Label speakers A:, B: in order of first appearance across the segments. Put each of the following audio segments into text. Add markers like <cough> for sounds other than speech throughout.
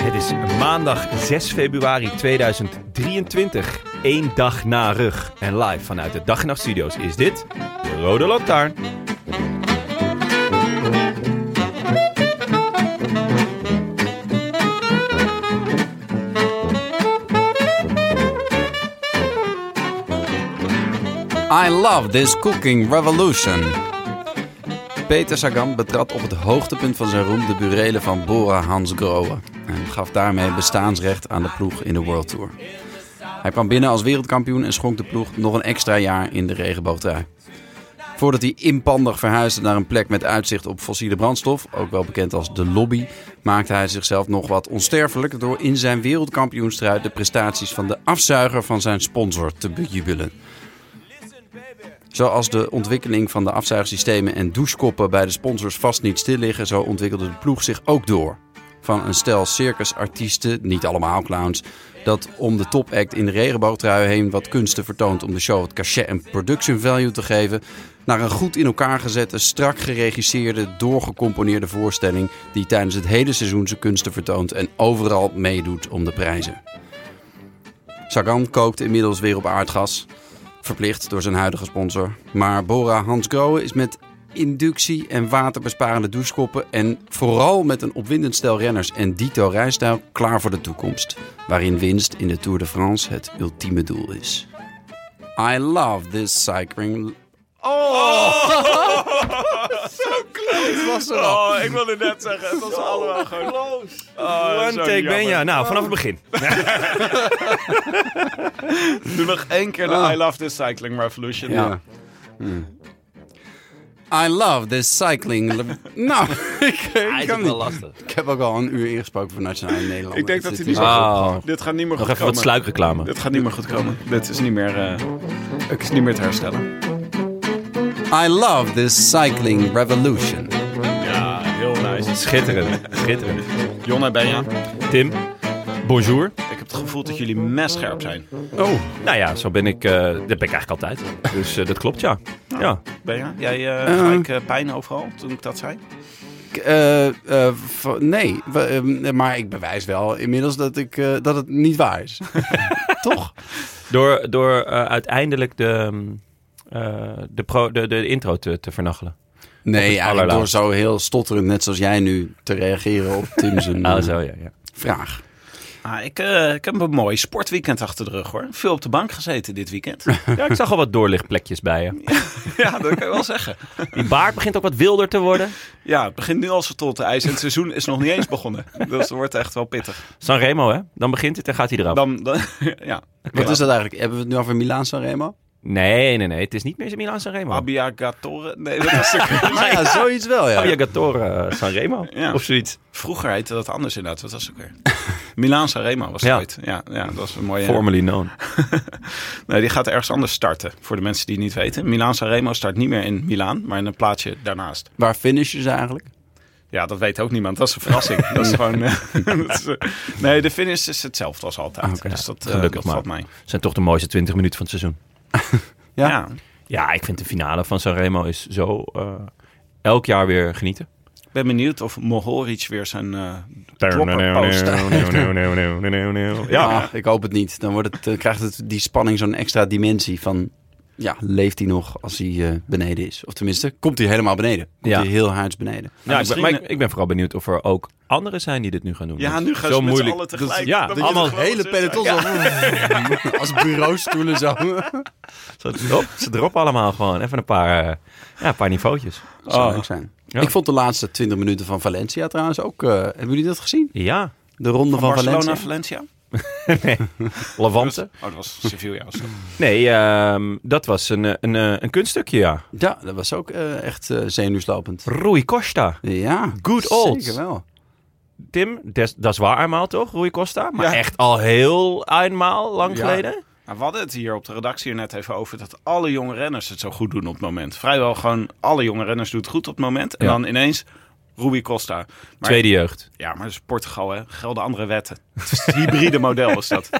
A: Het is maandag 6 februari 2023. Eén dag na rug. En live vanuit de Dag en Nacht Studios is dit de Rode Lantaarn.
B: Oh, I love this cooking revolution. Peter Sagan betrad op het hoogtepunt van zijn roem de burelen van Bora Hans Grohe en gaf daarmee bestaansrecht aan de ploeg in de World Tour. Hij kwam binnen als wereldkampioen en schonk de ploeg nog een extra jaar in de regenboogtrui. Voordat hij inpandig verhuisde naar een plek met uitzicht op fossiele brandstof, ook wel bekend als de lobby, maakte hij zichzelf nog wat onsterfelijk door in zijn wereldkampioenstrui de prestaties van de afzuiger van zijn sponsor te bejubelen. Zoals de ontwikkeling van de afzuigsystemen en douchekoppen bij de sponsors vast niet stil liggen, zo ontwikkelde de ploeg zich ook door. Van een stel circusartiesten, niet allemaal clowns, dat om de topact in de regenboogtrui heen wat kunsten vertoont om de show het cachet en production value te geven, naar een goed in elkaar gezette, strak geregisseerde, doorgecomponeerde voorstelling die tijdens het hele seizoen zijn kunsten vertoont en overal meedoet om de prijzen. Sagan kookt inmiddels weer op aardgas, verplicht door zijn huidige sponsor. Maar Bora Hans Grohe is met inductie en waterbesparende douchekoppen en vooral met een opwindend stel renners en dito rijstijl klaar voor de toekomst, waarin winst in de Tour de France het ultieme doel is. I love this cycling.
A: Oh, ik wilde net zeggen, het was allemaal gewoon... One take Benja. Nou, vanaf het begin. Doe nog één keer de I Love This Cycling Revolution.
B: Ja. Hm. I love this cycling. <laughs> nou, ik, ik, kan niet.
A: lastig.
B: ik heb ook al een uur ingesproken voor Nationaal Nederland.
A: Ik denk dat hij die zo...
C: Oh.
A: Dit gaat niet meer
C: Nog
A: goed
C: even wat
A: komen.
C: sluikreclame.
A: Dit gaat niet meer goed komen. Dit is niet meer, eh, het is niet meer te herstellen.
B: I love this cycling revolution.
A: Ja, Ah, heel nice.
C: Schitterend. Schitterend.
A: Jon en Benja,
C: Tim, bonjour.
A: ik heb het gevoel dat jullie mes scherp zijn.
C: Oh. Nou ja, zo ben ik, eh, dat ben ik eigenlijk altijd. Dus eh, dat klopt, ja. ja.
A: Benja, jij
B: Eh.
A: eh gelijk eh, pijn overal toen ik dat zei?
B: Ik, eh, eh, v- nee, we- eh, maar ik bewijs wel inmiddels dat, ik, eh, dat het niet
C: <laughs>
B: waar is. Toch?
C: Door, door eh, uiteindelijk de, ehm, eh, de, pro, de, de intro te, te vernachelen.
B: Nee, eigenlijk door
C: allerlaatst.
B: zo heel stotterend, net zoals jij nu, te reageren op
C: <laughs>
B: Tim's
C: Ah,
B: eh,
C: zo, ja. ja.
B: vraag.
A: Ah, ik, eh, ik heb een mooi sportweekend achter de rug hoor. Veel op de bank gezeten dit weekend.
C: ja, ik zag al wat doorlichtplekjes bij je.
A: ja, dat kan je wel zeggen.
C: Die baard begint ook wat wilder te worden.
A: Ja, het begint nu al zo tot de ijs en het seizoen is nog niet eens begonnen. Dus het wordt echt wel pittig.
C: Sanremo, hè? Dan begint het en gaat hij eraf.
A: Dan, dan- <laughs> ja.
B: Wat is dat eigenlijk? Hebben we het nu over Milaan Sanremo?
C: Nee, nee, nee. Het is niet meer Milan
A: Ah.
C: Sanremo.
A: Abbiagatore? Nee, dat was <laughs> de
C: Ah,
B: Ja, zoiets wel,
C: Oh,
B: ja.
C: Abbiagatore eh, Sanremo.
A: Ja.
C: Of zoiets.
A: Vroeger heette dat anders inderdaad. Wat was het ook weer? Milaan Sanremo was het
C: Ja.
A: ooit. Ja, ja, Eh, dat was een mooie...
C: Formerly known.
A: Nee, die gaat ergens anders starten. Voor de mensen die het niet weten. Milaan Sanremo start niet meer in Milaan, maar in een plaatsje daarnaast.
B: Waar finishen ze eigenlijk?
A: Ja, dat weet ook niemand. Dat is een verrassing. dat is gewoon... eh, <laughs> dat is, eh, nee, de finish is hetzelfde als altijd.
B: Oké.
A: Dus dat, eh,
C: Gelukkig
A: dat
C: maar.
A: valt mij.
C: Zijn toch de mooiste 20 minuten van het seizoen.
B: Ja.
A: ja.
C: Ja, ik vind de finale van Sanremo is zo eh, elk jaar weer genieten.
A: Ik ben benieuwd of Mohoric weer zijn eh dropper post.
C: Ja.
B: Ah, ik hoop het niet. Dan wordt het, eh, krijgt het die spanning zo'n extra dimensie van... ja, leeft hij nog als hij eh, beneden is? Of tenminste, komt hij helemaal beneden? Komt
C: Ja.
B: hij heel huids beneden?
C: Ja, ik ben,
A: misschien-
C: maar ik, ik ben vooral benieuwd of er ook anderen zijn die dit nu gaan doen.
A: Ja,
C: Want
A: nu gaan
C: zo
A: ze met
C: moeilijk.
A: z'n allen tegelijk.
C: Dus- ja,
A: Dan moet je
C: allemaal.
A: het gewoon
B: Hele
A: zo
B: peloton
A: zijn.
C: <laughs>
B: zo. als bureaustoelen zo.
C: Ze drop- ze droppen allemaal gewoon even een paar, eh, ja, een paar niveautjes.
B: Dat zou leuk zijn.
C: Ah. Ja.
B: Ik vond de laatste 20 minuten van Valencia trouwens ook. eh, hebben jullie dat gezien?
C: Ja,
B: De ronde van, Valencia.
A: Valencia?
C: Levante.
A: Oh, dat was Sevilla. of zo.
C: Nee, ehm, dat was een, eh, een, eh, een kunststukje, ja.
B: Ja, dat was ook eh, echt eh, zenuwslopend.
C: Rui Costa.
B: Ja,
C: Good old.
B: Zeker wel.
C: Tim, des- dat is waar eenmaal toch, Rui Costa? Maar echt al heel eenmaal, lang
A: Ja.
C: geleden.
A: <laughs> Nou, we hadden het hier op de redactie net even over dat alle jonge renners het zo goed doen op het moment. Vrijwel gewoon alle jonge renners doen het goed op het moment. En
C: Ja.
A: dan ineens Rui Costa. Maar,
C: Tweede jeugd.
A: Ja, maar dat is Portugal, hè. Gelden andere wetten. Het is het hybride model is dat.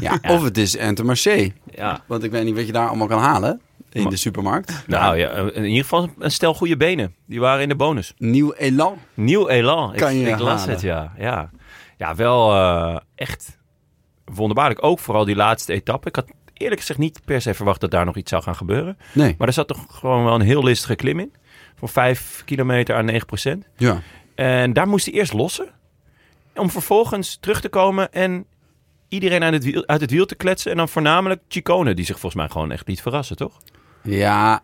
B: Ja, Of het is Intermarché.
C: Ja.
B: Want ik weet niet wat je daar allemaal kan halen in de supermarkt.
C: Nou ja, in ieder geval een stel goede benen. Die waren in de bonus.
B: Nieuw elan.
C: Nieuw elan.
B: Kan
C: ik,
B: je
C: ik las
B: halen.
C: het, ja. Ja, ja wel eh, echt wonderbaarlijk. Ook vooral die laatste etappe. Ik had eerlijk gezegd niet per se verwacht dat daar nog iets zou gaan gebeuren.
B: Nee.
C: Maar er zat toch gewoon wel een heel listige klim in. Van 5 kilometer aan 9 procent.
B: Ja.
C: En daar moest hij eerst lossen. Om vervolgens terug te komen en iedereen uit het wiel, uit het wiel te kletsen. En dan voornamelijk Chicone, die zich volgens mij gewoon echt liet verrassen, toch?
B: Ja,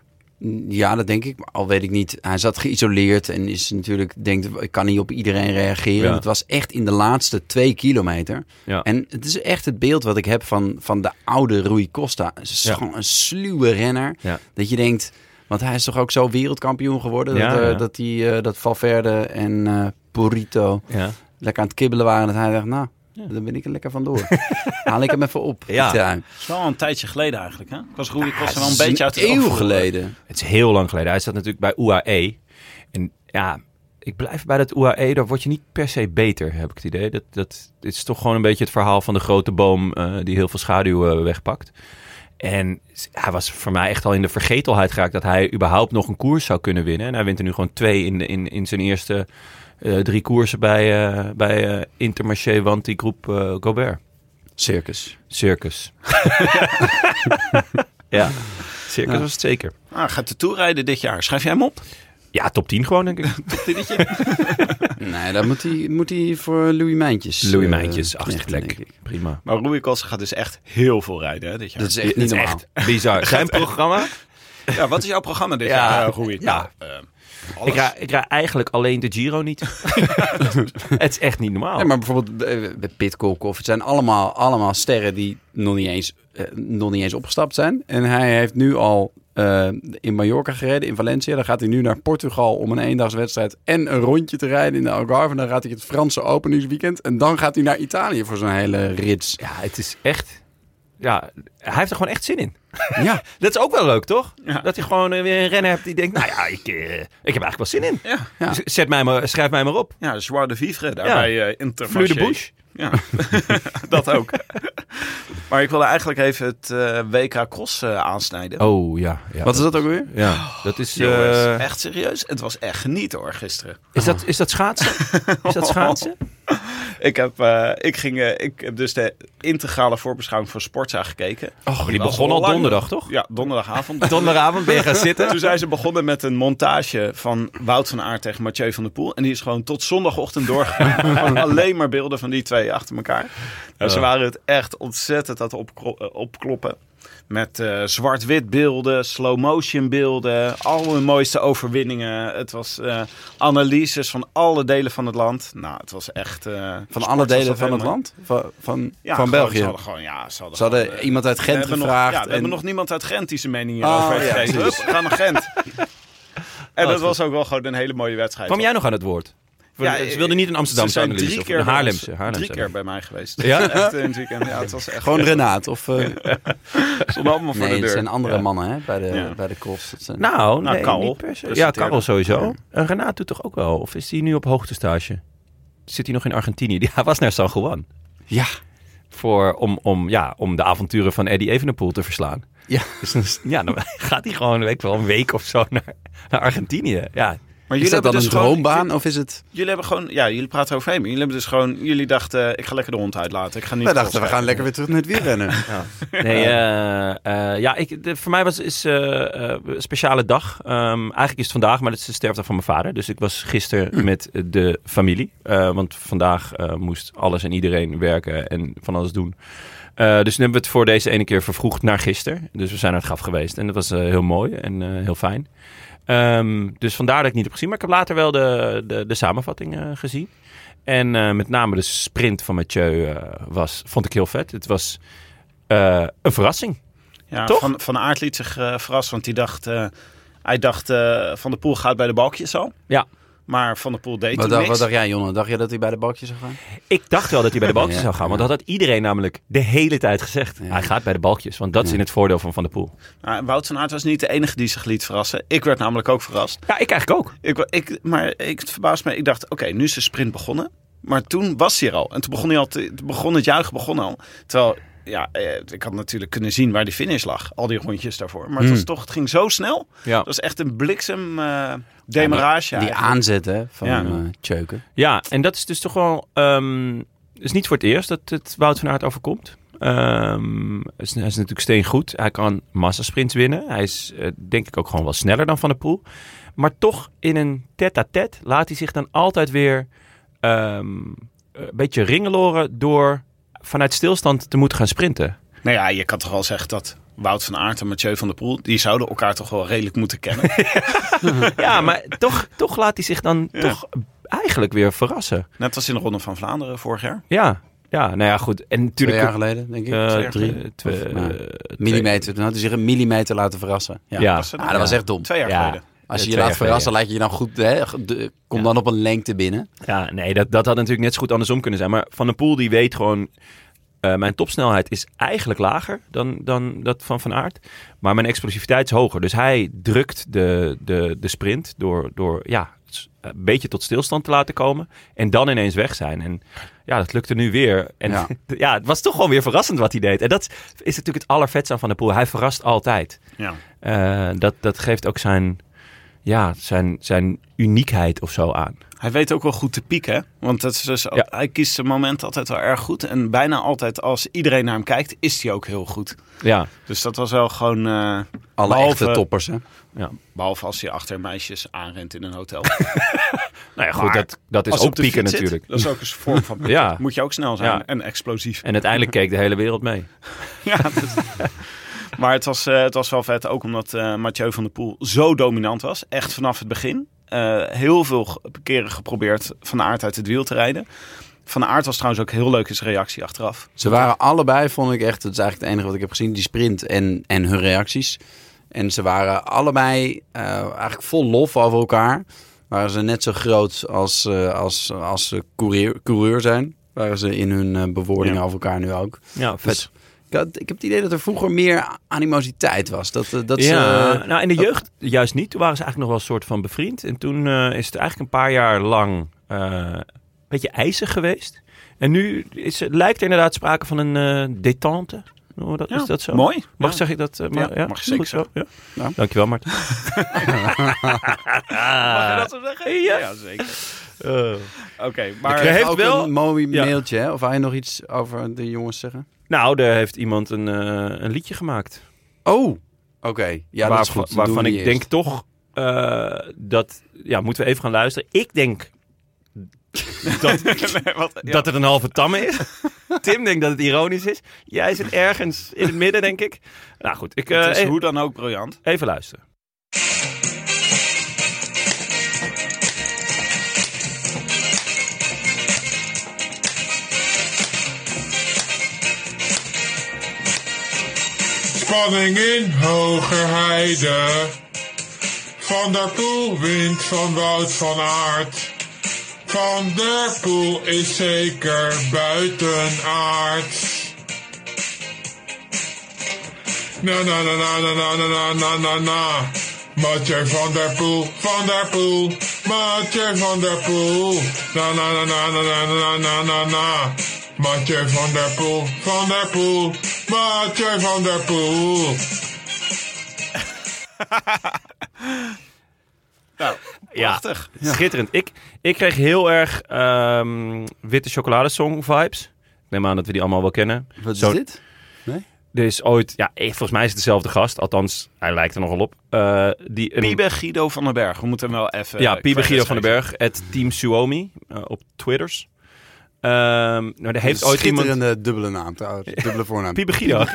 B: ja, dat denk ik. Maar Al weet ik niet. Hij zat geïsoleerd en is natuurlijk, denkt, ik kan niet op iedereen reageren.
C: Ja.
B: Het was echt in de laatste twee kilometer.
C: Ja.
B: En het is echt het beeld wat ik heb van, van de oude Rui Costa. Het is
C: Ja.
B: gewoon een sluwe renner.
C: Ja.
B: Dat je denkt, want hij is toch ook zo wereldkampioen geworden.
C: Ja,
B: dat, eh,
C: ja.
B: dat, die, eh, dat Valverde en eh Burrito
C: Ja.
B: lekker aan het kibbelen waren. Dat hij dacht, nou, daar ben ik er lekker vandoor. <laughs> Haal ik hem even op.
C: Ja.
B: Die tuin.
A: Het is wel een tijdje geleden eigenlijk, hè? Ik was Rui Costa wel
B: Het
A: een
B: is
A: beetje uit het oog
B: eeuw
A: verloren.
B: geleden.
C: Het is heel lang geleden. Hij zat natuurlijk bij UAE. En ja, ik blijf bij dat UAE. Daar word je niet per se beter, heb ik het idee. Dat, dat dit is toch gewoon een beetje het verhaal van de grote boom eh, die heel veel schaduw eh, wegpakt. En s- hij was voor mij echt al in de vergetelheid geraakt dat hij überhaupt nog een koers zou kunnen winnen. En hij wint er nu gewoon twee in, de, in, in zijn eerste eh, drie koersen bij, eh, bij eh, Intermarché, want die groep eh, Gobert.
B: Circus.
C: Circus. <laughs> ja, circus was het zeker.
A: Ah, gaat de Tour rijden dit jaar. Schrijf jij hem op?
C: Ja, top 10 gewoon, denk ik. <laughs>
B: Nee, dan moet hij, moet hij voor Louis Mijntjes.
C: Louis
B: eh,
C: Mijntjes,
B: knechten,
C: achtste plek.
B: denk ik.
C: Prima.
A: Maar Rui Costa gaat dus echt heel veel rijden hè, dit jaar.
B: Dat is echt niet normaal.
C: <laughs> bizar. Zijn programma?
A: Ja, wat is jouw programma dit
C: Ja.
A: jaar, eh, Rui?
C: Ja.
A: Nou, eh, alles.
C: Ik rij, ik rij eigenlijk alleen de Giro niet. het is echt niet normaal.
B: Nee, maar bijvoorbeeld eh, bij Pitcock of het zijn allemaal, allemaal sterren die nog niet, eens, eh, nog niet eens opgestapt zijn. En hij heeft nu al eh, in Mallorca gereden, in Valencia. Dan gaat hij nu naar Portugal om een eendagswedstrijd en een rondje te rijden in de Algarve. Dan gaat hij het Franse openingsweekend. En dan gaat hij naar Italië voor zo'n hele rits.
C: Ja, het is echt... Ja, hij heeft er gewoon echt zin in.
B: Ja,
C: <laughs> Dat is ook wel leuk, toch?
A: Ja.
C: Dat je gewoon eh, weer een renner hebt die denkt... Nou ja, ik, eh, ik heb eigenlijk wel zin in.
A: Ja,
B: Ja.
C: Z- Zet mij maar, schrijf mij maar op.
A: ja Joie de Vivre daar
C: Ja.
A: bij eh
C: Fleur
A: Intermarché.
C: de Bush.
A: Ja, dat ook. maar ik wilde eigenlijk even het eh, WK Cross eh, aansnijden.
C: <laughs> Oh, ja. ja.
B: wat is dat ook weer?
C: Ja, dat is...
A: Jongens,
C: eh,
A: echt serieus? Het was echt genieten hoor, gisteren.
C: is, dat, is dat schaatsen? Is dat schaatsen?
A: Ik heb, eh, ik ging, eh, ik heb dus de integrale voorbeschouwing van Sportza gekeken.
C: Oh, die
A: was
C: begon al
A: lang.
C: donderdag, toch?
A: Ja,
C: <laughs>
A: donderdagavond. <laughs>
C: Donderdagavond ben je gaan zitten.
A: Toen zijn ze begonnen met een montage van Wout van Aert tegen Mathieu van der Poel. En die is gewoon tot
B: <laughs>
A: zondagochtend doorgegaan. Gewoon alleen maar beelden van die twee achter elkaar. Nou, ze waren het echt ontzettend aan het opkro- eh, opkloppen. Met eh, zwart-wit beelden, slow-motion beelden, al hun mooiste overwinningen. Het was eh, analyses van alle delen van het land. Nou, het was echt... eh,
B: Van
A: sport
B: alle
A: was
B: delen
A: dat
B: van het
A: helemaal-
B: land? Van, van, van
A: Ja, gewoon,
B: België?
A: Ze hadden, gewoon, ja, ze hadden,
B: Ze hadden
A: gewoon, eh,
B: iemand uit Gent
A: we hebben
B: gevraagd.
A: Nog, ja, we hebben nog niemand uit Gent die zijn mening
B: Oh,
A: hierover
B: ja,
A: heeft gegeven. Hup,
B: precies.
A: we gaan naar <laughs> Gent. En dat
C: goed.
A: was ook wel gewoon een hele mooie wedstrijd.
C: Kwam jij nog aan het woord? eh,
A: Ja,
C: ze wilden niet een
A: Ze
C: Amsterdamse
A: zijn
C: analyse
A: drie
C: of
A: keer
C: een
A: bij ons-
C: Haarlemse. Haarlemse
A: Drie keer bij mij geweest.
C: Ja?
A: <laughs> Echt in het weekend. Ja, het was echt...
B: Gewoon Renaat of... eh,
A: stonden allemaal voor
B: nee,
A: de
B: het
A: deur.
B: zijn andere mannen hè, bij, de,
A: Ja.
B: bij de cross. Dat zijn-
C: Nou,
A: Nou,
C: nee,
A: Karel
C: niet per se. Ja,
A: presenteerde.
C: Karel sowieso. En Renaat doet toch ook wel? Of is hij nu op hoogtestage? Zit hij nog in Argentinië? <laughs> Die- Hij was naar San Juan.
B: Ja.
C: Voor, om, om, ja, om de avonturen van Eddie Evenepoel te verslaan.
B: Ja. <laughs>
C: nou, <laughs> Dus dan, ja, dan gaat hij gewoon weet ik wel, een week of zo naar, naar Argentinië. Ja,
A: Maar
B: Is dat
A: hebben
B: dan een
A: dus gewoon-
B: droombaan of is het...
A: Jullie hebben gewoon, ja, jullie praten over hem. Jullie hebben dus gewoon, jullie dachten, ik ga lekker de hond uitlaten. Ik ga niet.
B: Wij dachten, we gaan lekker weer terug naar het <laughs> wielrennen.
C: Nee, eh, eh, ja, ik, de- voor mij was is, eh, eh, een speciale dag. Ehm, eigenlijk is het vandaag, maar het is de sterfdag van mijn vader. Dus ik was gisteren met de familie. Eh, want vandaag eh, moest alles en iedereen werken en van alles doen. Eh, dus nu hebben we het voor deze ene keer vervroegd naar gisteren. Dus we zijn naar het graf geweest. En dat was eh, heel mooi en eh, heel fijn. Ehm, dus vandaar dat ik niet heb gezien. Maar ik heb later wel de, de, de samenvatting eh, gezien. En eh, met name de sprint van Mathieu eh, was, vond ik heel vet. Het was eh, een verrassing.
A: Ja,
C: Toch?
A: Van, van Aert liet zich eh verrassen, want die dacht, eh, hij dacht, eh, Van der Poel gaat bij de balkjes al.
C: Ja.
A: Maar Van der Poel deed
B: Wat
A: toen
B: dacht,
A: niks.
B: wat dacht jij, Jonne? Dacht je dat hij bij de balkjes zou gaan?
C: Ik dacht wel dat hij bij
B: <laughs>
C: de balkjes
B: Ja,
C: zou gaan. Want
B: ja.
C: dat had iedereen namelijk de hele tijd gezegd. Hij gaat bij de balkjes. Want dat is in het voordeel van Van der Poel.
A: Nou, Wout van Aert was niet de enige die zich liet verrassen. Ik werd namelijk ook verrast.
C: Ja, ik eigenlijk ook.
A: Ik, wa- ik, maar ik, het verbaast me. Ik dacht, oké, nu is de sprint begonnen. Maar toen was hij er al. En toen begon, hij al te, toen begon het juichen begon al. Terwijl, ja, eh, ik had natuurlijk kunnen zien waar die finish lag. Al die rondjes daarvoor. Maar het,
B: Hmm.
A: was toch, het ging zo snel.
C: Ja,
A: Dat was echt een bliksem eh, demarage.
B: Die
A: eigenlijk.
B: aanzet hè, van
A: Ja.
B: eh Tjeuken.
C: ja en dat is dus toch wel... ehm het is niet voor het eerst dat het Wout van Aert overkomt. Ehm, hij is- hij is natuurlijk steengoed. Hij kan massasprints winnen. Hij is eh, denk ik ook gewoon wel sneller dan Van der Poel. Maar toch in een tête-à-tête laat hij zich dan altijd weer ehm, een beetje ringeloren... door vanuit stilstand te moeten gaan sprinten.
A: Nou ja, je kan toch wel zeggen dat Wout van Aert en Mathieu van der Poel... die zouden elkaar toch wel redelijk moeten
B: <laughs>
A: kennen.
C: Ja, maar toch, toch laat hij zich dan
A: Ja.
C: toch eigenlijk weer verrassen.
A: Net als in de Ronde van Vlaanderen vorig jaar.
C: Ja, ja nou ja, goed. En
B: Twee
C: natuurlijk...
B: jaar geleden, denk ik.
C: eh,
B: Twee jaar
C: drie,
B: geleden.
C: twee,
B: Of, nou,
C: eh, twee-
B: millimeter. Dan had hij zich een millimeter laten verrassen. Ja,
C: Ja.
A: Was dat
B: Ah,
A: nou?
B: dat was echt dom.
A: Twee jaar
C: Ja.
A: geleden.
B: Als je
C: Ja,
B: je
C: twee
B: laat
C: jaar
B: verrassen, laat je je dan goed... Hè, ge- de- kom dan op een lengte binnen.
C: Ja, nee, dat, dat had natuurlijk net zo goed andersom kunnen zijn. Maar Van der Poel die weet gewoon... eh, mijn topsnelheid is eigenlijk lager dan, dan dat van Van Aert. Maar mijn explosiviteit is hoger. Dus hij drukt de, de, de sprint door, door ja, s- een beetje tot stilstand te laten komen. En dan ineens weg zijn. En ja, dat lukte nu weer. En <laughs> ja,
B: Ja.
C: het was toch gewoon weer verrassend wat hij deed. En dat is natuurlijk het allervetste aan Van der Poel. Hij verrast altijd.
A: Ja.
C: Eh, dat, dat geeft ook zijn, ja, zijn, zijn uniekheid of zo aan.
A: Hij weet ook wel goed te pieken. hè? Want dat is dus, al-
C: Ja.
A: hij kiest zijn moment altijd wel erg goed. En bijna altijd als iedereen naar hem kijkt, is hij ook heel goed.
C: Ja.
A: Dus dat was wel gewoon... eh,
B: Alle
A: Behalve-
B: echte toppers, hè.
A: behalve als hij achter meisjes aanrent in een
C: <laughs>
A: hotel.
C: Nou ja, goed,
A: Maar
C: dat, dat is
A: Als hij
C: ook
A: op de fiets
C: pieken
A: zit,
C: natuurlijk.
A: dat is ook een vorm
C: <laughs>
A: van pieken.
C: Ja.
A: Moet je ook snel zijn
C: <laughs> Ja.
A: en explosief.
C: En uiteindelijk keek de hele wereld mee.
A: Ja, dat- <laughs> maar het was, eh, het was wel vet, ook omdat eh Mathieu van der Poel zo dominant was. Echt vanaf het begin. Eh, heel veel ge- keren geprobeerd Van Aert uit het wiel te rijden. Van Aert was trouwens ook heel leuk in zijn reactie achteraf.
B: Ze waren allebei, vond ik echt, dat is eigenlijk het enige wat ik heb gezien, die sprint en, en hun reacties. En ze waren allebei eh, eigenlijk vol lof over elkaar. Waren ze net zo groot als, eh, als, als ze coureur, coureur zijn. Waren ze in hun eh, bewoordingen
A: Ja.
B: over elkaar nu ook.
C: Ja, vet.
B: Dus ik, had- ik heb het idee dat er vroeger meer animositeit was. Dat, eh, dat
C: ja,
B: ze,
C: nou in de jeugd juist niet. Toen waren ze eigenlijk nog wel een soort van bevriend. En toen eh, is het eigenlijk een paar jaar lang eh, een beetje ijzig geweest. En nu is, er- lijkt er inderdaad sprake van een eh détente. Noemen we dat,
A: Ja,
C: Is dat zo?
A: Mooi.
C: Mag
A: Ja.
C: zeg ik dat? eh, maar-
A: Ja,
C: ja,
A: mag je zeker
C: goed zo. Ja.
B: Ja.
C: Dankjewel, <laughs> Mart.
A: <laughs> Mag je dat zo zeggen? Ja, zeker.
C: Eh,
A: Oké, maar...
B: Kreeg
C: heeft
B: ook
C: wel-
B: een mooi
C: ja.
B: mailtje. Hè? Of wou je nog iets over de jongens zeggen?
C: Nou, daar heeft iemand een, eh, een liedje gemaakt.
B: Oh, oké. Ja, dat is
C: waarvan
B: goed. Dan doen
C: waarvan
B: we
C: ik
B: die
C: denk
B: eerst.
C: toch eh, dat... Ja, moeten we even gaan luisteren. Ik denk
B: <laughs>
C: dat, dat het een halve tamme is. Tim denkt dat het ironisch is. Jij zit ergens in het midden, denk ik. Nou goed, ik, eh,
A: het is
C: e-
A: hoe dan ook briljant.
C: even luisteren.
D: Spanning in hoge heide. Van der Poel wint van Wout van Aert. Van der Poel is zeker buiten aard. Na na na na na na na na na na na. Mathieu van der Poel, van der Poel, Mathieu van der Poel. Na na na na na na na na na na. Mathieu van der Poel, van der Poel, Mathieu van der Poel.
A: Nou, Prachtig.
C: Schitterend. Ik, ik kreeg heel erg ehm, witte chocoladesong vibes. Ik neem aan dat we die allemaal wel kennen.
B: Wat is
C: Zo-
B: dit?
C: Er is ooit, ja, eh, volgens mij is het dezelfde gast. Althans, hij lijkt er nogal op. Eh, die, een-
A: Piebe Guido van den Berg. We moeten hem wel even...
C: ja,
A: eh,
C: Piebe Guido van den
A: credits
C: Berg, het Team Suomi eh, op Twitters. Ehm nou, daar heeft
B: Een
C: ooit iemand... <laughs>
B: schitterende dubbele naam trouwens. Dubbele voornaam.
C: Piebe Guido. <laughs>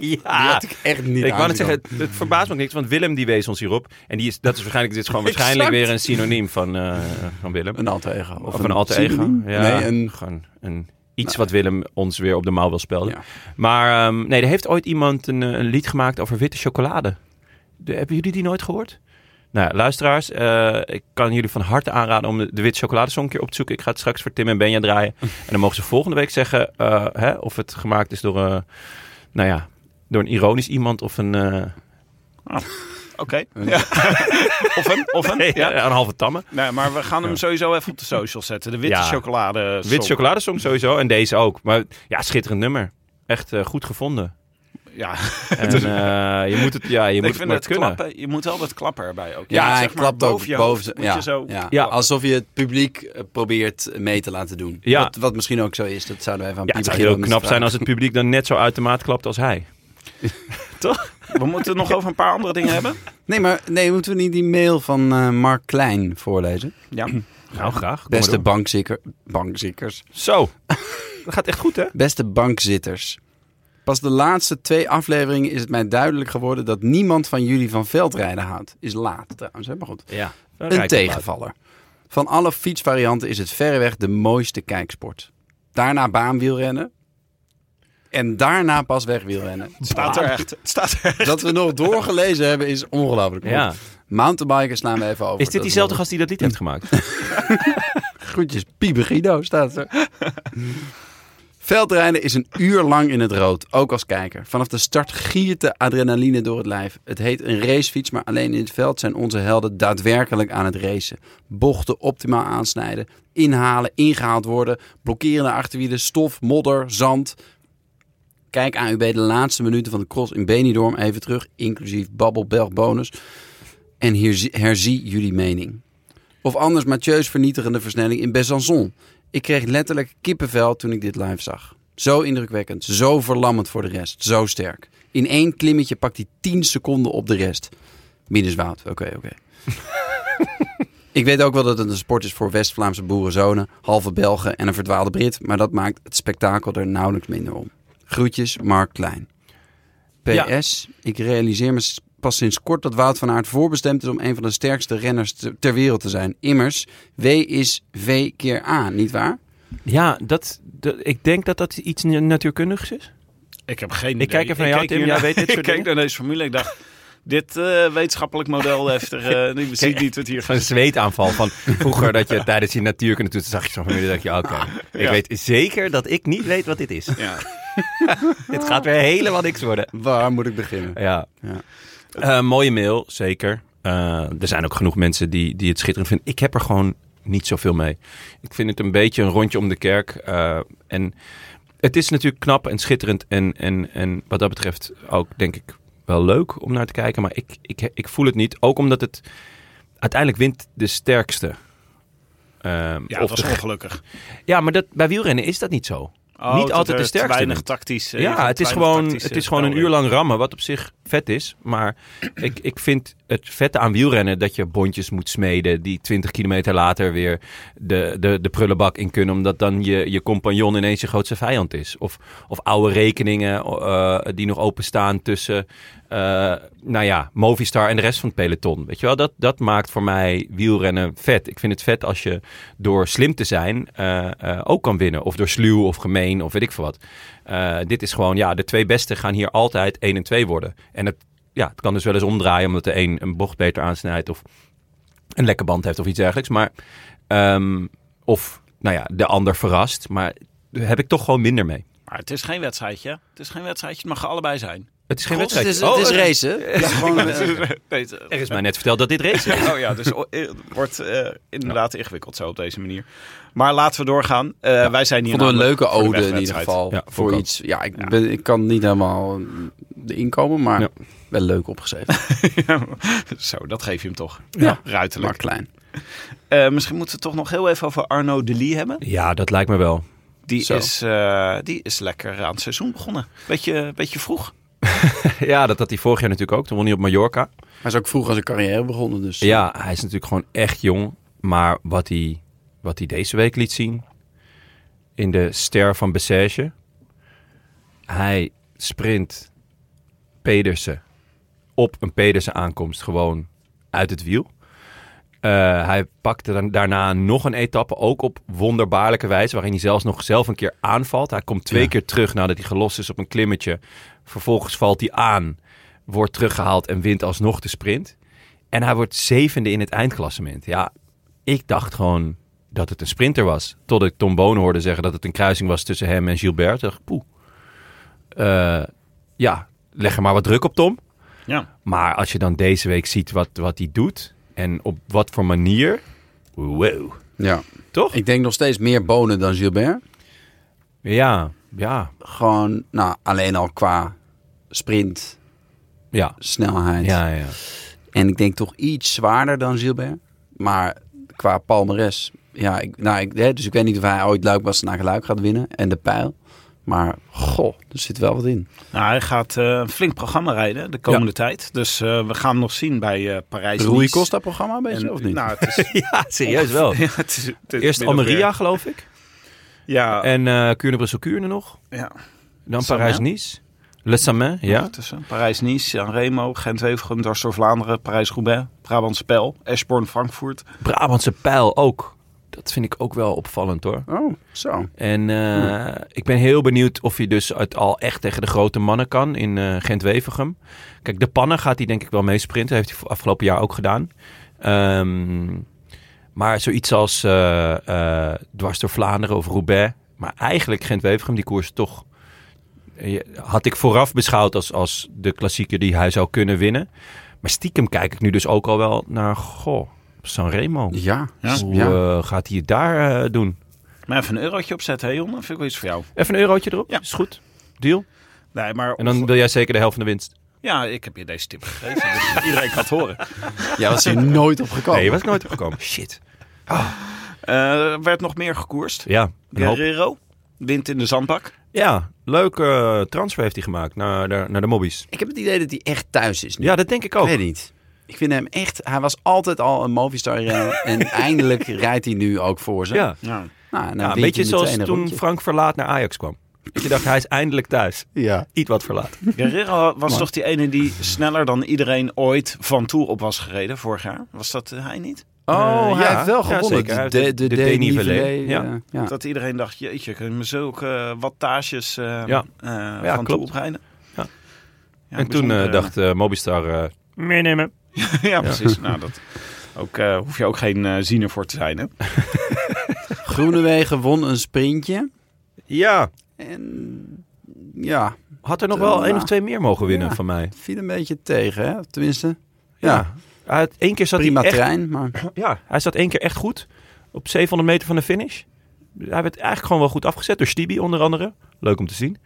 B: Die
C: ja.
B: had ik echt niet
C: Ah, Ik wou net
B: aanzien
C: zeggen, het, het verbaast me ook niks, want Willem die wees ons hierop. En die is, dat is waarschijnlijk, dit is
B: <laughs>
C: gewoon
B: Exact.
C: waarschijnlijk weer een synoniem van, eh, van Willem.
B: komen. Een alter ego.
C: Of, een, alter ego.
B: pseudoniem?
C: Ja,
B: Nee, een...
C: gewoon een, iets wat Willem ons weer op de mouw wil spelden.
B: Ja.
C: Maar ehm, nee, er heeft ooit iemand een, eh, een lied gemaakt over witte chocolade. De- hebben jullie die nooit gehoord? Nou, ja, luisteraars, eh, ik kan jullie van harte aanraden om de, de witte chocoladesong een keer op te zoeken. Ik ga het straks voor Tim en Benja draaien. en dan mogen ze volgende week zeggen eh, hè, of het gemaakt is door, eh, nou ja, door een ironisch iemand of een, eh,
A: Oké. Ja. of een, of een. Ja.
C: een halve tamme.
A: Nee, maar we gaan hem sowieso even op de social zetten. De witte
C: Ja.
A: chocolade.
C: Witte chocoladesong sowieso en deze ook. Maar ja, schitterend nummer. Echt eh, goed gevonden.
A: Ja,
C: En eh, je moet het, ja, je moet
A: ik
C: het
A: vind
C: maar
A: het
C: kunnen.
A: klappen. Je moet wel dat klapper erbij ook. Je moet,
B: Ja, hij
A: zeg maar,
B: klapt ook
A: boven je
B: boven
A: hoofd
B: zijn-
A: moet
B: ja,
A: je zo
B: ja.
C: Ja.
A: <laughs>
B: alsof je het publiek eh, probeert mee te laten doen.
C: Ja.
B: Wat, wat misschien ook zo is, dat zouden wij van
C: Ja, het zou heel knap zijn als het publiek dan net zo uit de maat klapt als hij.
A: We moeten het nog over een paar andere dingen hebben.
B: Nee, maar nee, moeten we niet die mail van eh, Mark Klein voorlezen?
A: Ja.
C: Nou, graag. Kom
B: Beste
C: maar door.
B: bankzikker, bankzikkers.
C: Zo. Dat gaat echt goed, hè?
B: Beste bankzitters. Pas de laatste twee afleveringen is het mij duidelijk geworden dat niemand van jullie van veldrijden houdt. Is laat trouwens, hè? maar goed.
C: Ja.
B: Een tegenvaller. Van alle fietsvarianten is het verreweg de mooiste kijksport. Daarna baanwielrennen. En daarna pas wegwielrennen.
C: <laughs>
A: Het staat er echt. Het staat er echt.
B: Dat we nog doorgelezen hebben is ongelooflijk.
C: Ja.
B: Mountainbiken slaan we even over.
C: Is dit
B: Dat
C: diezelfde gast die dat lied heeft gemaakt?
B: Groetjes, Piebe Guido staat er. Veldrijden is een uur lang in het rood, ook als kijker. Vanaf de start giert de adrenaline door het lijf. Het heet een racefiets, maar alleen in het veld zijn onze helden daadwerkelijk aan het racen. Bochten optimaal aansnijden, inhalen, ingehaald worden, blokkerende achterwielen, stof, modder, zand. Kijk AUB de laatste minuten van de cross in Benidorm even terug, inclusief babbelbelg bonus. En hier zie- herzie jullie mening. Of anders Mathieu's vernietigende versnelling in Besançon. Ik kreeg letterlijk kippenvel toen ik dit live zag. Zo indrukwekkend, zo verlammend voor de rest, zo sterk. In één klimmetje pakt hij 10 seconden op de rest. Binnenswoud, oké, oké. ik weet ook wel dat het een sport is voor West-Vlaamse boerenzonen, halve Belgen en een verdwaalde Brit, maar dat maakt het spektakel er nauwelijks minder om. Groetjes, Mark Klein. PS, ik realiseer me s- pas sinds kort dat Wout van Aert voorbestemd is om een van de sterkste renners te- ter wereld te zijn. Immers, W is V keer A, nietwaar?
C: <laughs> Ja, dat, dat- ik denk dat dat iets na- natuurkundigs is.
A: Ik heb geen
C: Ik kijk even naar jou, Tim.
A: hier
C: Jij
A: naar-
C: weet dit soort
A: <laughs> Ik
C: dingen?
A: kijk naar deze formule. Ik dacht, dit eh, wetenschappelijk model heeft er... eh, ik zie niet wat hier
C: Een zweetaanval van vroeger dat je tijdens je natuurkunde toen zag je zo'n familie dat je oké, ik
A: Ja.
C: weet zeker dat ik niet weet wat dit is.
A: Ja.
C: Dit gaat weer helemaal niks worden.
B: Waar moet ik beginnen?
C: Ja.
B: Ja.
C: Eh, mooie mail, zeker. Eh, er zijn ook genoeg mensen die, die het schitterend vinden. Ik heb er gewoon niet zoveel mee. Ik vind het een beetje een rondje om de kerk. eh, en het is natuurlijk knap en schitterend. En, en, en wat dat betreft ook, denk ik, wel leuk om naar te kijken. Maar ik, ik, ik voel het niet. Ook omdat het uiteindelijk wint de sterkste. Ehm,
A: Ja,
C: of
A: het was
C: de-
A: ongelukkig.
C: ja, maar dat, bij wielrennen is dat niet zo.
A: Oh,
C: niet
A: dat
C: altijd
A: er
C: de
A: te
C: sterkste.
A: weinig
C: wint.
A: tactisch... eh,
C: Ja,
A: te
C: het is,
A: weinig
C: gewoon,
A: tactisch,
C: het
A: eh,
C: is gewoon een
A: spel
C: uur lang rammen, wat op zich vet is. Maar ik, ik vind het vette aan wielrennen dat je bondjes moet smeden... die 20 kilometer later weer de, de, de prullenbak in kunnen... omdat dan je, je compagnon ineens je grootste vijand is. Of, of oude rekeningen eh, die nog openstaan tussen... eh, nou ja, Movistar en de rest van het peloton. Weet je wel, dat, dat maakt voor mij wielrennen vet. Ik vind het vet als je door slim te zijn eh, eh, ook kan winnen. Of door sluw of gemeen of weet ik veel wat. Eh, dit is gewoon, ja, de twee beste gaan hier altijd 1 en 2 worden. En het, ja, het kan dus wel eens omdraaien omdat de een een bocht beter aansnijdt of een lekke band heeft of iets dergelijks. Maar, ehm, of, nou ja, de ander verrast. Maar daar heb ik toch gewoon minder mee.
A: Maar het is geen wedstrijdje. Het is geen wedstrijdje. Het mag allebei zijn.
C: Het is geen
B: Het
C: wedstrijd. Oh,
B: is, het is racen. Oh, Het is <laughs> gewoon, eh,
A: <laughs> Nee, <laughs> het-
C: er is mij net verteld dat dit race is.
A: <laughs> Oh ja, dus o- eh, het wordt eh, inderdaad ingewikkeld zo op deze manier. Maar laten we doorgaan. Eh, wij zijn hier
B: vonden we een
A: namelijk
B: leuke
A: voor de
B: ode in ieder
A: wegwedstrijd.
B: geval.
C: Ja, vond ik
B: voor
C: ook.
B: iets. Ja, ik, Ben, ik kan niet helemaal mm, inkomen, maar
C: Ja.
B: Wel leuk <laughs> opgeschreven,
A: <laughs> Zo, dat geef je hem toch.
B: Ja.
A: Ruiterlijk.
B: maar klein.
A: Eh, misschien moeten we het toch nog heel even over Arno Delis hebben.
C: Ja, dat lijkt me wel.
A: Die
B: Zo.
A: is, eh, die is lekker aan het seizoen begonnen. Beetje, beetje vroeg.
C: Ja, dat had hij vorig jaar natuurlijk ook. Toen won hij op Mallorca.
B: Hij is ook vroeg aan zijn carrière begonnen, dus
C: Ja, hij is natuurlijk gewoon echt jong. Maar wat hij, wat hij deze week liet zien in de ster van Bessage. Hij sprint Pedersen op een Pedersen aankomst gewoon uit het wiel. Eh, hij pakte dan, daarna nog een etappe, ook op wonderbaarlijke wijze, waarin hij zelfs nog zelf een keer aanvalt. Hij komt twee keer terug nadat hij gelost is op een klimmetje. Vervolgens valt hij aan, wordt teruggehaald en wint alsnog de sprint. En hij wordt zevende in het eindklassement. Ja, ik dacht gewoon dat het een sprinter was. Tot ik Tom Boon hoorde zeggen dat het een kruising was tussen hem en Gilbert. Toen dacht ik, poeh. Eh, ja, leg er maar wat druk op, Tom.
A: Ja.
C: Maar als je dan deze week ziet wat, wat hij doet en op wat voor manier. Wow.
B: eh, ja.
C: Toch?
B: Ik denk nog steeds meer bonen dan Gilbert.
C: Ja, ja,
B: Gewoon, nou, alleen al qua sprint,
C: ja.
B: snelheid.
C: Ja, ja.
B: En ik denk toch iets zwaarder dan Gilbert. Maar qua palmares, ja, ik, nou, ik, hè, dus ik weet niet of hij ooit Luik was naar Luik gaat winnen. En de pijl. Maar goh, er zit wel wat in.
A: Nou, hij gaat eh, een flink programma rijden de komende tijd. Dus eh, we gaan hem nog zien bij eh Parijs.
B: De Rui
A: Nice.
B: Costa programma een beetje,
A: En,
B: of niet?
A: Nou, het is,
C: <laughs> Ja, serieus
B: <laughs>
C: wel.
A: <laughs> ja, het is- het is
C: Eerst
A: min of meer-
C: Almeria, geloof ik.
A: Ja,
C: En eh Kuurne-Brussel-Kuurne nog.
A: ja.
C: Dan
A: Samen.
C: Parijs-Nice. Le Samen, ja.
A: Tussen Parijs-Nice, San Remo, Gent-Wevelgem, Dwars door Vlaanderen, Parijs-Roubaix, Brabant-Spel, Eschborn-Frankfurt.
C: Brabantse pijl ook. Dat vind ik ook wel opvallend hoor.
B: Oh, zo.
C: En eh, ik ben heel benieuwd of hij dus het al echt tegen de grote mannen kan in eh Gent-Wevergem. Kijk, de pannen gaat hij denk ik wel meesprinten. Heeft hij afgelopen jaar ook gedaan. Ehm, maar zoiets als eh, eh, dwars door Vlaanderen of Roubaix. Maar eigenlijk Gent-Wevergem, die koers toch... eh, Had ik vooraf beschouwd als, als de klassieker die hij zou kunnen winnen. Maar stiekem kijk ik nu dus ook al wel naar... Goh, Sanremo.
B: Ja,
A: Ja.
B: ja.
C: Hoe eh, gaat hij het daar eh, doen?
A: Maar even een eurotje opzetten, hè Jon? Dat vind ik wel iets voor jou.
C: Even een eurotje erop.
A: Ja.
C: Is goed. Deal.
A: Nee, maar...
C: En dan wil jij zeker de helft van de winst.
A: Ja, ik heb je deze tip gegeven, dus
C: <laughs>
A: iedereen kan het
B: <laughs>
A: horen.
B: ja, dat is hier nooit op gekomen.
C: Nee, je was nooit opgekomen. Shit.
A: Eh, Er werd nog meer gekoerst.
C: Ja, een hoop.
A: Guerrero wint in de zandbak.
C: ja leuk eh, transfer heeft hij gemaakt naar, de- naar de mobbies.
B: Ik heb het idee dat hij echt thuis is nu.
C: Ja, dat denk ik
B: ik
C: ook.
B: weet niet. Ik vind hem echt... Hij was altijd al een Movistar <laughs> renner. en eindelijk rijdt hij nu ook voor ze.
C: Ja.
A: Ja.
B: Nou,
C: Ja,
B: en dan
C: een
B: wint
C: beetje
B: hij meteen
C: zoals
B: een
C: toen
B: rondje.
C: Frank Verlaat naar Ajax kwam. Dat je dacht, hij is eindelijk thuis.
B: Ja.
C: Iets wat verlaat.
A: Guerrero was toch die ene die sneller dan iedereen ooit van toe op was gereden vorig jaar? Was dat eh, hij niet?
B: Oh,
C: Eh,
B: hij
C: ja,
B: heeft wel
C: ja,
B: gewonnen.
C: zeker. Hij heeft
B: de de,
C: de-
B: de,
C: de
B: Denivellé,
C: Denivellé, ja.
B: eh, ja.
A: Dat iedereen dacht, jeetje, kunnen we zulke eh, wattages eh,
C: Ja.
A: eh,
C: Ja,
A: van
C: klopt.
A: toe oprijden?
C: Ja.
A: Ja,
C: en toen eh,
A: bijzonder, eh,
C: dacht eh, Mobistar... eh, meenemen.
A: <laughs> ja, precies.
C: <laughs>
A: Nou, dat ook, eh, hoef je ook geen eh, ziener voor te zijn, hè?
B: Groenewegen won een sprintje.
C: Ja,
B: En ja,
C: had er nog wel
B: Ja.
C: één of twee meer mogen winnen
B: eh, Ja.
C: van mij.
B: viel een beetje tegen, hè? Tenminste,
C: Ja.
B: Ja.
C: Hij had- één keer zat
B: prima
C: hij echt
B: trein, maar
C: Ja, hij zat één keer echt goed. Op 700 meter van de finish. Hij werd eigenlijk gewoon wel goed afgezet door Stibi onder andere. Leuk om te zien.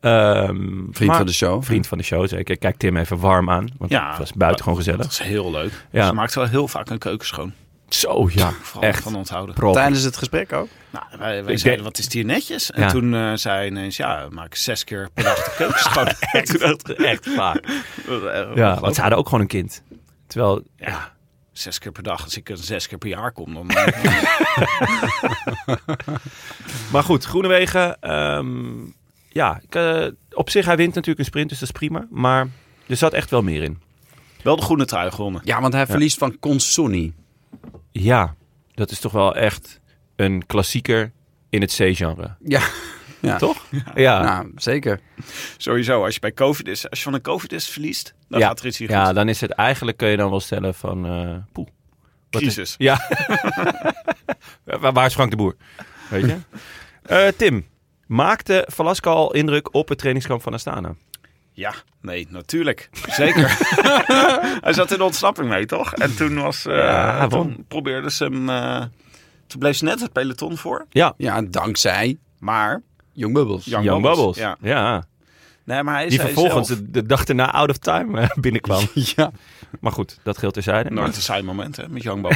C: Ehm,
B: vriend
C: maar-
B: van de show.
C: Vriend van de show, zeker. Ik Kijk Tim even warm aan. Want
A: Ja.
C: het was buitengewoon
A: Dat
C: gezellig.
A: is heel leuk.
C: Ja.
A: Ze maakt wel heel vaak een keuken schoon.
C: Zo, ja.
A: Vooral
C: Echt.
A: van onthouden.
C: Prop.
B: Tijdens het gesprek ook.
A: Nou, wij, wij
C: denk-
A: zeiden, wat is het hier netjes? En
C: Ja.
A: toen eh, zei hij ineens, ja, we maken zes keer per dag de keuken
C: <laughs>
A: schoon. <laughs> Toen dacht ik,
C: Echt <laughs> vaak.
A: eh,
C: Ja, want ze hadden ook gewoon een kind. Terwijl,
A: Ja, zes keer per dag. Als ik er zes keer per jaar kom, dan... eh,
C: maar goed, Groenewegen. ehm, ja, ik, eh, op zich, hij wint natuurlijk een sprint, dus dat is prima. Maar er zat echt <laughs> wel meer in.
A: wel de groene trui gewonnen.
B: Ja, want hij verliest van Consoni.
C: Ja, dat is toch wel echt een klassieker in het C-genre.
B: Ja,
C: Toch? Ja.
B: nou, zeker.
A: Sowieso, als je bij COVID is, als je van een COVID is verliest, dan
C: ja.
A: gaat er iets hier
C: Ja,
A: goed.
C: dan is het eigenlijk, kun je dan wel stellen van, eh poeh. Wat is-
A: Crisis.
C: Ja. <laughs> Waar- Waar is Frank de Boer? Weet
A: <laughs>
C: je? Eh, Tim, maakte Velasco al indruk op het trainingskamp van Astana?
A: Ja, nee, natuurlijk.
C: <laughs>
A: Zeker. hij zat in de ontsnapping mee, toch? En toen was... eh,
C: Ja, hij
A: toen
C: won.
A: probeerden ze hem... eh, toen bleef ze net het peloton voor.
C: Ja,
B: Ja, dankzij
A: Maar...
B: Jong Bubbles.
A: Jan
C: Jan
A: Babbels.
C: Bubbles.
A: Ja.
C: Ja.
A: Nee, maar hij is
C: Die
A: hij
C: vervolgens
A: zelf.
C: de, de dag erna out of time eh,
A: <laughs>
C: binnenkwam.
B: <laughs> Ja.
C: Maar goed, dat geldt terzijde.
A: Nooit Nou, een saai moment, hè, met
B: <laughs>
A: Young Bob.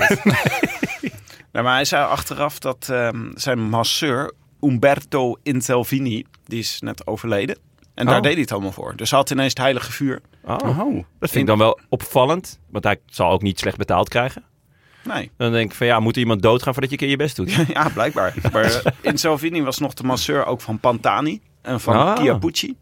A: nou, maar hij zei achteraf dat ehm, zijn masseur, Umberto Intelvini, die is net overleden. En daar
C: Oh.
A: deed hij het allemaal voor. Dus hij had ineens het heilige vuur. <laughs>
C: Oh,
B: Oh.
C: dat vind ik dan wel opvallend. Want hij zal ook niet slecht betaald krijgen.
A: Nee,
C: Dan denk ik van ja, moet er iemand doodgaan voordat je een keer je best doet?
A: <laughs> ja,
C: <laughs>
A: blijkbaar. Maar eh, Intelvini was nog de masseur ook van Pantani en van
C: Ah.
A: Chiappucci.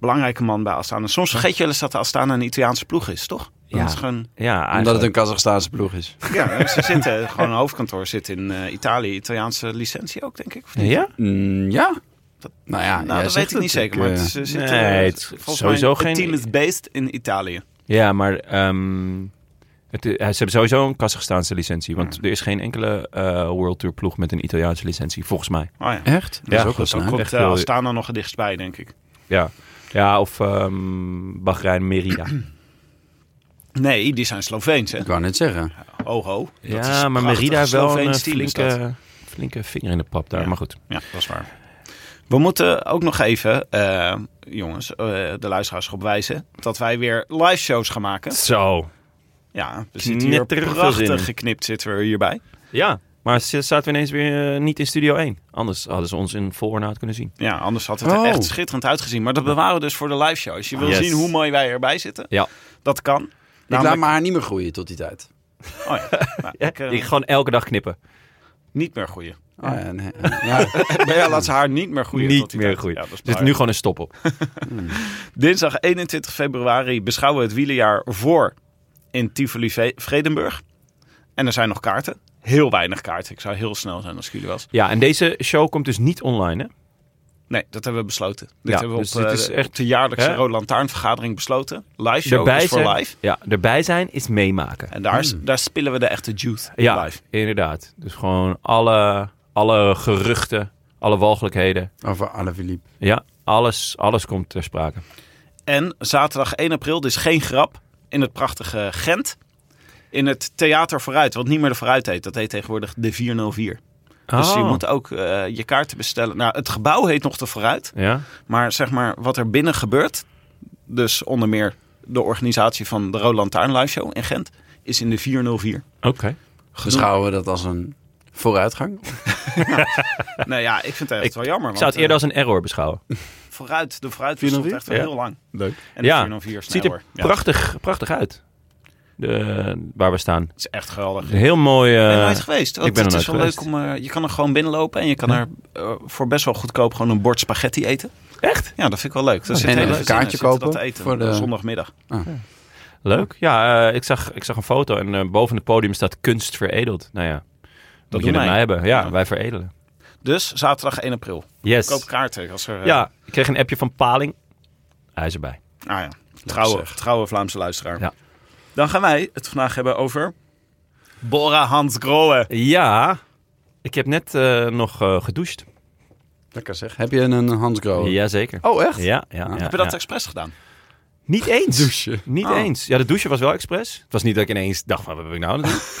A: Belangrijke man bij Astana. Soms vergeet je wel eens dat de Astana een Italiaanse ploeg is, toch? Dat
C: Ja.
A: is gewoon...
C: Ja,
B: Omdat het
C: eigenlijk.
B: een Kazachstaanse ploeg is.
A: Ja, ze zitten gewoon een hoofdkantoor zit in eh, Italië. Italiaanse licentie ook, denk ik. of niet?
C: Ja?
B: Mm, ja.
A: Dat-
B: nou ja,
A: Nou, dat weet ik niet zeker, maar
B: eh,
A: ze zitten
C: eh,
A: eh,
C: nee, het is
A: volgens
C: sowieso
A: mij, het
C: geen-
A: team is based in Italië. Oh
C: Ja, maar ehm, het, eh, ze hebben sowieso een Kazachstaanse licentie. Want er is geen enkele eh, World Tour ploeg met een Italiaanse licentie, volgens mij.
A: Oh ja.
B: Echt? Dat is ook wel
C: dat
B: sneu.
C: ook-
A: Komt
C: echt
A: eh,
C: wel-
A: Astana nog het dichtst bij, denk ik.
C: Ja, ja of ehm Bahrein <clears throat> Merida.
A: Nee, die zijn Sloveens, hè?
B: Ik wou net zeggen.
A: Ho, ho. Dat is
C: ja, maar
A: prachtig.
C: Merida heeft wel een eh,
A: Sloveens team is dat.
C: flinke, flinke vinger in de pap daar.
A: Ja.
C: Maar goed.
A: Ja, dat is waar. We moeten ook nog even, eh, jongens, eh, de luisteraars op wijzen... dat wij weer live shows gaan maken.
C: Zo.
A: Ja, we zitten hier
C: Knetterig veel zin in.
A: prachtig geknipt zitten we hierbij.
C: Ja, maar ze zaten we ineens weer eh, niet in Studio 1. Anders hadden ze ons in voornaad kunnen zien.
A: Ja, anders had het er
B: Oh.
A: echt schitterend uitgezien. Maar dat bewaren we dus voor de live show. Als je wil
C: Yes.
A: zien hoe mooi wij erbij zitten,
C: Ja.
A: dat kan.
B: Ik laat
A: Namelijk-
B: mijn haar niet meer groeien tot die tijd.
A: Oh ja, nou, ik, eh,
C: Ik gewoon elke dag knippen.
A: niet meer
C: <laughs>
A: groeien.
B: Oh, ja, nee. <laughs> ja.
A: Nee, ja, laat ze haar niet meer groeien. tot
C: niet
A: die
C: meer
A: tijd.
C: goed.
A: Ja, dat
C: Er
A: is
C: zit nu
A: belangrijk.
C: gewoon een stop op.
A: Dinsdag 21 februari beschouwen we het wielerjaar voor in Tivoli Ve- Vredenburg. En er zijn nog kaarten. Heel weinig kaarten. Ik zou heel snel zijn als ik jullie was.
C: Ja, en deze show komt dus niet online, hè?
A: Nee, dat hebben we besloten. Dit
C: Ja,
A: hebben we
C: dus
A: op,
C: dit
A: eh,
C: is echt-
A: op de jaarlijkse
C: hè?
A: Rode Lantaarnvergadering besloten. Live show is voor
C: zijn,
A: live.
C: Ja, erbij zijn is meemaken.
A: En daar, daar spillen we de echte juice
C: Hmm. Ja,
A: live.
C: inderdaad. Dus gewoon alle, alle geruchten, alle walgelijkheden.
B: Over Alaphilippe.
C: Ja, alles, alles komt ter sprake.
A: En zaterdag 1 april, dus geen grap, in het prachtige Gent. In het Theater Vooruit, wat niet meer de Vooruit heet. Dat heet tegenwoordig de 404. Dus je
C: Oh.
A: moet ook eh, je kaarten bestellen. Nou, het gebouw heet nog de Vooruit.
C: Ja,
A: Maar zeg maar, wat er binnen gebeurt... Dus onder meer de organisatie van de Roland Taarn Live Show in Gent... is in de 404.
C: oké.
B: Beschouwen we dat als een vooruitgang?
A: nou ja, ik vind het echt wel jammer. eh,
C: Ik zou het eerder als een error beschouwen.
A: Vooruit, de Vooruit bestond
B: 404?
A: echt wel
C: Ja.
A: heel lang.
B: Leuk.
A: En de
C: Ja,
A: 404
C: Het ziet
A: sneller.
C: er prachtig, prachtig uit. De, waar we staan.
A: Het is echt geweldig.
C: Een heel mooi... eh,
A: ben je nooit geweest? Want
C: ik ben er
A: het is wel
C: nooit
A: leuk om... eh, je kan er gewoon binnenlopen en je kan er eh, voor best wel goedkoop gewoon een bord spaghetti eten.
C: echt?
A: Ja, dat vind ik wel leuk. Dat zit
B: en
A: heel
B: even een
A: leuk in.
B: kaartje
A: Zitten dat
B: kopen
A: te eten
B: voor de-
A: op zondagmiddag.
C: Leuk. Ja, eh, ik, zag, ik zag een foto en eh, boven het podium staat kunst veredeld. Nou ja, dat moet
A: doen
C: je met
A: wij.
C: mij hebben. Ja,
A: Ja.
C: wij veredelen.
A: Dus zaterdag 1 april.
C: Yes.
A: Koop kaarten als er... eh,
C: Ja, ik kreeg een appje van Paling. Hij is erbij.
A: Ah ja, trouwe, trouwe Vlaamse luisteraar.
C: Ja.
A: Dan gaan wij het vandaag hebben over... Bora Hans Grohe.
C: Ja, ik heb net eh, nog eh, gedoucht.
B: Lekker zeg. Heb je een Hans Grohe?
C: Jazeker.
B: Oh, echt?
C: Ja, ja, ja,
B: Heb
A: Heb je dat
C: ja.
A: expres gedaan?
C: Niet eens.
B: Douchen.
C: Niet
A: Oh.
C: eens. Ja, de douche was wel expres. Het was niet dat ik ineens dacht, van, wat heb ik nou aan het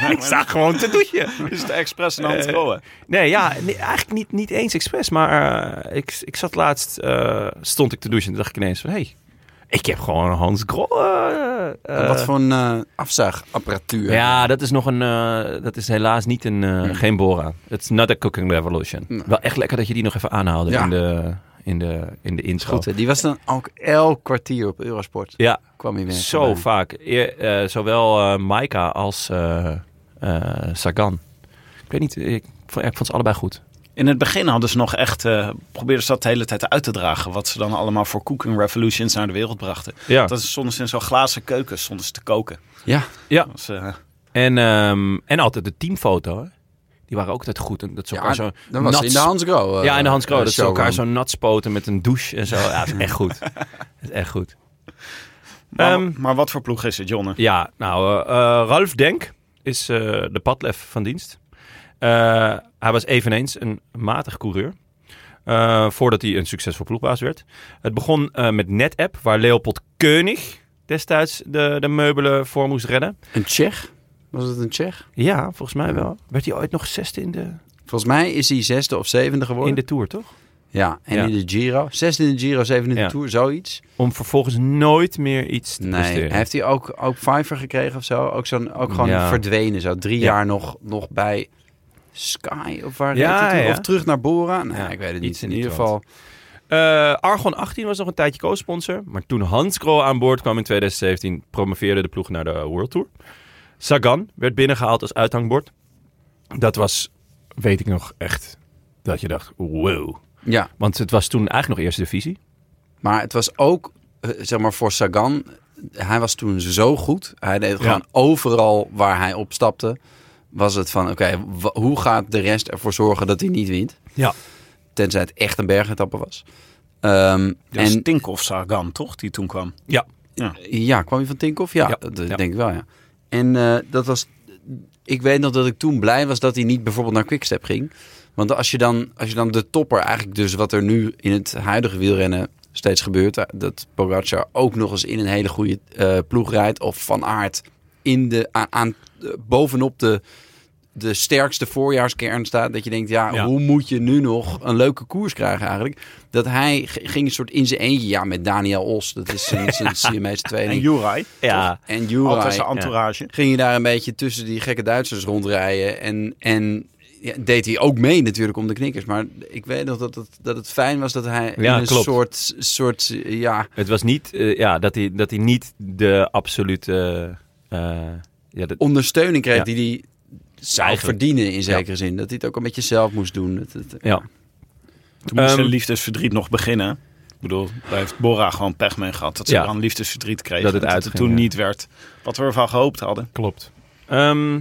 C: doen? <laughs> ik sta gewoon te douchen.
A: Is het expres een Hans
C: Eh,
A: Grohe?
C: Nee, ja, nee, eigenlijk niet, niet eens expres. Maar eh, ik, ik zat laatst, eh, stond ik te douchen en dacht ik ineens van, hé, hey, ik heb gewoon een Hans Grol. eh,
B: En
C: eh,
B: Wat voor een eh, afzuigapparatuur?
C: Ja, dat is nog een. eh, dat is helaas niet een. eh,
B: Hmm.
C: Geen Bora. It's not a cooking revolution. Wel echt lekker dat je die nog even aanhaalde
B: Ja.
C: in, de, in, de, in de intro.
B: Goed, hè? die was dan ook elk kwartier op Eurosport.
C: Ja,
B: Kwam hij weer.
C: zo
B: voorbij.
C: vaak. Eer- eh, zowel eh Maika als eh, eh, Sagan. Ik weet niet. Ik, vond- ik vond ze allebei goed.
A: In het begin hadden ze nog echt, eh probeerden ze dat de hele tijd uit te dragen. Wat ze dan allemaal voor Cooking Revolutions naar de wereld brachten.
C: Ja.
A: Dat is soms in zo'n glazen keuken, soms te koken.
B: Ja,
C: Ja.
A: Dat is, eh,
C: En, ehm, en altijd de teamfoto. hè. Die waren ook altijd goed. En dat ze
B: ja
C: elkaar zo
B: dan was hij in de
C: nat-
B: Hans Grohe. eh,
C: ja, en de Hans Kroon.
B: eh,
C: dat ze elkaar
B: showroom.
C: zo nat spoten met een douche en zo. Ja, dat is echt
B: <laughs>
C: goed. Dat is echt goed.
A: maar,
C: Ehm,
A: maar wat voor ploeg is het, Jonne?
C: Ja, nou, eh, eh, Ralf Denk is eh, de padlef van dienst. Eh, hij was eveneens een matig coureur. eh, voordat hij een succesvol ploegbaas werd. Het begon eh, met NetApp, waar Leopold Keunig destijds de, de meubelen voor moest redden.
B: Een Tsjech? Was het een Tsjech?
C: Ja, volgens mij wel. Werd hij ooit nog zesde in de,
B: Volgens mij is hij zesde of zevende geworden.
C: in de Tour, toch?
B: Ja, en
C: Ja.
B: in de Giro. Zesde in de Giro, zevende in de
C: Ja.
B: Tour, zoiets.
C: Om vervolgens nooit meer iets te
B: Nee,
C: presteren.
B: heeft hij ook, ook Pfeiffer gekregen of zo? Ook, zo'n, ook gewoon
C: Ja.
B: verdwenen zo. Drie
C: Ja.
B: jaar nog, nog bij Sky of waar
C: Ja,
B: reed hij toen?
C: ja.
B: Of terug naar Bora? Nee,
C: Ja,
B: ik weet het
C: iets
B: niet. In
C: in
B: ieder
C: die
B: geval.
C: Eh, Argon 18 was nog een tijdje co-sponsor. Maar toen Hans Krol aan boord kwam in 2017, promoveerde de ploeg naar de World Tour. Sagan werd binnengehaald als uithangbord. Dat was, weet ik nog echt, dat je dacht, wow.
B: Ja,
C: Want het was toen eigenlijk nog eerste divisie.
B: maar het was ook, eh, zeg maar, voor Sagan. Hij was toen zo goed. Hij deed gewoon overal waar hij opstapte. Was het van, oké, wa- hoe gaat de rest ervoor zorgen dat hij niet wint?
C: Ja.
B: Tenzij het echt een bergetappe was. Ehm,
C: Dus
A: Ja,
B: en
A: Stinkhoff Sagan, toch? Die toen kwam.
C: Ja.
B: Ja, kwam je van Tinkoff? Ja,
C: Ja,
B: dat
C: ja.
B: denk ik wel, ja. En eh, dat was... Ik weet nog dat ik toen blij was dat hij niet bijvoorbeeld naar Quickstep ging. Want als je dan, als je dan de topper, eigenlijk dus wat er nu in het huidige wielrennen steeds gebeurt... eh, dat Pogacar ook nog eens in een hele goede eh, ploeg rijdt... of Van Aert in de, aan, aan- eh, bovenop de, de sterkste voorjaarskern staat... dat je denkt, ja,
C: Ja.
B: hoe moet je nu nog een leuke koers krijgen eigenlijk? Dat hij g- ging een soort in zijn eentje... ja, met Daniel Os, dat is zijn, zijn CMA's
A: En
B: tweeling.
A: Juraj.
C: Ja.
B: En
A: Altijd zijn
B: Jura
A: entourage.
B: ging je daar een beetje tussen die gekke Duitsers rondrijden. En, en ja, deed hij ook mee natuurlijk om de knikkers. Maar ik weet nog dat het, dat het fijn was dat hij in
C: Ja,
B: een
C: klopt.
B: soort, soort eh, ja,
C: Het was niet eh, ja, dat, hij, dat hij niet de absolute... eh, ja, dat,
B: ondersteuning kreeg
C: Ja.
B: die hij zou
C: Eigenlijk.
B: verdienen in zekere zin. Dat hij het ook een beetje zelf moest doen. Dat, het-
C: ja.
A: Toen moest
C: Ehm,
A: zijn liefdesverdriet nog beginnen. Ik bedoel, daar heeft Bora gewoon pech mee gehad. Dat ze
C: Ja.
A: dan liefdesverdriet kregen.
C: Dat het uitging,
A: toen
C: ja.
A: niet werd. Wat we ervan gehoopt hadden.
C: Klopt. Ehm,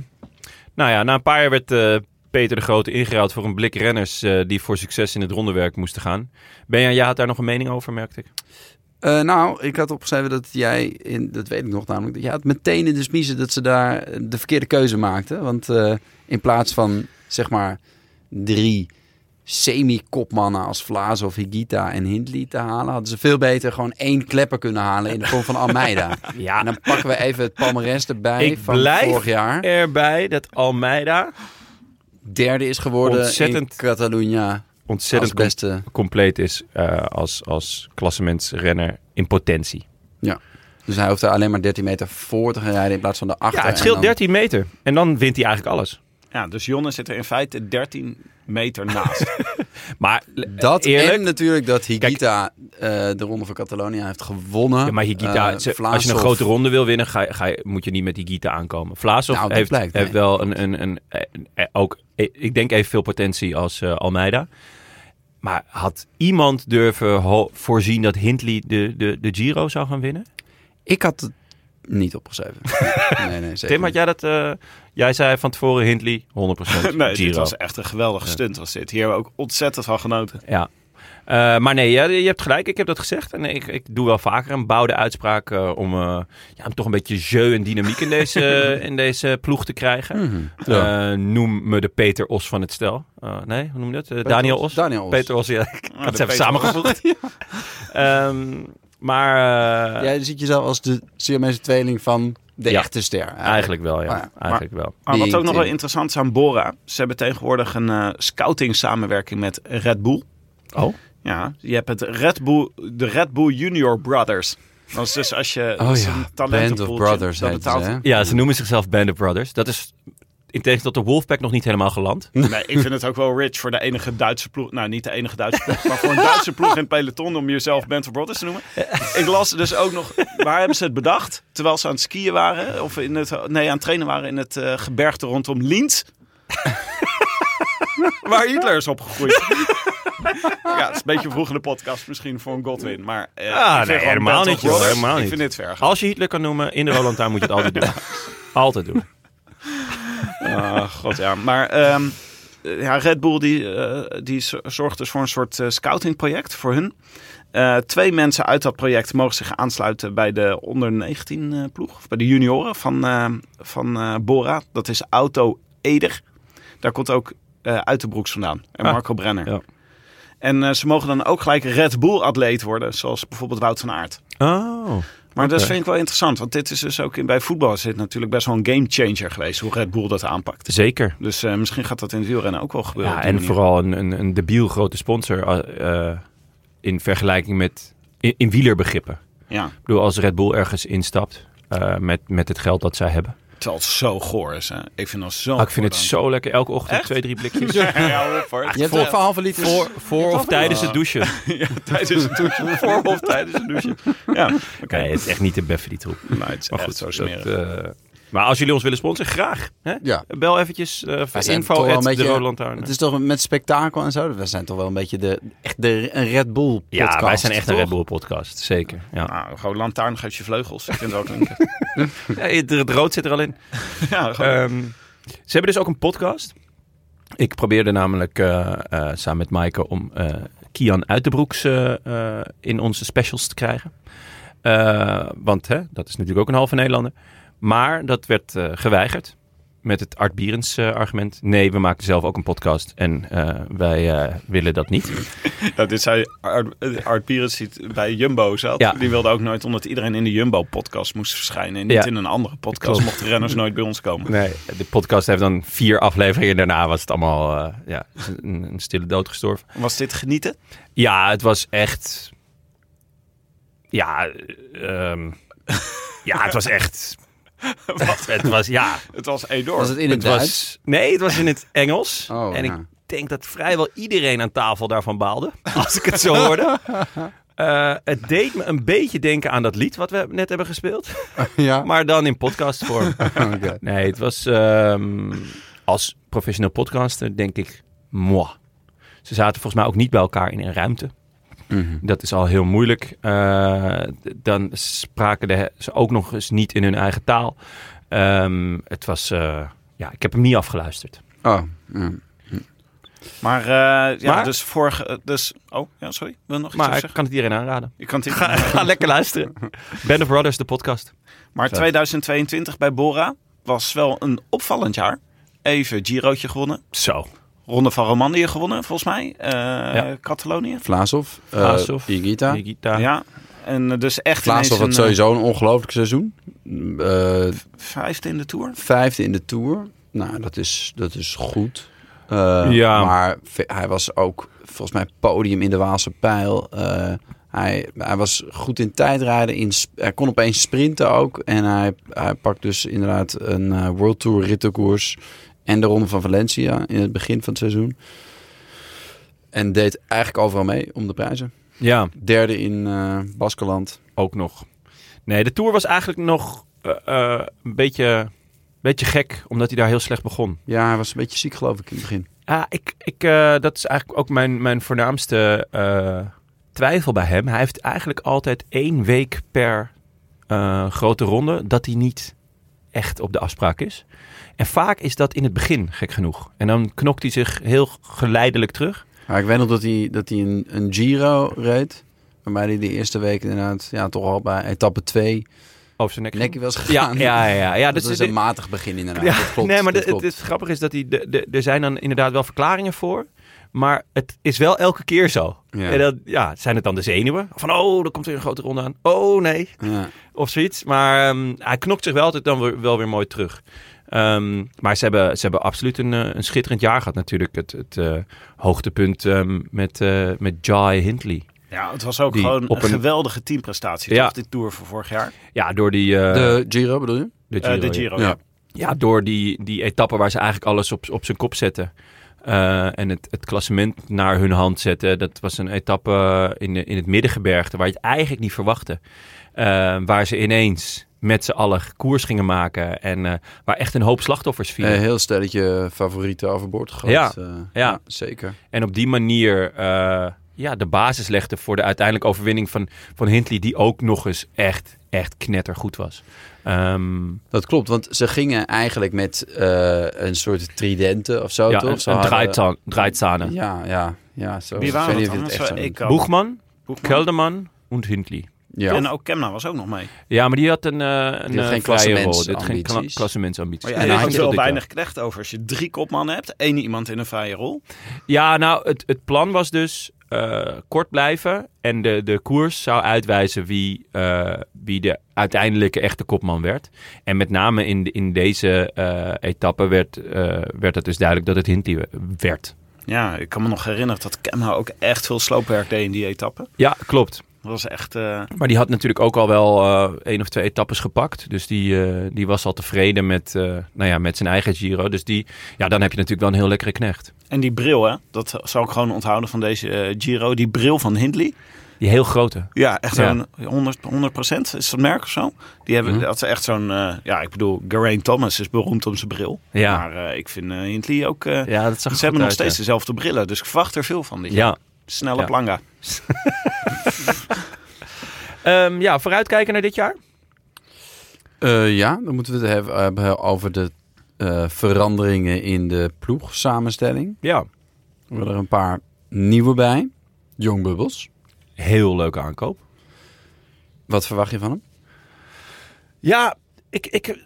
C: nou ja, na een paar jaar werd eh, Peter de Grote ingeruild voor een blik renners eh, die voor succes in het rondewerk moesten gaan. Benja, jij had daar nog een mening over, merkte ik.
B: Eh, nou, ik had opgeschreven dat jij, in, dat weet ik nog namelijk, dat jij had meteen in de smiezen dat ze daar eh, de verkeerde keuze maakten. Want eh, in plaats van zeg maar drie semi-kopmannen als Vlaas of Higita en Hindley te halen, hadden ze veel beter gewoon één klepper kunnen halen in de vorm van
C: <laughs>
B: Almeida. En dan pakken we even het palmarès erbij
C: Ik
B: van
C: blijf
B: vorig jaar.
C: Erbij dat Almeida
B: Derde is geworden
C: Ontzettend-
B: in Catalunya als
C: ontzettend com-
B: beste.
C: compleet is eh, als, als klassementsrenner in potentie.
B: Dus hij hoeft er alleen maar 13 meter voor te gaan rijden in plaats van de achter.
C: Ja, het
B: en
C: scheelt
B: dan-
C: 13 meter. En dan wint hij eigenlijk alles.
A: Ja, dus Jonne zit er in feite 13 meter naast.
C: <laughs> Maar
B: Dat
C: eerlijk,
B: en natuurlijk dat Higita eh, de Ronde van Catalonië heeft gewonnen.
C: Ja, maar Higuita,
B: Eh,
C: ze- als je
B: Vlaashoff-
C: een grote ronde wil winnen, ga, je- ga, je- moet je niet met Higuita aankomen. Vlaashoff
B: Nou, dat
C: heeft,
B: blijkt, nee,
C: heeft wel een, een, een, een- eh, ook, eh, ik denk evenveel potentie als eh, Almeida. Maar had iemand durven ho- voorzien dat Hindley de, de, de Giro zou gaan winnen?
B: Ik had het
C: <laughs>
B: niet opgeschreven. nee, nee, zeker
C: Tim, had
B: niet.
C: jij dat... eh, jij zei van tevoren Hindley, 100%
A: <laughs>
C: Giro.
A: nee, dit was echt een geweldige stunt was dit. Hier hebben we ook ontzettend van genoten.
C: Ja. Eh, maar nee, ja, je hebt gelijk. Ik heb dat gezegd. En ik, ik doe wel vaker een bouwde uitspraak eh, om, eh, ja, om toch een beetje jeu en dynamiek in
B: <laughs>
C: deze, in deze ploeg te krijgen.
B: Mhm.
C: Eh, noem me de Peter Os van het stel. Eh, nee, hoe noem je dat? Eh,
B: Peter
C: Daniel
B: Os.
C: Os?
B: Daniel Os.
C: Peter Os, ja. <laughs> Ik
A: Ah,
C: had
A: de
C: ze even
A: Peter
C: samengevoegd. Ehm, maar eh,
B: Jij ziet jezelf als de Siamese tweeling van de
C: Ja.
B: echte ster. eigenlijk.
C: eigenlijk wel, ja.
B: Ah, ja.
C: Eigenlijk wel.
A: Ah, wat ook nog wel
B: Ding.
A: interessant is aan Bora. Ze hebben tegenwoordig een eh, scouting samenwerking met Red Bull.
C: Oh?
A: Ja, je hebt het Red Bull, de Red Bull Junior Brothers. Dat is dus als je
B: Oh
A: dat is
B: ja,
A: een
B: Band
A: talentenpoeltje,
B: of Brothers
A: dat
B: heet ze,
A: betaalt.
B: hè?
C: Ja, ze noemen zichzelf Band of Brothers. Dat is in tegenstelling tot de Wolfpack nog niet helemaal geland.
A: Nee, ik vind het ook wel rich voor de enige Duitse ploeg. Nou, niet de enige Duitse ploeg, maar voor een Duitse ploeg in het peloton om jezelf Band of Brothers te noemen. Ik las dus ook nog, waar hebben ze het bedacht? Terwijl ze aan het skiën waren, of in het, nee, aan het trainen waren in het eh, gebergte rondom Lienz. <laughs> Waar Hitler is opgegroeid. ja, het is een beetje vroeg in de podcast misschien voor een Godwin. Maar eh, ik vind
C: Ah, nee,
A: gewoon
C: helemaal
A: Band of
C: niet, joh,
A: Brothers,
C: helemaal
A: Ik
C: niet.
A: vind dit ver. gaan.
C: Als je Hitler kan noemen, in de Roland Tuin moet je het altijd <laughs> doen. Altijd doen.
A: Ah, god ja. Maar ehm, eh, ja, Red Bull die, eh, die zo- zorgt dus voor een soort eh, scoutingproject voor hun. Eh, twee mensen uit dat project mogen zich aansluiten bij de onder 19 eh, ploeg. Of bij de junioren van, eh, van eh, Bora. Dat is Auto Eder. Daar komt ook eh Uiterbroeks vandaan. En
C: Ah,
A: Marco Brenner.
C: ja.
A: En eh, ze mogen dan ook gelijk Red Bull-atleet worden, zoals bijvoorbeeld Wout van Aert.
C: Oh.
A: Maar dat
C: Oké.
A: vind ik wel interessant, want dit is dus ook in, bij voetbal is dit natuurlijk best wel een gamechanger geweest, hoe Red Bull dat aanpakt.
C: Zeker.
A: Dus eh, misschien gaat dat in het wielrennen ook wel gebeuren.
C: Ja,
A: op die
C: en
A: manier.
C: vooral een, een, een debiel grote sponsor eh, eh, in vergelijking met in, in wielerbegrippen.
A: Ja,
C: Ik bedoel, als Red Bull ergens instapt eh, met, met het geld dat zij hebben.
A: terwijl het zo goor is. Hè. Ik vind dat zo
C: Ah, ik vind het Ah, zo lekker. Elke ochtend
A: Echt?
C: twee, drie <laughs> blikjes.
A: <laughs> Ja, hoor,
B: Je hebt ook van halve liter.
C: Voor, voor of tijdens het <laughs> douchen.
A: Ja, tijdens het douchen. Voor of tijdens het douchen. Ja, oké.
C: Nee, het is echt niet de beffen die troep.
A: Maar het is
C: Maar
A: echt
C: goed,
A: zo
C: dat,
A: smerig.
C: eh, maar als jullie ons willen sponsoren, graag. Hè?
B: Ja.
C: Bel eventjes eh
B: Wij
C: voor
B: zijn toch
C: info
B: wel
C: at
B: een
C: de
B: beetje-
C: Rode Lantaarn.
B: Het is toch met spektakel en zo. We zijn toch wel een beetje de, echt de een Red Bull podcast.
C: ja, wij zijn echt een
B: toch?
C: Red Bull podcast. Zeker. Ja.
A: Nou, gewoon lantaarn geeft je vleugels. Ik
C: <laughs>
A: vind het ook een...
C: Ja, het, het rood zit er al in.
A: Ja, gewoon...
C: Ehm, ze hebben dus ook een podcast. Ik probeerde namelijk eh, eh, samen met Maaike om eh, Kian Uitenbroeks eh, eh, in onze specials te krijgen. Eh, want hè, dat is natuurlijk ook een halve Nederlander. Maar dat werd eh, geweigerd met het Art Bierens eh, argument. Nee, we maken zelf ook een podcast en eh, wij eh, willen dat niet.
A: Nou, dit zei Art, eh, Art Pierens die bij Jumbo zat.
C: Ja.
A: Die wilde ook nooit, omdat iedereen in de Jumbo-podcast moest verschijnen. En niet
C: Ja.
A: in een andere podcast
C: Klopt.
A: mochten renners nooit bij ons komen.
C: Nee, de podcast heeft dan vier afleveringen. Daarna was het allemaal eh, ja, een, een stille dood gestorven.
A: Was dit genieten?
C: Ja, het was echt. Ja, ehm, ja het was
B: <laughs>
C: echt. Het was, ja,
A: Het was enorm.
B: Was het in het,
C: het
B: Duits?
C: was. Nee, het was in het Engels.
B: Oh,
C: en ik
B: ja.
C: denk dat vrijwel iedereen aan tafel daarvan baalde. <laughs> Als ik het zo
B: <laughs>
C: hoorde. Eh, het deed me een beetje denken aan dat lied wat we net hebben gespeeld.
B: Ja.
C: Maar dan in
A: <laughs>
C: podcastvorm.
B: Oké.
C: Nee, het was ehm, als professioneel podcaster denk ik, moi. Ze zaten volgens mij ook niet bij elkaar in een ruimte.
A: Mhm.
C: Dat is al heel moeilijk. Eh, d- dan spraken de, ze ook nog eens niet in hun eigen taal. Ehm, het was, eh, ja, ik heb hem niet afgeluisterd.
B: Oh, ja.
A: Maar, eh, ja,
C: Maar-
A: dus vorige... eh, Dus... Oh, ja, sorry. Wil je nog iets
C: Maar
A: over
C: ik
A: zeggen?
C: kan het iedereen aanraden.
A: Ik kan het
C: Ga,
A: <laughs> niet.
C: ga lekker luisteren. Band of Brothers, de podcast.
A: Maar 2022 bij Bora was wel een opvallend jaar. Even Girootje gewonnen.
C: Zo.
A: Ronde van Romandie gewonnen, volgens mij. Eh,
C: Ja.
A: Catalonië.
B: Vlaasov, eh,
C: Vlaasov,
B: Igita.
C: Nikita.
A: Ja. En eh, dus echt
B: Vlaasov had
A: ineens een, eh,
B: sowieso een ongelooflijk seizoen. Eh,
A: vijfde in de Tour.
B: vijfde in de Tour. Nou, dat is, dat is goed. Eh,
C: Ja.
B: Maar ve- hij was ook volgens mij podium in de Waalse pijl. Eh, hij, hij was goed in tijdrijden. In, sp- hij kon opeens sprinten ook. En hij, hij pakt dus inderdaad een eh, World Tour rittenkoers. En de Ronde van Valencia in het begin van het seizoen. En deed eigenlijk overal mee om de prijzen.
C: Ja.
B: Derde in eh Baskeland.
C: ook nog. Nee, de Tour was eigenlijk nog eh, eh, een beetje, beetje gek, omdat hij daar heel slecht begon.
B: Ja, hij was een beetje ziek geloof ik in het begin.
C: Ja, ik, ik, eh, dat is eigenlijk ook mijn, mijn voornaamste eh, twijfel bij hem. Hij heeft eigenlijk altijd één week per eh, grote ronde dat hij niet echt op de afspraak is. En vaak is dat in het begin, gek genoeg. En dan knokt hij zich heel geleidelijk terug.
B: Maar ik weet nog dat hij, dat hij een, een Giro reed. Waarbij hij de eerste week inderdaad ja, toch al bij etappe 2
C: Over zijn nek.
B: nekkie was
C: ja,
B: <laughs> gegaan.
C: ja, ja, ja.
B: dat
C: dus
B: is
C: de-
B: een matig begin inderdaad.
C: Ja,
B: dat klopt,
C: nee, maar
B: dat
C: de-
B: klopt.
C: het, het grappige is dat die, de, de, er zijn dan inderdaad wel verklaringen voor. Maar het is wel elke keer zo.
B: Ja.
C: En dat, ja, zijn het dan de zenuwen? Van, oh, er komt weer een grote ronde aan. Oh, nee.
B: Ja.
C: Of zoiets. Maar ehm, hij knokt zich wel altijd dan weer, wel weer mooi terug. Ehm, maar ze hebben, ze hebben absoluut een, eh, een schitterend jaar gehad natuurlijk. Het, het eh, hoogtepunt ehm, met, eh, met Jai Hindley.
A: Ja, het was ook
C: Die
A: gewoon
C: op
A: een
C: een-
A: geweldige teamprestatie.
C: Ja.
A: Toch, dit Tour van vorig jaar.
C: Ja, door die... eh,
B: de Giro bedoel je?
C: de
A: Eh,
C: Giro,
A: de
C: ja.
A: Giro.
B: Ja.
A: ja.
C: Ja, door die, die etappe waar ze eigenlijk alles op, op zijn kop zetten. Eh, en het, het klassement naar hun hand zetten. Dat was een etappe in, de- in het middengebergte waar je het eigenlijk niet verwachtte. Eh, waar ze ineens met z'n allen koers gingen maken. En eh, waar echt een hoop slachtoffers vielen.
B: Een Eh, heel stelletje favorieten overboord gegooid.
C: Ja,
B: eh, zeker.
C: En op die manier eh, ja, de basis legde voor de uiteindelijke overwinning van, van Hindley. Die ook nog eens echt, echt knettergoed was. Ehm,
B: Dat klopt, want ze gingen eigenlijk met eh, een soort tridenten of zo,
C: ja,
B: toch?
C: een,
B: Ze
C: een
B: hadden-
C: draaitza- draaitzanen.
B: Ja, ja, ja. Zo.
A: Wie
B: Ik
A: waren
B: weet
A: het
B: niet
A: dan?
B: of je het
A: Dat was,
B: echt zo-
A: eh, Ekau,
C: Boegman,
A: Boegman.
C: Kelderman en Hindley.
B: Ja.
A: En ook Kemna was ook nog mee.
C: Ja, maar die had een, eh een
B: had
C: eh,
B: geen
C: vrije rol. Dit geen kla-
B: klassementsambities.
C: klassementsambitie.
A: Maar Oh ja,
C: Nee, dat
A: daar had
C: is
A: je wel
C: dit
A: weinig knecht over. Als je drie kopmannen hebt, één iemand in een vrije rol.
C: jaar. Ja, nou, het, het plan was dus... eh, kort blijven. En de, de koers zou uitwijzen wie, eh, wie de uiteindelijke echte kopman werd. En met name in, de- in deze eh, etappe werd, eh, werd het dus duidelijk dat het Hinti werd.
A: Ja, ik kan me nog herinneren dat Kemna ook echt veel sloopwerk deed in die etappe.
C: Ja, klopt.
A: Dat was echt... eh,
C: Maar die had natuurlijk ook al wel eh, één of twee etappes gepakt. Dus die, eh, die was al tevreden met, eh, nou ja, met zijn eigen Giro. Dus die, ja, dan heb je natuurlijk wel een heel lekkere knecht.
A: En die bril, hè? Dat zou ik gewoon onthouden van deze eh, Giro. Die bril van Hindley.
C: Die heel grote.
A: Ja, echt
C: Ja.
A: zo'n 100, 100 is dat merk of zo. Die hebben,
C: Mhm.
A: dat is echt zo'n, eh, ja, ik bedoel, Geraint Thomas is beroemd om zijn bril.
C: Ja.
A: Maar eh, ik vind eh, Hindley ook, eh,
C: Ja, dat zag
A: ze hebben nog steeds dezelfde brillen, dus ik verwacht er veel van dit jaar.
C: Ja,
A: Snelle
C: Ja.
A: planga.
C: Ehm, ja, vooruitkijken naar dit jaar.
B: Eh, ja, dan moeten we het hebben- hebben over de eh, veranderingen in de ploegsamenstelling.
C: Ja,
B: We hebben er een paar nieuwe bij. Young Bubbles.
C: heel leuke aankoop.
B: Wat verwacht je van hem?
C: Ja, ik, ik,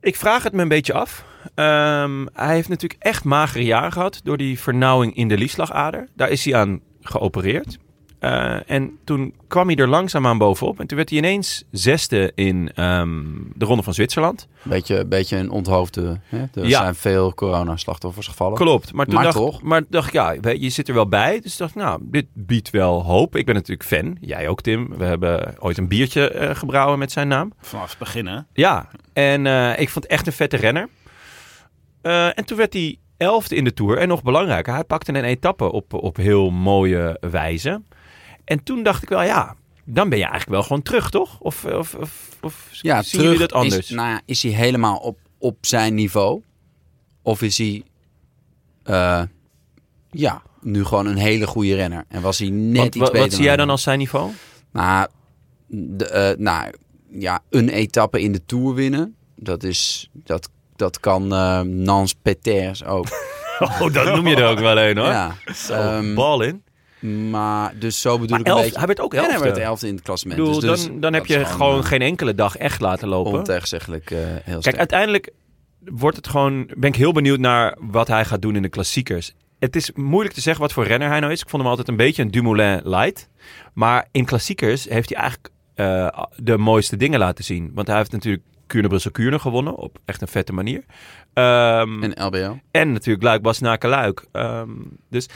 C: ik vraag het me een beetje af. Ehm, hij heeft natuurlijk echt magere jaren gehad door die vernauwing in de lieslagader. Daar is hij aan geopereerd. Eh, en toen kwam hij er langzaamaan bovenop. En toen werd hij ineens zesde in ehm, de Ronde van Zwitserland.
B: Beetje, beetje een onthoofde. Hè? Er
C: Ja.
B: zijn veel corona-slachtoffers gevallen.
C: Klopt. Maar toen
B: Maar
C: dacht,
B: toch?
C: Maar dacht ik, ja, weet je, je zit er wel bij. Dus ik dacht, nou, dit biedt wel hoop. Ik ben natuurlijk fan. Jij ook, Tim. We hebben ooit een biertje eh, gebrouwen met zijn naam.
A: Vanaf het begin, hè?
C: Ja, en eh, ik vond het echt een vette renner. Eh, en toen werd hij elfde in de Tour. En nog belangrijker, hij pakte een etappe op, op heel mooie wijze. En toen dacht ik wel, ja, dan ben je eigenlijk wel gewoon terug, toch? Of, of, of, of
B: Ja,
C: zien
B: terug
C: jullie dat anders?
B: Is, nou ja, is hij helemaal op, op zijn niveau? Of is hij eh, ja, nu gewoon een hele goede renner? En was hij net
C: Want
B: iets
C: wa-
B: beter?
C: wat zie jij dan
B: hem?
C: als zijn
B: <laughs>
C: niveau?
B: Nou, de, eh, nou ja, een etappe in de Tour winnen. Dat, is, dat, dat kan eh Nans
C: <laughs>
B: Peters ook.
C: Oh, dat noem je er ook wel een, hoor. Oh,
B: Ja. Ehm,
C: Bal in.
B: maar dus zo bedoel
C: Maar
B: ik een
C: elf-
B: beetje.
C: hij werd ook
B: En
C: elfde.
B: hij werd elfde in het klassement.
C: Ik bedoel,
B: dus, dus
C: dan, dan heb
B: dat
C: je
B: is
C: gewoon,
B: eh,
C: geen enkele dag echt laten lopen.
B: ontegenzeggelijk eh, heel
C: Kijk,
B: sterk.
C: uiteindelijk wordt het gewoon, ben ik heel benieuwd naar wat hij gaat doen in de klassiekers. Het is moeilijk te zeggen wat voor renner hij nou is. Ik vond hem altijd een beetje een Dumoulin light. Maar in klassiekers heeft hij eigenlijk eh, de mooiste dingen laten zien. Want hij heeft natuurlijk Kuurne-Brussel-Kuurne gewonnen op echt een vette manier. Ehm, en,
B: en LBL.
C: natuurlijk Luik-Bassenaken-Luik. Ehm, dus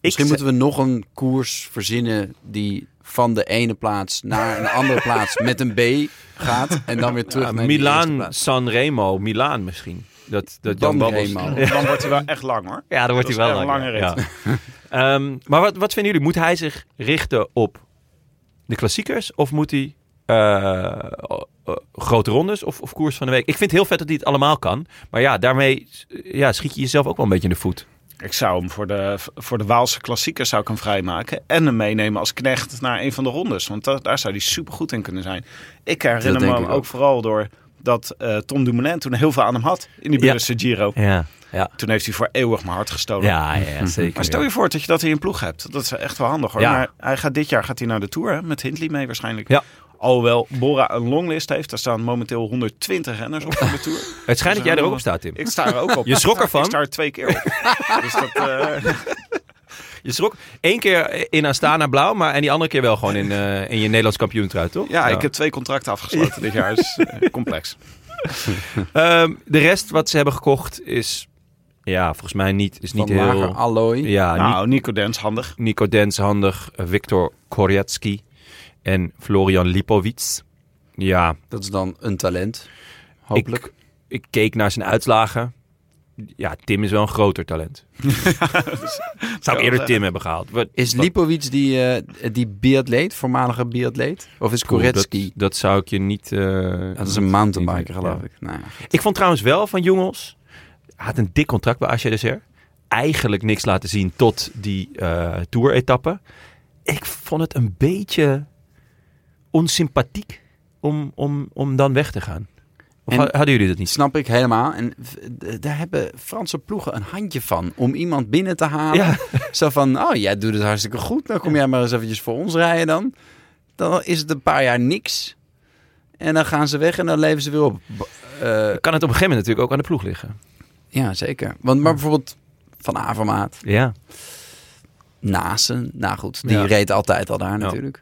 B: Misschien
C: ik,
B: moeten we nog een koers verzinnen die van de ene plaats naar een andere
C: <laughs>
B: plaats met een B gaat. En dan weer terug naar de eerste
C: Milaan,
B: plaats.
C: San Remo, Milaan misschien. Dat, dat Jan
B: Dan
C: Babbels-
B: Remo.
A: Dan wordt hij wel echt lang, hoor.
C: <laughs> Ja, dan wordt
A: Dat
C: hij
A: is
C: wel
A: echt
C: langer.
A: een
C: ja.
A: <laughs>
C: Ehm, maar wat, wat vinden jullie? Moet hij zich richten op de klassiekers? Of moet hij eh, eh, grote rondes of, of koers van de week? Ik vind het heel vet dat hij het allemaal kan. Maar ja, daarmee eh, ja, schiet je jezelf ook wel een beetje in de voet.
A: Ik zou hem voor de, voor de Waalse klassiekers zou ik hem vrijmaken. En hem meenemen als knecht naar een van de rondes. Want da- daar zou hij supergoed in kunnen zijn. Ik herinner
B: Dat
A: me
B: denk
A: hem
B: ik
A: ook.
B: ook.
A: vooral door dat eh, Tom Dumoulin toen heel veel aan hem had. In die
C: Ja.
A: Burse Giro.
C: Ja, ja.
A: Toen heeft hij voor eeuwig mijn hart gestolen.
C: Ja, <laughs> ja zeker.
A: Maar stel je voor dat je dat in een ploeg hebt. Dat is echt wel handig hoor.
C: Ja.
A: Maar hij gaat dit jaar gaat hij naar de Tour hè, met Hindley mee waarschijnlijk.
C: Ja.
A: Alhoewel Bora een longlist heeft. Daar staan momenteel 120 renners op voor de
C: <laughs>
A: Tour.
C: Het schijnt dat jij er ook op staat, Tim.
A: Ik sta er ook op.
C: Je schrok
A: <laughs> Ik sta-
C: ervan?
A: Ik sta er twee keer op.
C: <laughs>
A: dus dat, eh,
C: Je schrok één keer in Astana Blauw, maar en die andere keer wel gewoon in, eh, in je Nederlands kampioentrui, toch?
A: Ja, ik heb twee contracten afgesloten dit jaar.
C: <laughs>
A: is eh, complex.
C: Ehm, de rest wat ze hebben gekocht is, ja, volgens mij niet, is niet
B: Van
C: heel...
B: lager allooi.
C: Ja, Ah, niet
A: nou, Nico Dens, handig.
C: Nico Dens handig, eh, Victor Koretski en Florian Lipowitz. Ja,
B: Dat is dan een talent. Hopelijk.
C: ik, ik keek naar zijn uitslagen. Ja, Tim is wel een groter
B: <laughs>
C: talent. Zou ik eerder Tim hebben gehaald. Wat-
B: Is
C: wat-
B: Lipovic die, eh die biatleet, voormalige biatleet? Of is
C: Poeh,
B: Koretsky?
C: Dat, dat zou ik je niet... eh,
B: Dat is een mountainbiker,
C: Ja.
B: geloof ik. Nou, ja.
C: Ik vond trouwens wel van jongens... Hij had een dik contract bij Asje Dessert. Eigenlijk niks laten zien tot die eh tour-etappe. Ik vond het een beetje onsympathiek om, om, om dan weg te gaan. Of
B: En-
C: ha- hadden jullie dat niet?
B: Snap ik helemaal. En v- d- daar hebben Franse ploegen een handje van. Om iemand binnen te halen.
C: Ja.
B: <laughs> Zo van, oh jij doet het hartstikke goed. Dan kom jij maar eens eventjes voor ons rijden dan. Dan is het een paar jaar niks. En dan gaan ze weg en dan leven ze weer op. B- eh,
C: Kan het op een gegeven moment natuurlijk ook aan de ploeg liggen.
B: ja, zeker. Want maar bijvoorbeeld Van Avermaat.
C: Ja.
B: Nasen. Nou goed, die
C: Ja.
B: reed altijd al daar natuurlijk.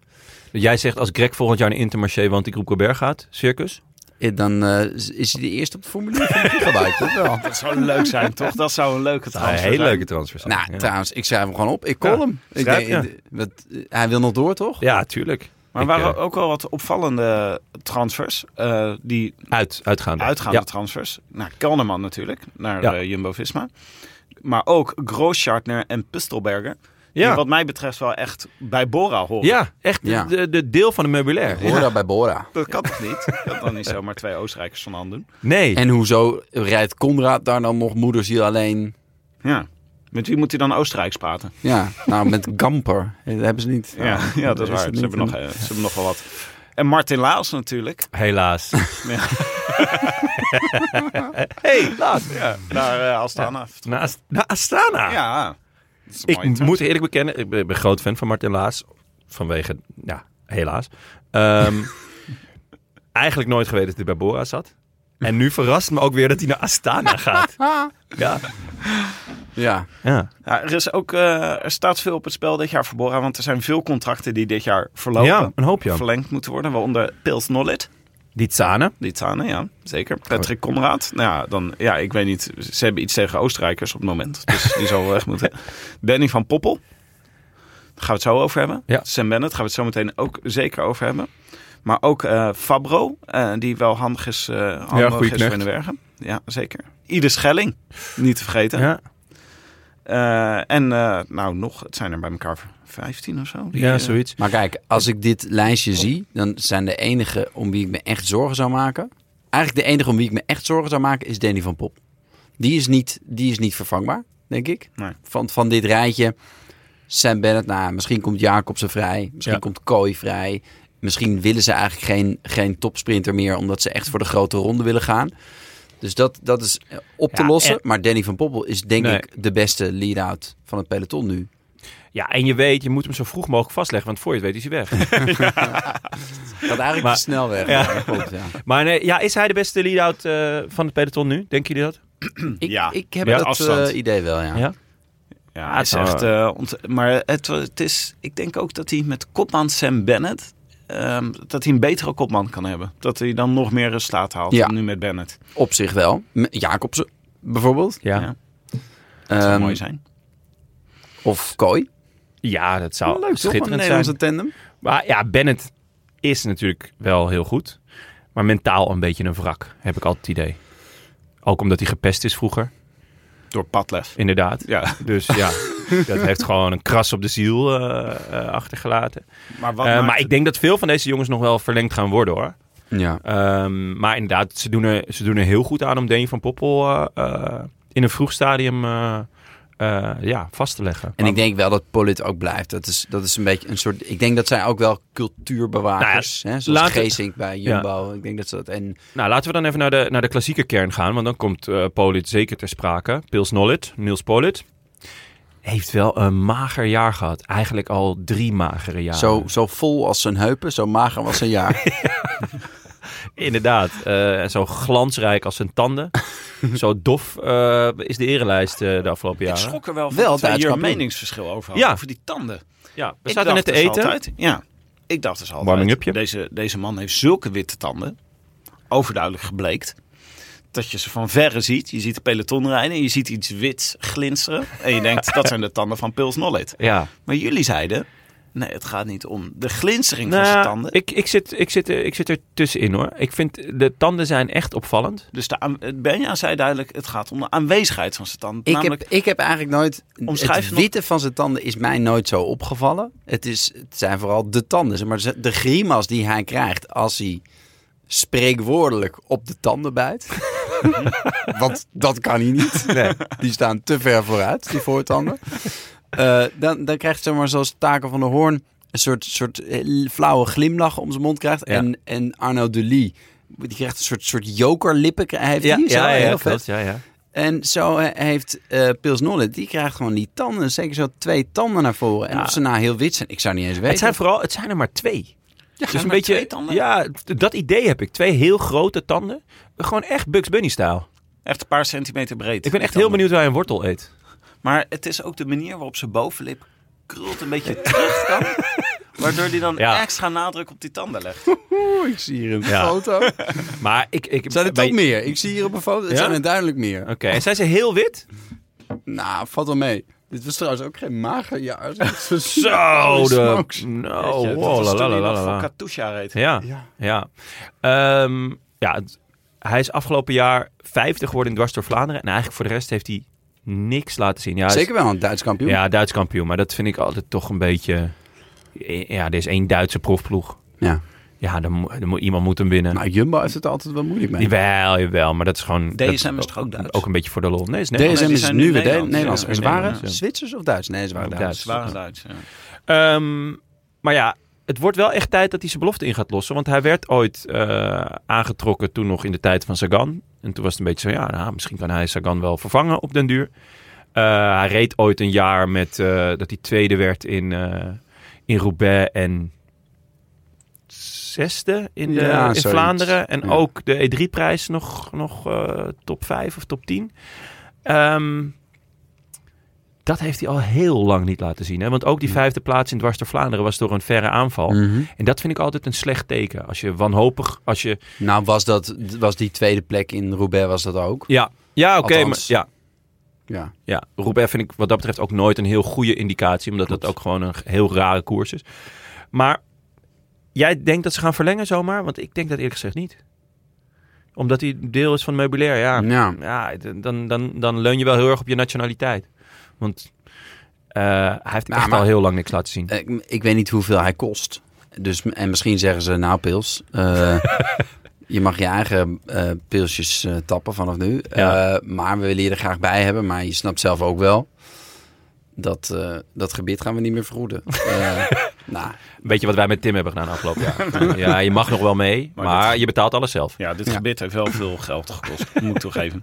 C: Jij zegt als Greg volgend jaar naar Intermarché, want ik roep Colbert gaat, circus.
B: Eh, Dan eh, is hij de eerste op het formulier van de Gigabyte, toch
C: <laughs>
B: wel?
A: Dat zou leuk zijn, toch? Dat zou een leuke
C: Ah,
A: transfer
C: een
A: zijn.
C: hele leuke transfer. zijn.
B: Nou,
C: ja.
B: trouwens, ik schrijf hem gewoon op. Ik call
C: Ja,
B: hem. Ik
C: schrijf,
B: denk,
C: ja.
B: eh, wat- eh, hij wil nog door, toch?
C: Ja, tuurlijk.
A: Maar
C: Ik,
A: waren
C: eh,
A: ook wel wat opvallende transfers. eh, die
C: uit, uitgaande.
A: uitgaande
C: Ja.
A: transfers. Naar Kelnerman natuurlijk, naar
C: Ja.
A: eh, Jumbo-Visma. Maar ook Grooschartner en Pustelberger.
C: Ja.
A: Die wat mij betreft wel echt bij Bora horen.
C: Ja, echt
B: Ja.
C: De, de deel van de meubilair.
B: Bora bij Bora.
A: Dat kan toch niet? Dat
C: <laughs>
A: dan niet zomaar twee Oostenrijkers van handen.
C: Nee,
B: En hoezo rijdt Conrad daar dan nog moederziel alleen?
A: Ja. Met wie moet hij dan Oostenrijks praten?
B: Ja,
C: <laughs>
B: nou met Gamper. Eh, Dat hebben ze niet.
A: Ja, ja dat is waar.
B: het
A: Ze hebben,
B: niet
A: nog, eh, ze hebben nog wel wat. En Martin Laals natuurlijk.
C: helaas. <laughs>
A: Ja.
C: helaas.
A: Ja, naar eh Astana.
C: Naar, Ast- naar Astana.
A: Ja. dat is een mooie
C: Ik
A: transfer.
C: moet eerlijk bekennen, ik ben, ik ben groot fan van Martin Laas. Vanwege, ja, helaas. Ehm, <laughs> eigenlijk nooit geweten dat hij bij Bora zat. En nu verrast het me ook weer dat hij naar Astana <laughs> gaat. Ja.
B: Ja,
C: ja.
A: Ja, er, is ook, eh, er staat veel op het spel dit jaar voor Bora. Want er zijn veel contracten die dit jaar verlopen.
C: Ja, een hoop, ja.
A: Verlengd moeten worden. Waaronder Pils Nollet.
C: Die Tsane.
A: Die Tane, ja.
C: Oh.
A: Zeker. Patrick Conrad. Nou ja, dan, ja, ik weet niet. Ze hebben iets tegen Oostenrijkers op het
C: <laughs>
A: moment. Dus die zal wel weg moeten. Danny van Poppel. Daar gaan we het zo over hebben.
C: Ja.
A: Sam Bennett gaan we het zo meteen ook zeker over hebben. Maar ook eh, Fabro, eh, die wel handig is, eh handig
C: goeie
A: is
C: knecht.
A: voor in de bergen. Ja, zeker. Ieder Schelling, niet te vergeten.
C: Ja,
A: Eh, en eh, nou nog, het zijn er bij elkaar 15 of zo. die,
C: ja,
A: eh,
C: zoiets.
B: maar kijk, als ik dit lijstje zie, dan zijn de enige om wie ik me echt zorgen zou maken. Eigenlijk de enige om wie ik me echt zorgen zou maken is Danny van Pop. Die is niet, die is niet vervangbaar, denk ik.
A: Nee.
B: Van, van dit rijtje. Sam Bennett, nou, misschien komt Jacobsen vrij. Misschien
C: Ja.
B: komt Kooi vrij. Misschien willen ze eigenlijk geen, geen topsprinter meer, omdat ze echt voor de grote ronde willen gaan. Dus dat, dat is eh, op te
C: Ja,
B: lossen.
C: en-
B: Maar Danny van Poppel is denk
C: Nee.
B: ik de beste lead-out van het peloton nu.
C: Ja, en je weet, je moet hem zo vroeg mogelijk vastleggen, want voor je het weet is hij <laughs> weg.
B: Dat eigenlijk
C: Maar-
B: te snel weg.
C: Ja.
B: Ja, klopt, ja.
C: Maar nee, ja, is hij de beste lead-out eh, van het peloton nu? Denk jullie dat?
B: Ik,
A: Ja.
B: ik heb
C: Ja,
B: dat
A: afstand.
B: eh, idee wel, ja.
C: Ja.
A: Ja, het is
C: het zou-
A: echt... eh, ont- maar het, het is, ik denk ook dat hij met kopman Sam Bennett... ehm, dat hij een betere kopman kan hebben. Dat hij dan nog meer resultaat haalt
B: Ja.
A: dan nu met Bennett.
B: Op zich wel. M- Jacobsen bijvoorbeeld.
A: Ja.
C: Ja,
A: Dat zou
B: Ehm,
A: mooi zijn.
B: Of Kooi.
C: ja dat zou
B: Leuk toch, een
C: schitterend zijn.
B: Nederlandse tandem.
C: Maar ja, Bennett is natuurlijk wel heel goed. Maar mentaal een beetje een wrak, heb ik altijd het idee. Ook omdat hij gepest is vroeger,
A: Door Padlef.
C: inderdaad.
A: Ja,
C: Dus ja, dat heeft gewoon een kras op de ziel eh, eh, achtergelaten.
A: <laughs> maar wat
C: Eh,
A: maakt
C: maar
A: het-
C: ik denk dat veel van deze jongens nog wel verlengd gaan worden hoor.
B: Ja.
C: Ehm, maar inderdaad, ze doen, er, ze doen er heel goed aan om Danny van Poppel eh, eh, in een vroeg stadium eh, eh, ja, vast te leggen.
B: En
C: Maar-
B: ik denk wel dat Polit ook blijft. Dat is, dat is een beetje een soort... Ik denk dat zij ook wel cultuurbewakers...
A: Nou
B: hè, zoals
C: laten-
B: Geesink bij Jumbo. Ik denk dat ze dat... En
C: Nou, laten we dan even naar de, naar de klassieke kern gaan. Want dan komt eh Polit zeker ter sprake. Pils Nollet, Niels Polit. Heeft wel een mager jaar gehad. Eigenlijk al drie magere jaren.
B: zo, zo vol als zijn heupen, zo mager als zijn jaar.
C: Inderdaad. eh, en zo glansrijk als zijn <laughs> tanden. zo dof eh, is de erenlijst eh, de afgelopen
A: Ik
C: jaren.
A: schrok er wel van
B: Wel
A: dat wij
B: Duits
A: hier een
B: kampioen.
A: meningsverschil over hadden.
C: Ja.
A: Over die tanden.
C: Ja, we
A: Ik
C: zaten net
A: dacht
C: te
A: dus
C: eten.
A: altijd- ja, ik dacht dus altijd.
C: Warming upje.
A: Deze, deze man heeft zulke witte tanden. Overduidelijk gebleekt. Dat je ze van verre ziet. Je ziet de peloton rijden. Je ziet iets wits glinsteren. En je denkt, dat zijn de tanden van Pils Nollet.
C: Ja.
A: Maar jullie zeiden, nee, het gaat niet om de glinstering van zijn
C: Nou,
A: tanden.
C: ik, ik, zit, ik, zit, er- ik zit er tussenin hoor. Ik vind de tanden zijn echt opvallend.
A: Dus de, aan- Benja zei duidelijk, het gaat om de aanwezigheid van zijn tanden.
B: Ik,
A: Namelijk,
B: heb, ik heb eigenlijk nooit...
A: Omschrijf
B: Het
A: nog-
B: witte van zijn tanden is mij nooit zo opgevallen. Het, is, het zijn vooral de tanden. zeg Maar ze- de grimas die hij krijgt als hij spreekwoordelijk op de
C: <laughs>
B: tanden bijt. Want dat kan hij niet. Die staan te ver vooruit, die voortanden. Eh, dan, dan krijgt hij zomaar zoals Taken van der Hoorn... een soort, soort eh, flauwe glimlach om zijn mond krijgt.
C: Ja.
B: En, en Arno Delis... Die krijgt een soort, soort jokerlippen. Hij heeft die zo, heel vet.
C: klopt, ja, ja.
B: En zo eh, heeft eh Pils Nollet, die krijgt gewoon die tanden. Zeker zo twee tanden naar voren. En
C: Ja.
B: of ze nou heel wit zijn, ik zou niet eens weten.
C: Het zijn vooral, het zijn er maar twee. dus een beetje,
A: twee tanden?
C: ja, t- dat idee heb ik. Twee heel grote tanden. Gewoon echt Bugs Bunny-stijl.
A: echt een paar centimeter breed.
C: Ik ben
A: die
C: echt heel
A: tanden.
C: benieuwd waar hij een wortel eet.
A: Maar het is ook de manier waarop zijn bovenlip krult een beetje terug
C: <laughs>
A: dan. Waardoor die dan
C: Ja. Oh,
A: extra nadruk op die tanden legt.
E: Oeh, ik zie hier een
C: Ja.
E: foto.
C: <laughs> Maar ik... ik
B: Zijn er
C: bij-
B: toch meer? Ik zie hier op een foto, er
C: Ja?
B: zijn er duidelijk meer.
C: Oké, en zijn ze heel
A: <laughs>
C: wit?
B: Nou, valt wel mee. Dit was trouwens ook geen magerjaar.
C: <laughs> Zo, de...
B: smokes.
A: Weet
C: No,
A: je,
C: wow, la,
A: dat was
C: la,
A: toen
C: la,
A: hij
C: la,
A: nog
C: la.
A: voor Katusha reed.
C: Ja, ja. Ja, Ehm, ja het- hij is afgelopen jaar 50 geworden in dwars door Vlaanderen. En eigenlijk voor de rest heeft hij niks laten zien. Ja, hij is-
B: Zeker wel een Duits kampioen.
C: Ja, Duits kampioen. Maar dat vind ik altijd toch een beetje... Ja, er is één Duitse profploeg.
B: Ja.
C: Ja, dan, moet- dan moet, iemand moet hem winnen.
B: Nou, Jumbo heeft het altijd wel moeilijk mee.
C: Jawel, jawel. Maar dat is gewoon... dat-
A: DSM is toch ook Duits?
C: Ook een beetje voor de lol. Nee, is Nederlands.
B: DSM
A: die
B: is
A: zijn
B: nu
A: nu
B: weer
A: Nederlands.
B: Nederlands.
A: Ja,
B: En ze waren
C: Nederlands, ja.
B: Zwitsers of Duits? Nee, ze waren
C: Ja,
B: Duits.
C: Duits.
A: Zware Duits, ja.
C: Ehm, maar ja, het wordt wel echt tijd dat hij zijn belofte in gaat lossen. Want hij werd ooit eh, aangetrokken toen nog in de tijd van Sagan. En toen was het een beetje zo, ja, nou, misschien kan hij Sagan wel vervangen op den duur. Eh, hij reed ooit een jaar met, eh, dat hij tweede werd in, eh, in Roubaix en zesde in, de,
B: Ja,
C: in
B: zoiets.
C: Vlaanderen. En
B: Ja.
C: ook de E3-prijs nog, nog eh, top 5 of top 10. Ehm, dat heeft hij al heel lang niet laten zien. Hè? Want ook die vijfde plaats in Dwars door Vlaanderen was door een verre aanval.
B: Mhm.
C: En dat vind ik altijd een slecht teken. Als je wanhopig, als je...
B: Nou, was, dat, was die tweede plek in Roubaix was dat ook.
C: Ja, ja oké. maar-
B: Althans.
C: ja,
B: Ja.
C: ja, Roubaix vind ik wat dat betreft ook nooit een heel goede indicatie. Omdat dat
B: Klopt.
C: ook gewoon een heel rare koers is. Maar jij denkt dat ze gaan verlengen zomaar? Want ik denk dat eerlijk gezegd niet. Omdat hij deel is van het meubilair, ja.
B: Ja.
C: Ja, d- dan, dan, dan leun je wel heel erg op je nationaliteit. Want eh, hij heeft
B: Nou,
C: echt
B: maar-
C: al heel lang niks laten zien.
B: Ik, ik weet niet hoeveel hij kost. Dus, en misschien zeggen ze, nou
C: <laughs>
B: Pils, eh, je mag je eigen eh, pilsjes eh, tappen vanaf nu.
C: Ja.
B: Eh, maar we willen je er graag bij hebben. Maar je snapt zelf ook wel, dat, eh, dat gebied gaan we niet meer vergoeden.
C: <laughs>
B: Eh, nou,
C: Weet je wat wij met Tim hebben gedaan afgelopen jaar? ja, je mag nog wel mee, maar,
A: Maar dat-
C: je betaalt alles zelf.
A: Ja, dit
B: Ja.
A: gebit heeft wel veel geld gekost, <laughs> moet ik toegeven.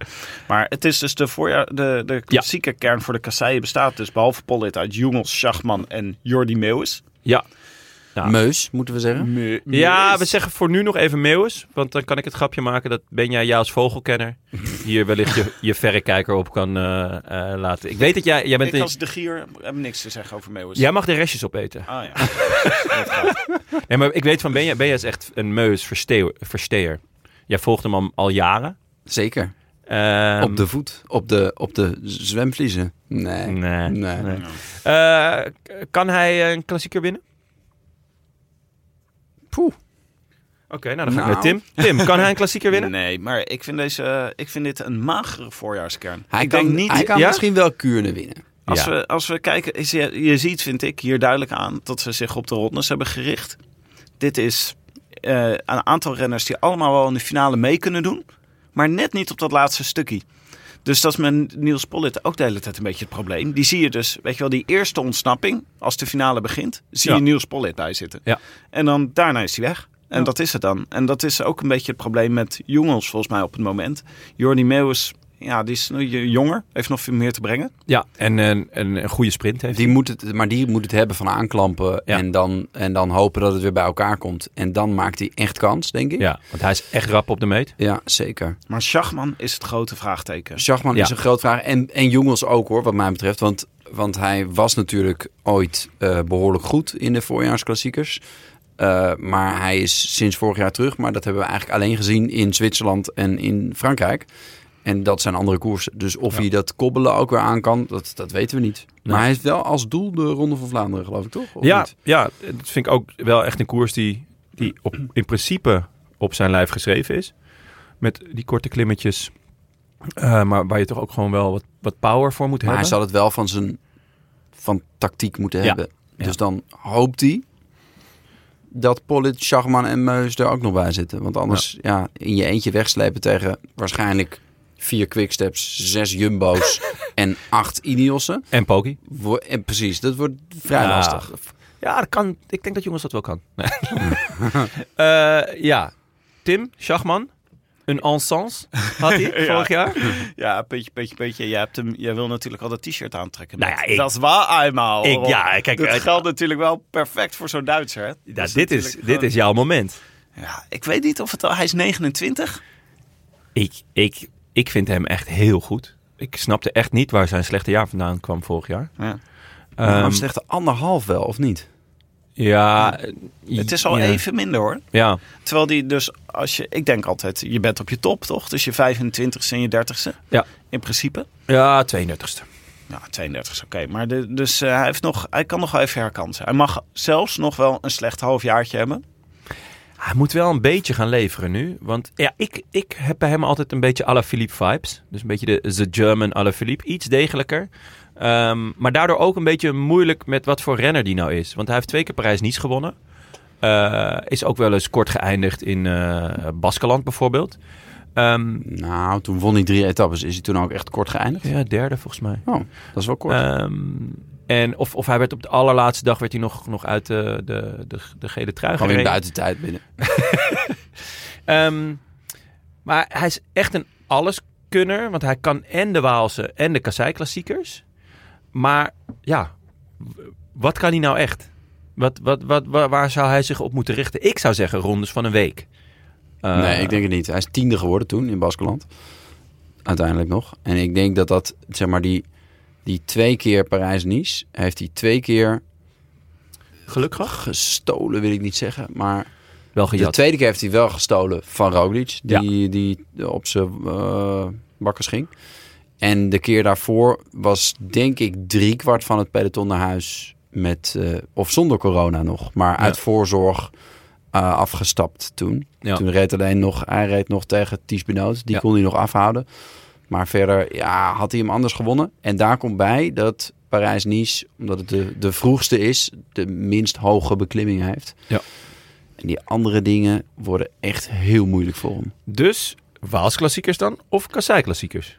A: Maar het is dus de, voorjaar, de, de klassieke kern voor de kasseien bestaat dus behalve Pollitt uit Jungels, Schachman en Jordi Meeuwis.
C: Ja. Ja. Mm.
B: Meus, moeten we zeggen.
C: Ja, we zeggen voor nu nog even Meeuwis. Want dan kan ik het grapje maken dat ben jij, jij als vogelkenner hier wellicht je, je verrekijker op kan eh, eh, laten. Ik weet dat jij, jij bent...
A: Ik
C: een-
A: als dus. de gier heb niks te zeggen over Meeuwis.
C: Jij mag de restjes opeten.
A: Ah ja. Dat gaat.
C: Nee, maar ik weet van Benja, Benja is dus echt een Meus versteer, versteer. Jij volgt hem al, al jaren.
B: Zeker.
C: Ehm,
B: op de voet. Op de, op de zwemvliezen. Nee.
C: Nee.
B: Nee.
C: nee. Eh, k- kan hij een klassieker winnen?
B: Poeh.
C: Oké, nou dan ga ik
B: Nou.
C: met Tim. Tim, kan hij een <laughs> klassieker winnen?
A: Nee, maar ik vind, deze, ik vind dit een magere voorjaarskern.
B: Hij
A: ik
B: kan,
A: denk niet...
B: hij kan
C: Ja?
B: misschien wel Kuurne winnen.
A: Als,
C: Ja.
A: we, als we kijken, is, je, je ziet, vind ik, hier duidelijk aan dat ze zich op de rondes hebben gericht. Dit is eh, een aantal renners die allemaal wel in de finale mee kunnen doen, maar net niet op dat laatste stukje. Dus dat is met Niels Pollitt ook de hele tijd een beetje het probleem. Die zie je dus, weet je wel, die eerste ontsnapping, als de finale begint, zie
C: Ja.
A: je Niels Pollitt bij zitten.
C: Ja.
A: En dan daarna is hij weg. En dat is het dan. En dat is ook een beetje het probleem met jongens volgens mij op het moment. Jordi Meeuwis, ja, die is nu jonger, heeft nog veel meer te brengen.
C: Ja, en een, een, een goede sprint heeft
B: Die moet het, maar die moet het hebben van aanklampen.
C: Ja.
B: En, dan, en dan hopen dat het weer bij elkaar komt. En dan maakt hij echt kans, denk ik.
C: Ja, want hij is echt rap op de meet.
B: Ja, zeker.
A: Maar Schachman is het grote vraagteken.
B: Schachman
C: Ja.
B: is een groot vraag. En, en Jongels ook hoor, wat mij betreft. Want, want hij was natuurlijk ooit eh, behoorlijk goed in de voorjaarsklassiekers. Eh, maar hij is sinds vorig jaar terug. Maar dat hebben we eigenlijk alleen gezien in Zwitserland en in Frankrijk. En dat zijn andere koersen. Dus of hij dat kobbelen ook weer aan kan, dat, dat weten we niet. Maar hij heeft wel als doel de Ronde van Vlaanderen, geloof ik, toch? Of
C: Ja,
B: niet?
C: ja, dat vind ik ook wel echt een koers die, die op, in principe op zijn lijf geschreven is. Met die korte klimmetjes. Eh, maar waar je toch ook gewoon wel wat, wat power voor moet
B: Maar hij
C: hebben.
B: zal het wel van zijn van tactiek moeten
C: Ja.
B: hebben.
C: Ja.
B: Dus dan hoopt hij dat Pollitt, Schachman en Meus er ook nog bij zitten. Want anders ja. in je eentje wegslepen tegen waarschijnlijk vier quicksteps, zes
C: <laughs>
B: jumbo's en acht Ineos'en.
C: En Poki.
B: Wo- En precies, dat wordt vrij
C: Ja. Ehm,
B: lastig.
C: Ja, dat kan. Ik denk dat jongens dat wel kan. Nee. <laughs> Eh, ja, Tim Schachman. Een ensemble had <laughs> hij vorig jaar.
A: Ja, beetje, beetje, beetje. Jij, hebt hem, jij wil natuurlijk al dat t-shirt aantrekken.
C: Nou
A: Matt.
C: ja, ik-
A: dat is waar eenmaal.
C: Ik- ja, kijk,
A: dat
C: eh,
A: geldt natuurlijk wel perfect voor zo'n Duitser. Hè?
C: Ja,
A: Dat is
C: dit, is,
A: natuurlijk
C: dit is jouw moment.
A: gewoon- Ja, ik weet niet of het al... Hij is 29.
C: Ik, ik, ik vind hem echt heel goed. Ik snapte echt niet waar zijn slechte jaar vandaan kwam vorig jaar.
A: Ja.
C: Eh,
B: Nou,
C: Ehm,
B: slechte anderhalf wel, of niet?
C: ja, eh,
A: Het is al
C: ja.
A: even minder hoor.
C: Ja,
A: Terwijl die dus, als je, ik denk altijd, je bent op je top toch? Dus je 25ste en je 30ste.
C: Ja.
A: In principe.
C: ja 32e.
A: Nou, 32 is oké. Maar de, dus eh, hij, heeft nog, hij kan nog wel even herkansen. Hij mag zelfs nog wel een slecht halfjaartje hebben.
C: Hij moet wel een beetje gaan leveren nu. Want ja, ik, ik heb bij hem altijd een beetje à la Philippe vibes. Dus een beetje de The German à la Philippe. Iets degelijker. Ehm, maar daardoor ook een beetje moeilijk met wat voor renner die nou is. Want hij heeft twee keer Parijs-Nice gewonnen. Eh, is ook wel eens kort geëindigd in eh Baskeland bijvoorbeeld. Ehm,
B: Nou, toen won hij drie etappes. Is hij toen ook echt kort geëindigd?
C: ja, derde volgens mij.
B: Oh, dat is wel kort.
C: Ehm, en of, of hij werd op de allerlaatste dag werd hij nog, nog uit de, de, de, de gele trui
B: Gewoon weer
C: gereden.
B: buiten tijd binnen.
C: Ehm, maar hij is echt een alleskunner. Want hij kan en de Waalse en de Kassei-klassiekers. Maar ja, w- wat kan hij nou echt? Wat, wat, wat, wa- waar zou hij zich op moeten richten? Ik zou zeggen rondes van een week. Eh,
B: nee, ik denk het niet. Hij is tiende geworden toen in Baskeland. Uiteindelijk nog. En ik denk dat dat, zeg maar, die, die twee keer Parijs-Nice... heeft hij twee keer
C: Geluk gehad?
B: gestolen, wil ik niet zeggen. Maar
C: Wel
B: de
C: gejat.
B: tweede keer heeft hij wel gestolen van Roglic. Die, die op zijn eh, bakkers ging. En de keer daarvoor was denk ik driekwart van het peloton naar huis. Met, eh, of zonder corona nog. Maar uit voorzorg eh, afgestapt toen.
C: Ja.
B: Toen reed alleen nog, hij reed nog tegen Ties Benoot. Die
C: Ja.
B: kon hij nog afhouden. Maar verder ja, had hij hem anders gewonnen. En daar komt bij dat Parijs-Nice, omdat het de, de vroegste is, de minst hoge beklimming heeft.
C: Ja.
B: En die andere dingen worden echt heel moeilijk voor hem.
C: Dus Waals-klassiekers dan of Kassei-klassiekers?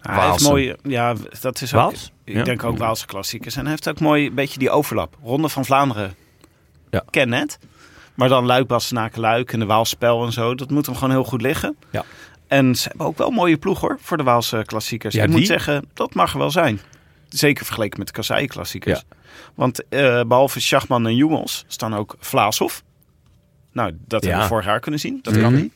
A: Hij heeft
B: Waalse.
A: mooie, ja, dat is ook,
C: Waals?
A: ik
C: Ja.
A: denk ook Waalse klassiekers. En hij heeft ook mooi een beetje die overlap. Ronde van Vlaanderen.
C: Ja.
A: Ken het. Maar dan Luik, Bastenaken, Luik en de Waalspel en zo. Dat moet hem gewoon heel goed liggen.
C: Ja.
A: En ze hebben ook wel een mooie ploeg hoor, voor de Waalse klassiekers.
C: Ja,
A: ik
C: die-
A: moet zeggen, dat mag er wel zijn. Zeker vergeleken met de Kassei klassiekers.
C: Ja.
A: Want eh, behalve Schachman en Jongels staan ook Vlaashoff. Nou, dat
C: Ja. Mhm.
A: hebben we vorig jaar kunnen zien. Dat kan niet.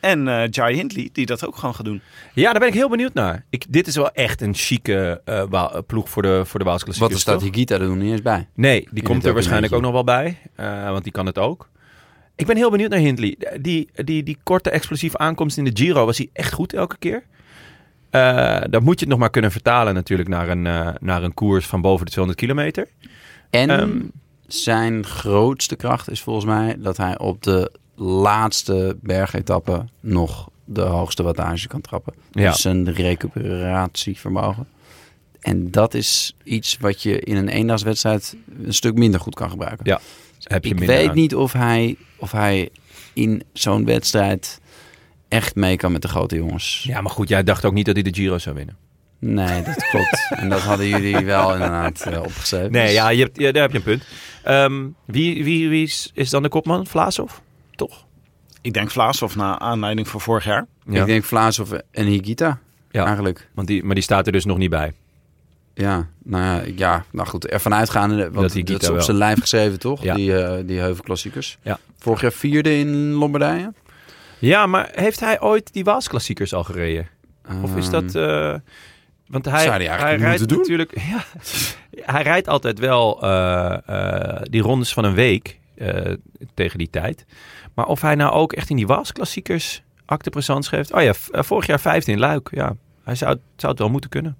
A: En eh Jai Hindley, die dat ook gewoon gaat doen.
C: Ja, daar ben ik heel benieuwd naar. Ik, dit is wel echt een chique eh, Wa- ploeg voor de, voor de
B: Wat
C: Waals-klassiekers.
B: er staat
C: toch?
B: Higuita er nog niet eens bij.
C: Nee, die
B: het
C: komt er
B: ook
C: waarschijnlijk ook
B: een
C: nog wel bij. eh, want die kan het ook. Ik ben heel benieuwd naar Hindley. Eh, Die, die, die korte explosieve aankomst in de Giro was hij echt goed elke keer. Eh dan moet je het nog maar kunnen vertalen natuurlijk naar een, eh, naar een koers van boven de 200 kilometer.
B: En
C: Ehm.
B: zijn grootste kracht is volgens mij dat hij op de laatste bergetappe nog de hoogste wattage kan trappen.
C: Ja.
B: Dus zijn recuperatievermogen. En dat is iets wat je in een eendagswedstrijd een stuk minder goed kan gebruiken.
C: Ja, Heb je
B: Ik
C: minder
B: weet
C: aan.
B: niet of hij, of hij in zo'n wedstrijd echt mee kan met de grote jongens.
C: Ja, maar goed, jij dacht ook niet dat hij de Giro zou winnen. <laughs>
B: Nee, dat klopt. en dat hadden jullie wel inderdaad eh, opgeschreven.
C: Nee,
B: Dus-
C: ja, je hebt, ja, daar heb je een punt. Ehm, wie wie, wie is, is dan de kopman? Vlaashoff? Toch?
A: Ik denk Vlaashoff na aanleiding van vorig jaar.
C: Ja.
B: Ik denk Vlaas of en Higita
C: Ja.
B: eigenlijk.
C: Want die, maar die staat er dus nog niet bij.
B: Ja, nou ja, ik- ja, nou goed, ervan uitgaande, want
C: Dat
B: dat,
C: Higuita
B: is op
C: wel.
B: zijn lijf geschreven, toch?
C: Ja.
B: Die, eh, die heuvelklassiekers.
C: Ja.
B: Vorig jaar vierde in Lombardije.
C: Ja, maar heeft hij ooit die Waasklassiekers al gereden? Of is dat...
B: Ehm,
C: eh, want hij,
B: Zou hij eigenlijk
C: hij
B: moeten
C: rijdt
B: doen?
C: natuurlijk... <laughs> Ja, hij rijdt altijd wel eh, eh, die rondes van een week eh, tegen die tijd. Maar of hij nou ook echt in die Waasklassiekers acte présence geeft... Oh ja, v- eh, vorig jaar vijfde in Luik. Ja, hij zou, zou het wel moeten kunnen.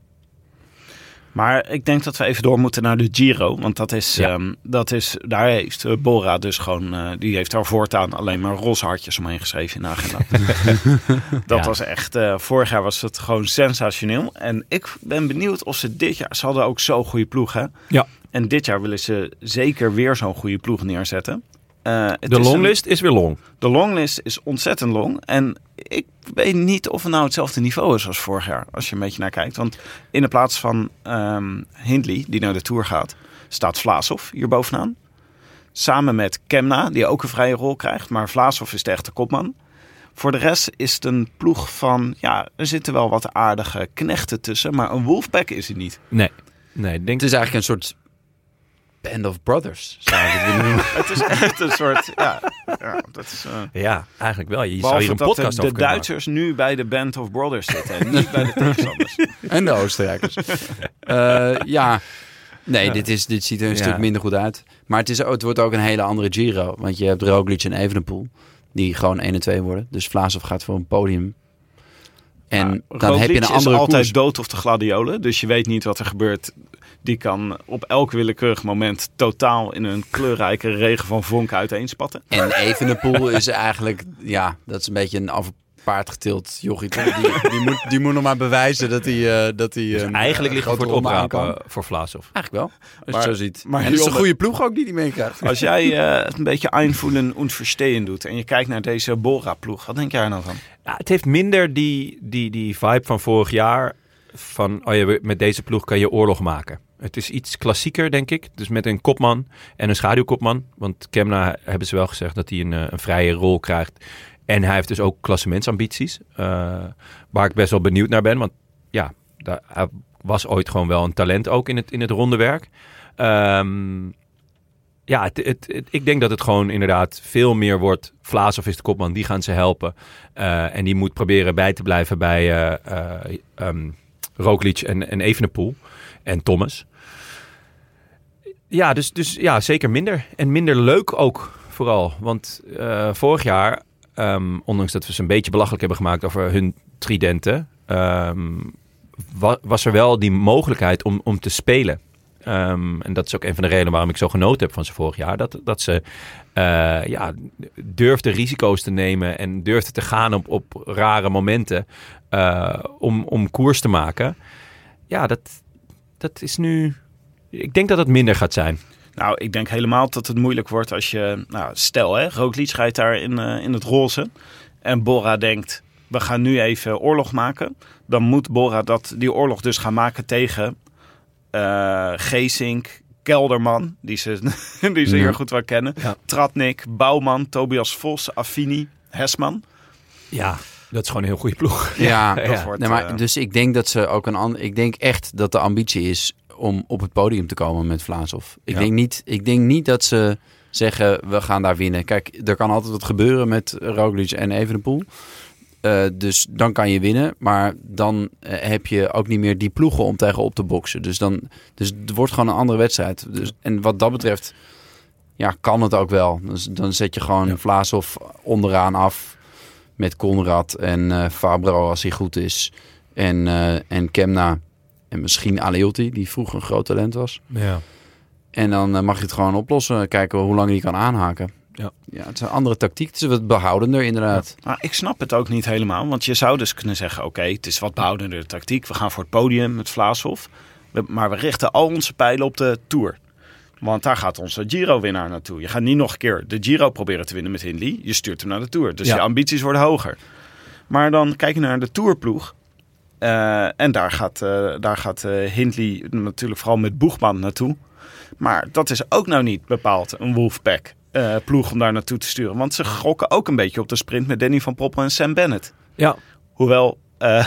A: Maar ik denk dat we even door moeten naar de Giro. Want dat is,
C: Ja.
A: ehm, dat is daar heeft eh, Bora dus gewoon... eh, die heeft daar voortaan alleen maar roze hartjes omheen geschreven in de agenda.
C: <laughs>
A: dat
C: Ja.
A: was echt... eh, vorig jaar was het gewoon sensationeel. En ik ben benieuwd of ze dit jaar... Ze hadden ook zo'n goede ploeg, hè?
C: Ja.
A: En dit jaar willen ze zeker weer zo'n goede ploeg neerzetten. Eh, het
C: De
A: is een-
C: longlist is weer long.
A: De longlist is ontzettend long. En ik weet niet of het nou hetzelfde niveau is als vorig jaar. Als je een beetje naar kijkt. Want in de plaats van ehm, Hindley, die naar de Tour gaat, staat Vlaashoff hier bovenaan. Samen met Kemna, die ook een vrije rol krijgt. Maar Vlaashoff is de echte kopman. Voor de rest is het een ploeg van... Ja, er zitten wel wat aardige knechten tussen. Maar een wolfpack is het niet.
C: Nee. Nee, denk
B: Het is eigenlijk een soort band
C: <laughs>
B: of brothers, zou ik het willen noemen.
A: Het is echt een soort... Ja, ja dat is... eh,
C: Ja, eigenlijk wel. Je zou
A: Behalve
C: hier een
A: dat de-
C: podcast
A: de,
C: over kunnen maken.
A: Duitsers nu bij de Band of Brothers zitten en niet bij de tegenstanders.
B: En de Oostenrijkers. Eh, ja, Nee, dit, is, dit ziet er een
C: Ja.
B: stuk minder goed uit. Maar het, is, het wordt ook een hele andere Giro. Want je hebt Roglic en Evenepoel. Die gewoon 1 en 2 worden. Dus Vlaasov gaat voor een podium. En dan heb je een andere
A: is altijd
B: koers.
A: dood of de gladiolen. Dus je weet niet wat er gebeurt. Die kan op elk willekeurig moment totaal in een kleurrijke regen van vonken uiteenspatten.
B: En Evenepoel is eigenlijk... Ja, dat is een beetje een af paard getild jochie. toch? Die, die, moet, die moet nog maar bewijzen dat hij... eh, dat hij
C: Dus
B: een,
C: eigenlijk
B: eh,
C: liggen voor het
B: grote ronde aan kan.
C: oprapen voor Vlaasov.
B: Eigenlijk wel, als je
A: Maar-
B: het zo ziet.
A: maar
B: en het is een
A: Jonne-
B: goede ploeg ook die die meekrijgt.
A: Als jij eh, het een beetje einvoelen en verstehen doet. En je kijkt naar deze Bora-ploeg. Wat denk jij nou van?
C: Ja, het heeft minder die, die, die vibe van vorig jaar. Van oh ja, met deze ploeg kan je oorlog maken. Het is iets klassieker, denk ik. Dus met een kopman en een schaduwkopman. Want Kemna hebben ze wel gezegd dat hij een, eh, een vrije rol krijgt. En hij heeft dus ook klassementsambities. eh, waar ik best wel benieuwd naar ben. Want ja, daar, hij was ooit gewoon wel een talent ook in het, in het ronde werk. Ehm, ja, het, het, het- ik denk dat het gewoon inderdaad veel meer wordt. Vlaasov is de kopman, die gaan ze helpen. Eh, en die moet proberen bij te blijven bij eh eh, ehm, Roglic en, en Evenepoel en Thomas. Ja, dus, dus ja, zeker minder. En minder leuk ook, vooral. Want eh, vorig jaar, ehm, ondanks dat we ze een beetje belachelijk hebben gemaakt over hun tridenten... ehm, wa- was er wel die mogelijkheid om, om te spelen. Ehm, en dat is ook een van de redenen waarom ik zo genoten heb van ze vorig jaar. Dat, dat ze eh, ja, durfde risico's te nemen en durfde te gaan op, op rare momenten eh, om, om koers te maken. Ja, dat, dat is nu. Ik denk dat het minder gaat zijn.
A: Nou, ik denk helemaal dat het moeilijk wordt als je... Nou, stel hè, Roglic rijdt daar in, eh, in het roze. En Bora denkt, we gaan nu even oorlog maken. Dan moet Bora dat, die oorlog dus gaan maken tegen eh Geesink, Kelderman, die ze, <laughs> die ze
B: Ja.
A: hier goed wel kennen.
C: Ja.
A: Tratnik, Bouwman, Tobias Vos, Affini, Hesman.
C: Ja, dat is gewoon een heel goede ploeg.
B: Ja,
A: dat
C: ja.
A: wordt,
B: Nee, maar,
A: eh,
B: dus ik denk dat ze ook een ander. Ik denk echt dat de ambitie is om op het podium te komen met Vlaasov. Ik,
C: Ja.
B: denk niet, ik denk niet dat ze zeggen we gaan daar winnen. Kijk, er kan altijd wat gebeuren met Roglic en Evenepoel. Eh dus dan kan je winnen, maar dan eh, heb je ook niet meer die ploegen om tegen op te boksen. Dus, dan, dus het wordt gewoon een andere wedstrijd. Dus, en wat dat betreft, ja, kan het ook wel. Dus, dan zet je gewoon Vlaasov onderaan af met Conrad en eh, Fabro als hij goed is. En, eh, en Kemna. En misschien Aleotti, die vroeger een groot talent was.
C: Ja.
B: En dan eh, mag je het gewoon oplossen. Kijken hoe lang die kan aanhaken.
C: Ja.
B: ja, het is een andere tactiek. Het is wat behoudender inderdaad.
A: Maar ik snap het ook niet helemaal. Want je zou dus kunnen zeggen, oké, het is wat behoudende tactiek. We gaan voor het podium met Vlaashof. We- Maar we richten al onze pijlen op de Tour. Want daar gaat onze Giro-winnaar naartoe. Je gaat niet nog een keer de Giro proberen te winnen met Hindley. Je stuurt hem naar de Tour. Dus
C: Ja.
A: je ambities worden hoger. Maar dan kijk je naar de Tourploeg. Eh, en daar gaat, eh, daar gaat eh, Hindley natuurlijk vooral met Boegman naartoe. Maar dat is ook nou niet bepaald een Wolfpack eh, ploeg om daar naartoe te sturen. Want ze gokken ook een beetje op de sprint met Danny van Poppel en Sam Bennett.
C: ja.
A: Hoewel, eh,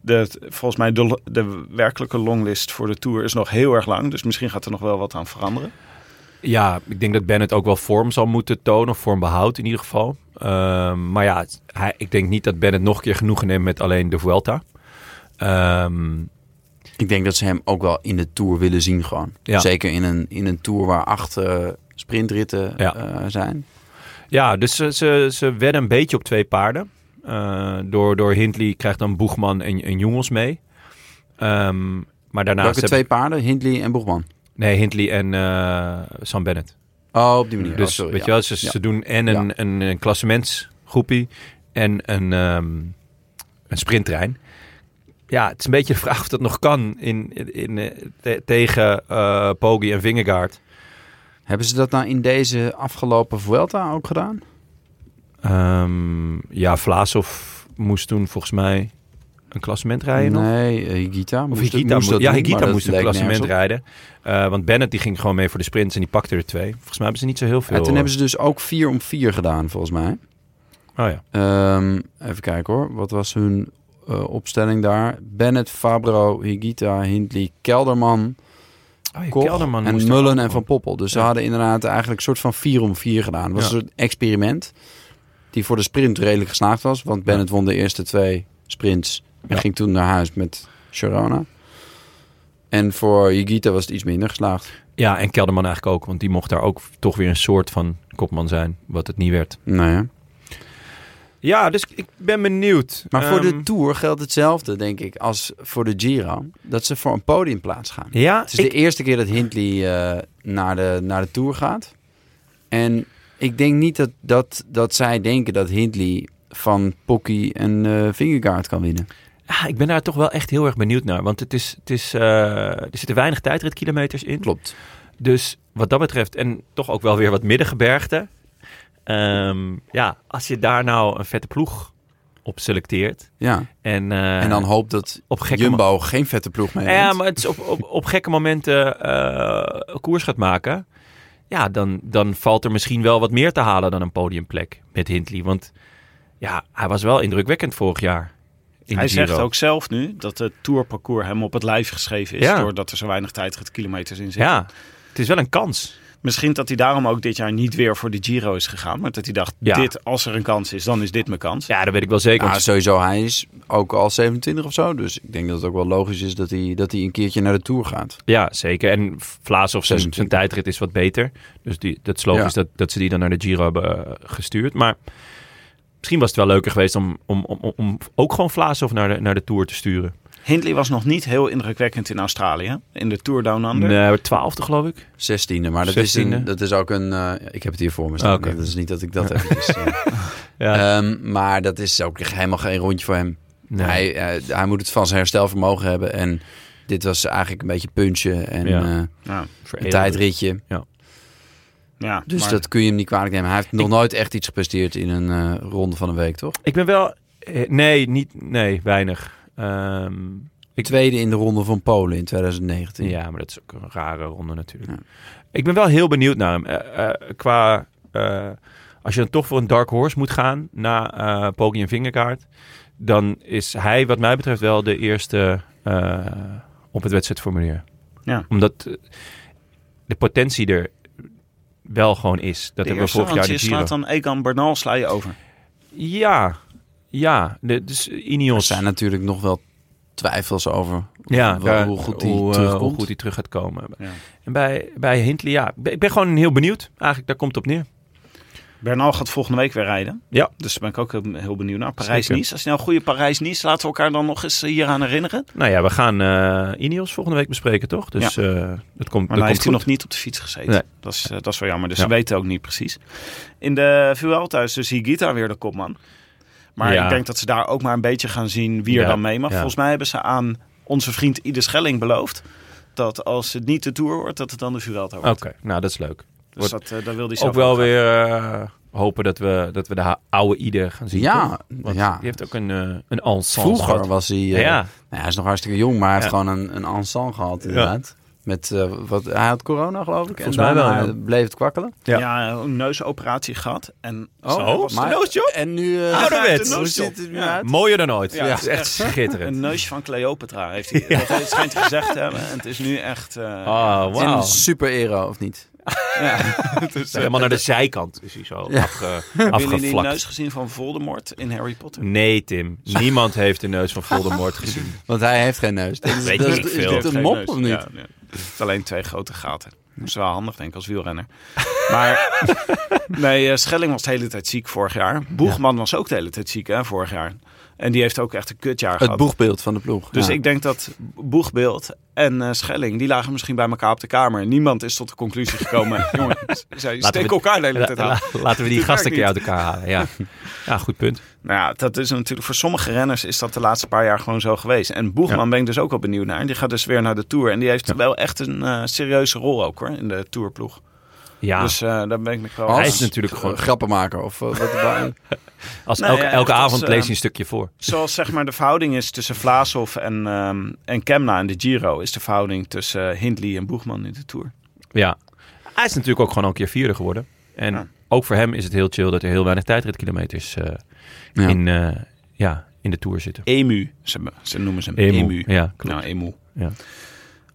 A: de, volgens mij de, de werkelijke longlist voor de Tour is nog heel erg lang. Dus misschien gaat er nog wel wat aan veranderen.
C: Ja, ik denk dat Bennett ook wel vorm zal moeten tonen. Of vorm behoudt in ieder geval. Ehm, maar ja, het- hij, ik denk niet dat Bennett nog een keer genoegen neemt met alleen de Vuelta. Ehm,
B: Ik denk dat ze hem ook wel in de Tour willen zien gewoon.
C: Ja.
B: Zeker in een, in een Tour waar acht eh, sprintritten
C: Ja. Nou,
B: eh, zijn.
C: ja, dus ze, ze, ze wedden een beetje op twee paarden. Eh, door, door Hindley krijgt dan Boegman en, en Jongens mee. Ehm, maar daarnaast...
B: Welke
C: heb-
B: twee paarden? Hindley en Boegman.
C: Nee, Hindley en eh, Sam Bennett.
B: Oh, op die manier.
C: Dus
B: Oh, sorry,
C: weet
B: ja.
C: je wel, ze,
B: Ja.
C: ze doen en een,
B: Ja.
C: een, een klassementsgroepie en een, ehm een sprinttrein. Ja, het is een beetje de vraag of dat nog kan in, in, eh, te- tegen eh Poggi en Vingegaard.
B: Hebben ze dat nou in deze afgelopen Vuelta ook gedaan?
C: Ehm, ja, Vlaasov moest toen volgens mij een klassement rijden nog.
B: nee, eh, Higuita
C: Of
B: moest dat-
C: Higita moest,
B: moest dat
C: ja,
B: doen, maar
C: Higita
B: dat
C: moest een
B: leek
C: klassement
B: nergens op.
C: rijden. Eh, want Bennett die ging gewoon mee voor de sprints en die pakte er twee. Volgens mij hebben ze niet zo heel veel.
B: En toen hebben ze dus ook 4 om 4 gedaan, volgens mij.
C: Oh ja.
B: Ehm, even kijken hoor. Wat was hun eh, opstelling daar? Bennett, Fabro, Higita, Hindley, Kelderman,
C: Oh ja,
B: Koch
C: Kelderman
B: en
C: moest er
B: Mullen
C: ook
B: en Van Poppel. Dus ze
C: Ja.
B: hadden inderdaad eigenlijk een soort van 4 om 4 gedaan. Het was
C: Ja.
B: een soort experiment die voor de sprint redelijk geslaagd was. Want Bennett won de eerste twee sprints en
C: Ja.
B: ging toen naar huis met Sharona. En voor Higita was het iets minder geslaagd.
C: Ja, en Kelderman eigenlijk ook, want die mocht daar ook toch weer een soort van kopman zijn, wat het niet werd.
B: Nou ja.
C: Ja, dus ik ben benieuwd.
B: Maar voor de
C: Ehm,
B: Tour geldt hetzelfde, denk ik, als voor de Giro. Dat ze voor een podiumplaats gaan.
C: ja,
B: Het is
C: ik-
B: Dus de eerste keer dat Hindley eh, naar, de, naar de Tour gaat. En ik denk niet dat, dat, dat zij denken dat Hindley van Pocky en eh Vingegaard kan winnen.
C: ah, ik ben daar toch wel echt heel erg benieuwd naar. Want het is, het is, eh, er zitten weinig tijdritkilometers in.
B: Klopt.
C: Dus wat dat betreft, en toch ook wel weer wat middengebergte. Ehm, ja, als je daar nou een vette ploeg op selecteert.
B: Ja.
C: En, eh,
B: En dan hoopt dat
C: op gekke mo-
B: Jumbo geen vette ploeg mee heeft.
C: Nou Ja, maar het is op, op, op gekke momenten eh, koers gaat maken. Ja, dan, dan valt er misschien wel wat meer te halen dan een podiumplek met Hindley. Want ja, hij was wel indrukwekkend vorig jaar. In
A: Hij
C: de Giro.
A: zegt ook zelf nu dat het tourparcours hem op het lijf geschreven is.
C: Ja.
A: Doordat er zo weinig tijdritkilometers in zitten.
C: Ja, het is wel een kans.
A: Misschien dat hij daarom ook dit jaar niet weer voor de Giro is gegaan. Maar dat hij dacht,
C: Ja.
A: dit, als er een kans is, dan is dit mijn kans.
C: Ja, dat weet ik wel zeker.
B: Ja,
C: want-
B: sowieso, hij is ook al 27 of zo. Dus ik denk dat het ook wel logisch is dat hij, dat hij een keertje naar de Tour gaat.
C: Ja, zeker. En Vlaas of zijn,
B: 26.
C: zijn tijdrit is wat beter. Dus die, dat is logisch
B: Ja.
C: dat, dat ze die dan naar de Giro hebben eh, gestuurd. Maar misschien was het wel leuker geweest om, om, om, om- om ook gewoon Vlaas of naar de, naar de Tour te sturen.
A: Hindley was nog niet heel indrukwekkend in Australië. In de Tour Down Under.
C: Nee, twaalfde geloof ik.
B: 16e, maar dat, Is,
C: 16e.
B: een, dat is ook een... eh, ik heb het hier voor me staan.
C: Ah, oké.
B: Dat is niet dat ik dat eventjes... eh,
C: <laughs> Ja.
B: ehm, maar dat is ook echt helemaal geen rondje voor hem.
C: Nee.
B: Hij, eh, hij moet het van zijn herstelvermogen hebben. En dit was eigenlijk een beetje punchen en
C: Ja.
B: eh,
A: Ja,
B: een
C: Veredeld.
B: tijdritje.
A: ja,
B: Dus
A: maar-
B: dat kun je hem niet kwalijk nemen. Hij heeft nog nooit echt iets gepresteerd in een eh, ronde van een week, toch?
C: Ik ben wel... eh, Nee, niet... Nee, weinig. Ehm, Ik-
B: Tweede in de ronde van Polen in 2019.
C: ja, maar dat is ook een rare ronde natuurlijk.
B: Ja.
C: Ik ben wel heel benieuwd naar hem. Eh, eh, qua... eh, als je dan toch voor een dark horse moet gaan na eh Poggi en Vingerkaart, dan is hij wat mij betreft wel de eerste eh, op het wedstrijdformulier.
A: Ja.
C: Omdat eh, de potentie er wel gewoon is. Dat
A: de
C: hebben we
A: eerste,
C: vorig jaar
A: want
C: de
A: je
C: Giro.
A: slaat dan Egan Bernal sla je over.
C: Ja, ja. De, dus
B: Er
C: Ineos.
B: zijn natuurlijk nog wel twijfels over
C: Ja,
B: wel
C: daar-
B: hoe goed die
C: eh,
B: terugkomt.
C: hoe goed die terug gaat komen.
A: Ja.
C: En bij, bij Hindley, ja, ik ben- ik ben gewoon heel benieuwd. Eigenlijk, daar komt het op neer.
A: Bernal gaat volgende week weer rijden.
C: Ja.
A: Dus daar ben ik ook heel- heel benieuwd naar. Parijs-Nice. Als je nou een goede Parijs-Nice, laten we elkaar dan nog eens eh, hieraan herinneren.
C: Nou ja, we gaan eh Ineos volgende week bespreken, toch? Dus eh dat komt,
A: Maar
C: dat
A: hij
C: komt
A: heeft hij
C: goed.
A: nog niet op de fiets gezeten.
C: Nee.
A: Dat, is, eh, dat is wel jammer. Dus
C: Ja.
A: ze weten ook niet precies. In de Vuelta is dus Higuita weer de kopman. Maar
C: Ja.
A: ik denk dat ze daar ook maar een beetje gaan zien wie er
C: Ja,
A: dan mee mag.
C: ja.
A: Volgens mij hebben ze aan onze vriend Ieder Schelling beloofd... dat als het niet de Tour wordt, dat het dan de Vuelta
C: Oké,
A: wordt.
C: nou dat is leuk.
A: Dus dat, eh, daar wil hij zelf
C: Ook wel
A: graag.
C: weer eh, hopen dat we, dat we de ha- oude Ieder gaan zien.
B: Ja,
C: toch? Want
B: ja.
C: die heeft ook een, eh een ensemble.
B: Vroeger
C: gehad.
B: was hij... eh,
C: Ja.
B: nou, hij is nog hartstikke jong, maar hij heeft
C: Ja.
B: gewoon een, een ensemble gehad inderdaad. Met, eh, wat, hij had corona geloof ik.
C: Volgens
B: en
C: mij
B: daarna
C: wel, ja.
B: bleef het kwakkelen.
A: Ja. een neusoperatie gehad. En was
B: maar-
C: nou,
B: En nu... eh,
C: Ouderwets.
B: Oh, Hoe ziet het nu
A: Ja.
B: uit?
C: Mooier dan ooit.
A: Ja,
C: Ja, is echt
A: <laughs>
C: schitterend.
A: een neusje van Cleopatra
B: <laughs>
A: heeft hij. Dat hij schijnt hij gezegd te hebben. En het is nu echt... eh,
B: Ah.
C: Oh,
B: En
C: wauw.
B: een super ero, of niet? <laughs>
C: Helemaal naar de zijkant is hij zo afge,
A: Hebben jullie die
C: afgevlakt.
A: neus gezien van Voldemort in Harry Potter?
C: Nee, Tim. Niemand heeft de neus van Voldemort gezien.
B: Want hij heeft geen neus. Dat is,
C: Weet
B: dat
C: je
B: is-
C: niet
B: is
C: veel.
B: dit een mop of niet?
A: Ja, nee. Het heeft alleen twee grote gaten. Dat is wel handig, denk ik, als wielrenner. Maar
B: <laughs>
A: nee, eh, Schelling was de hele tijd ziek vorig jaar. Boegman was ook de hele tijd ziek, hè, vorig jaar. En die heeft ook echt een kutjaar
B: Het
A: gehad.
B: boegbeeld van de ploeg.
A: dus
B: Ja.
A: ik denk dat Boegbeeld en eh, Schelling, die lagen misschien bij elkaar op de kamer. Niemand is tot de conclusie
C: <laughs>
A: gekomen. Jongens, zij steken
C: we-
A: elkaar de hele tijd aan.
C: La- laten we <laughs> die
A: Dit
C: gasten een keer uit
A: werkt
C: elkaar halen. <laughs> Ja, ja goed punt.
A: Nou ja, dat is natuurlijk voor sommige renners is dat de laatste paar jaar gewoon zo geweest. En Boegman ben ik dus ook wel benieuwd naar. Die gaat dus weer naar de Tour. En die heeft wel echt een eh, serieuze rol ook hoor, in de Tourploeg.
C: Ja,
A: Dus eh, daar ben ik nog wel...
B: Hans?
C: hij is natuurlijk gewoon...
B: Grappenmaker of eh, wat <laughs> erbij.
C: Als
A: Nou
C: elke,
A: ja,
C: elke
A: echt als,
C: avond
A: eh,
C: lees je een stukje voor.
A: Zoals zeg maar de verhouding is tussen Vlaashoff en, ehm en Kemna in de Giro... is de verhouding tussen eh, Hindley en Boegman in de Tour.
C: Ja. Hij is natuurlijk ook gewoon al een keer vierde geworden. En
A: Ja.
C: ook voor hem is het heel chill dat er heel weinig tijdritkilometers eh,
B: Ja.
C: in, eh, ja, in de Tour zitten.
A: Emu, ze, ze noemen ze hem.
C: Emu,
A: Emu.
C: ja, klopt.
A: Nou, Emu.
C: Ja.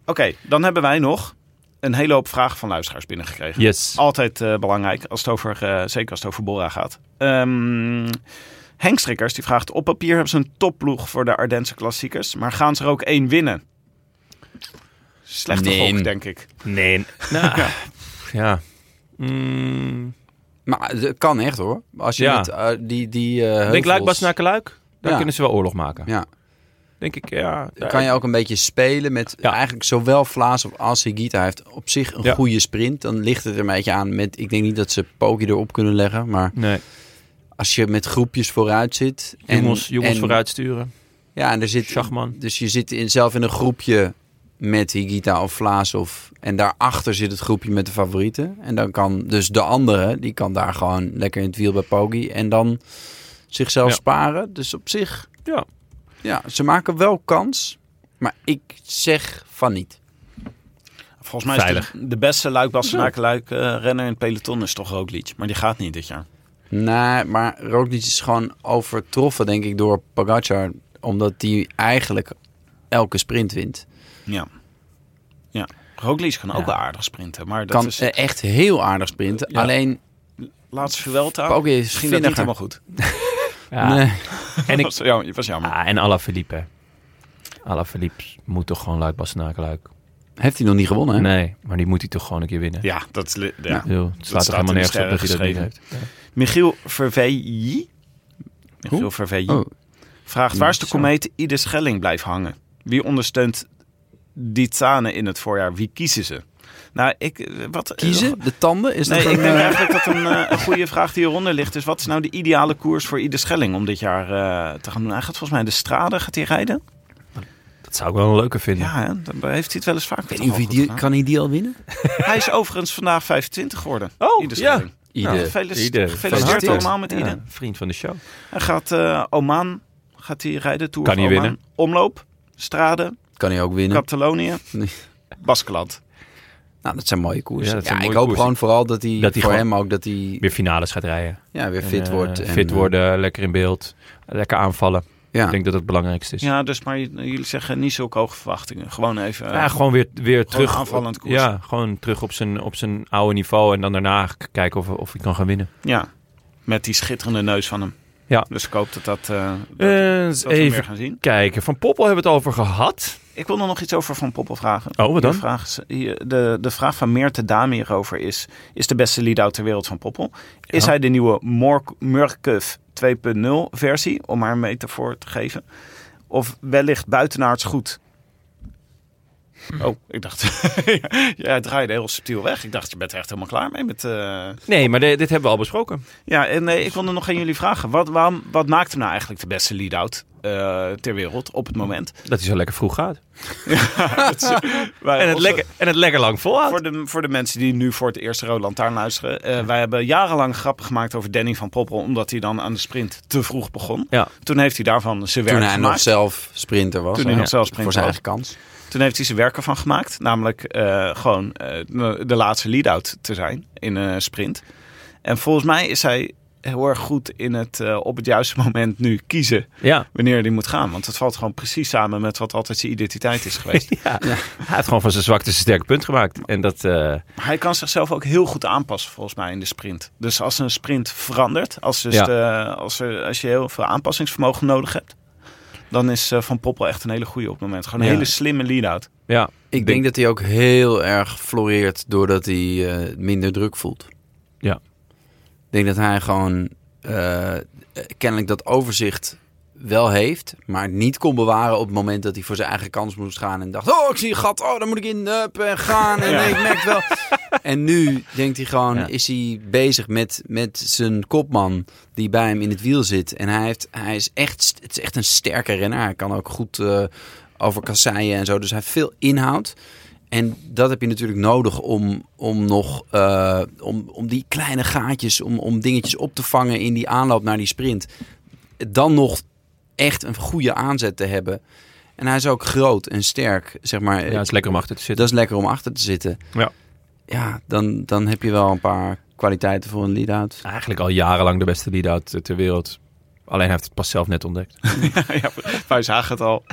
A: Oké, dan hebben wij nog een hele hoop vragen van luisteraars binnengekregen.
C: Yes.
A: Altijd eh, belangrijk, als het over, eh, zeker als het over Bora gaat. Ehm Henk Strikkers die vraagt: Op papier hebben ze een topploeg voor de Ardense klassiekers, maar gaan ze er ook één winnen? Slechte
B: Nee.
A: gok, denk ik.
C: Nee. Nou, ja. Mm,
B: Maar het kan echt hoor. Als je
C: Ja.
B: met eh, die, die eh, heuvels...
C: denk Luik, naar Luik. Daar
B: Ja.
C: kunnen ze wel oorlog maken.
B: Ja,
C: Denk ik, ja. daar-
B: kan je ook een beetje spelen met
C: Ja.
B: eigenlijk zowel Vlaas als Higita heeft op zich een
C: Ja.
B: goede sprint. Dan ligt het er een beetje aan met, ik denk niet dat ze Poki erop kunnen leggen, maar
C: Nee.
B: als je met groepjes vooruit zit. En,
C: Jongens, jongens
B: en-
C: vooruit sturen.
B: Ja, en er zit,
C: Schachman.
B: dus je zit in, zelf in een groepje met Higita of Vlaas of, en daarachter zit het groepje met de favorieten. En dan kan dus de andere, die kan daar gewoon lekker in het wiel bij Pogi en dan zichzelf
C: Ja.
B: sparen. Dus op zich,
C: Ja.
B: ja, ze maken wel kans, maar ik zeg van niet.
A: Volgens mij is
C: Veilig.
A: de, de beste Luik Bastenaken Luik eh, renner in het peloton is toch Roglic. Maar die gaat niet dit jaar.
B: Nee, maar Roglic is gewoon overtroffen, denk ik, door Pogacar. Omdat die eigenlijk elke sprint wint.
A: Ja. Ja. Roglic kan ook wel aardig sprinten. Maar dat
B: kan
A: is
B: eh, echt heel aardig sprinten.
C: Ja.
B: Alleen,
A: laatste Vuelta.
B: Poggi is
A: Misschien dat niet
B: vinniger.
A: helemaal goed.
C: Ja.
B: Nee.
C: En
A: <laughs>
C: ik,
A: was jammer. Was jammer.
C: ah, en Alaphilippe. Alaphilippe moet toch gewoon Luik, Bastenaken, Luik.
B: heeft hij nog niet gewonnen, hè?
C: Nee, maar die moet hij toch gewoon een keer winnen.
A: Ja, dat is... li- Ja.
C: Ik bedoel, het slaat
A: staat
C: toch
A: in de
C: helemaal nergens op dat
A: sterren
C: hij dat niet
A: geschreven.
C: heeft.
A: Michiel Verveyi. Michiel Verveyi.
B: Oh.
A: Vraagt, waar is de
B: Zo.
A: komeet ieder Schelling blijft hangen? Wie ondersteunt die Tane in het voorjaar? Wie kiezen ze? Nou, ik... eh, Wat,
B: Kiezen? De tanden? Is
A: Nee,
B: dat
A: ik
B: een,
A: denk
B: eh,
A: eigenlijk dat een, eh, een goede vraag die hieronder ligt is... wat is nou de ideale koers voor ieder Schelling om dit jaar eh, te gaan doen? Hij gaat volgens mij de strade gaat hij rijden.
C: Dat zou ik wel een leuke vinden.
A: Ja, hè? dan heeft hij het wel eens vaak.
B: Ik
A: toch
B: weet niet of hij
A: al goed
B: die-
A: gedaan.
B: kan hij die al winnen?
A: Hij is overigens vandaag 25 geworden.
C: Oh,
A: Ieder
C: ja.
A: Schelling. Nou,
B: Ieder.
A: gefelici-
C: Ieder. Van
A: Gefeliciteerd
B: harte.
A: allemaal met Ide.
C: Ja, vriend van de show.
A: Hij gaat eh, Oman, gaat hij rijden. Tour
C: Kan
A: of
C: hij
A: Oman.
C: winnen.
A: Omloop, Strade,
B: Kan hij ook winnen?
A: Catalonië,
B: Nee.
A: Baskeland.
B: Nou, dat zijn mooie koersen.
C: Ja,
B: Ja,
C: dat zijn
B: ik
C: mooie
B: hoop
C: koersen.
B: gewoon vooral dat hij,
C: Dat hij
B: voor
C: gewoon-
B: hem ook, dat hij
C: Weer finales gaat rijden.
B: ja, weer
C: En,
B: fit
C: eh,
B: wordt. en,
C: fit
B: eh,
C: worden, lekker in beeld. Lekker aanvallen.
B: Ja.
C: Ik denk dat dat het belangrijkste is. Ja,
A: Ja, dus maar j- jullie zeggen niet zulke hoge verwachtingen. Gewoon even... eh,
C: gewoon weer, weer terug.
A: aanvallend koers.
C: Ja, gewoon terug op zijn, op zijn oude niveau. En dan daarna k- kijken of, of hij kan gaan winnen.
A: ja, met die schitterende neus van hem.
C: Ja.
A: Dus ik hoop dat, dat, eh, dat,
C: Eens
A: dat we meer
C: Eh, even
A: gaan zien.
C: kijken. Van Poppel hebben we het over gehad.
A: Ik wil er nog iets over Van Poppel vragen.
C: Oh, wat dan?
A: De vraag, is- hier- de, de vraag van Meerte Dame hierover is... Is de beste lead-out ter wereld van Poppel? Is
C: Ja.
A: hij de nieuwe Mork- Murkuf 2.0 versie? Om haar een metafoor te geven. Of wellicht buitenaards goed? Oh, ik dacht... <laughs> ja, het draaide heel subtiel weg. Ik dacht, je bent er echt helemaal klaar mee met... eh,
C: Nee, maar de- dit hebben we al besproken.
A: Ja, en nee, ik wilde nog aan jullie vragen. Wat, waarom, wat maakt hem nou eigenlijk de beste lead-out eh, ter wereld op het moment?
C: Dat hij zo lekker vroeg gaat.
A: Wij-
C: En het,
A: onze-
C: lekker, en het lekker lang volhoudt.
A: Voor de, voor de mensen die nu voor het eerst Rode Lantaarn luisteren. eh, Wij hebben jarenlang grappen gemaakt over Danny van Poppel. Omdat hij dan aan de sprint te vroeg begon.
C: Ja.
A: Toen heeft hij daarvan zijn werk
B: Toen hij nog
A: gemaakt.
B: zelf sprinter was.
A: Toen
B: hè?
A: hij nog zelf
B: Voor
A: sprint
B: zijn
A: was.
B: eigen kans.
A: Toen heeft hij zijn werk ervan gemaakt. Namelijk eh, gewoon eh, de laatste lead-out te zijn in een sprint. En volgens mij is hij heel erg goed in het eh, op het juiste <laughs> moment nu kiezen
C: Ja.
A: wanneer hij moet gaan. Want het valt gewoon precies samen met wat altijd zijn identiteit is geweest.
C: Ja. Hij heeft gewoon van zijn zwakte zijn sterke punt gemaakt. En dat... eh,
A: Maar Hij kan zichzelf ook heel goed aanpassen, volgens mij, in de sprint. Dus als een sprint verandert, als, dus
C: Ja.
A: de- als, er, als je heel veel aanpassingsvermogen nodig hebt, dan is eh, Van Poppel echt een hele goede op het moment. Gewoon een
C: Ja.
A: hele slimme lead-out. <laughs>
C: ja.
B: Ik denk dat hij ook heel erg floreert doordat hij eh, minder druk voelt.
C: Ja.
B: Ik denk dat hij gewoon eh, kennelijk dat overzicht wel heeft, maar het niet kon bewaren op het moment dat hij voor zijn eigen kans moest gaan en dacht: Oh, ik zie een gat, oh, dan moet ik in up en gaan. En ik merk het wel. En nu denkt hij gewoon:
C: Ja.
B: is hij bezig met, met zijn kopman die bij hem in het wiel zit. En hij, heeft, hij is echt, st- het is echt een sterke renner. Hij kan ook goed eh, over kasseien en zo. Dus hij heeft veel inhoud. En dat heb je natuurlijk nodig om, om nog eh, om, om die kleine gaatjes, om, om dingetjes op te vangen in die aanloop naar die sprint. Dan nog echt een goede aanzet te hebben. En hij is ook groot en sterk, zeg maar.
C: Ja, het is lekker om achter te zitten.
B: Dat is lekker om achter te zitten.
C: Ja.
B: Ja, dan, dan heb je wel een paar kwaliteiten voor een lead-out.
C: Eigenlijk al jarenlang de beste lead-out eh, ter wereld. Alleen hij heeft het pas zelf net ontdekt.
A: ja, wij zagen het al.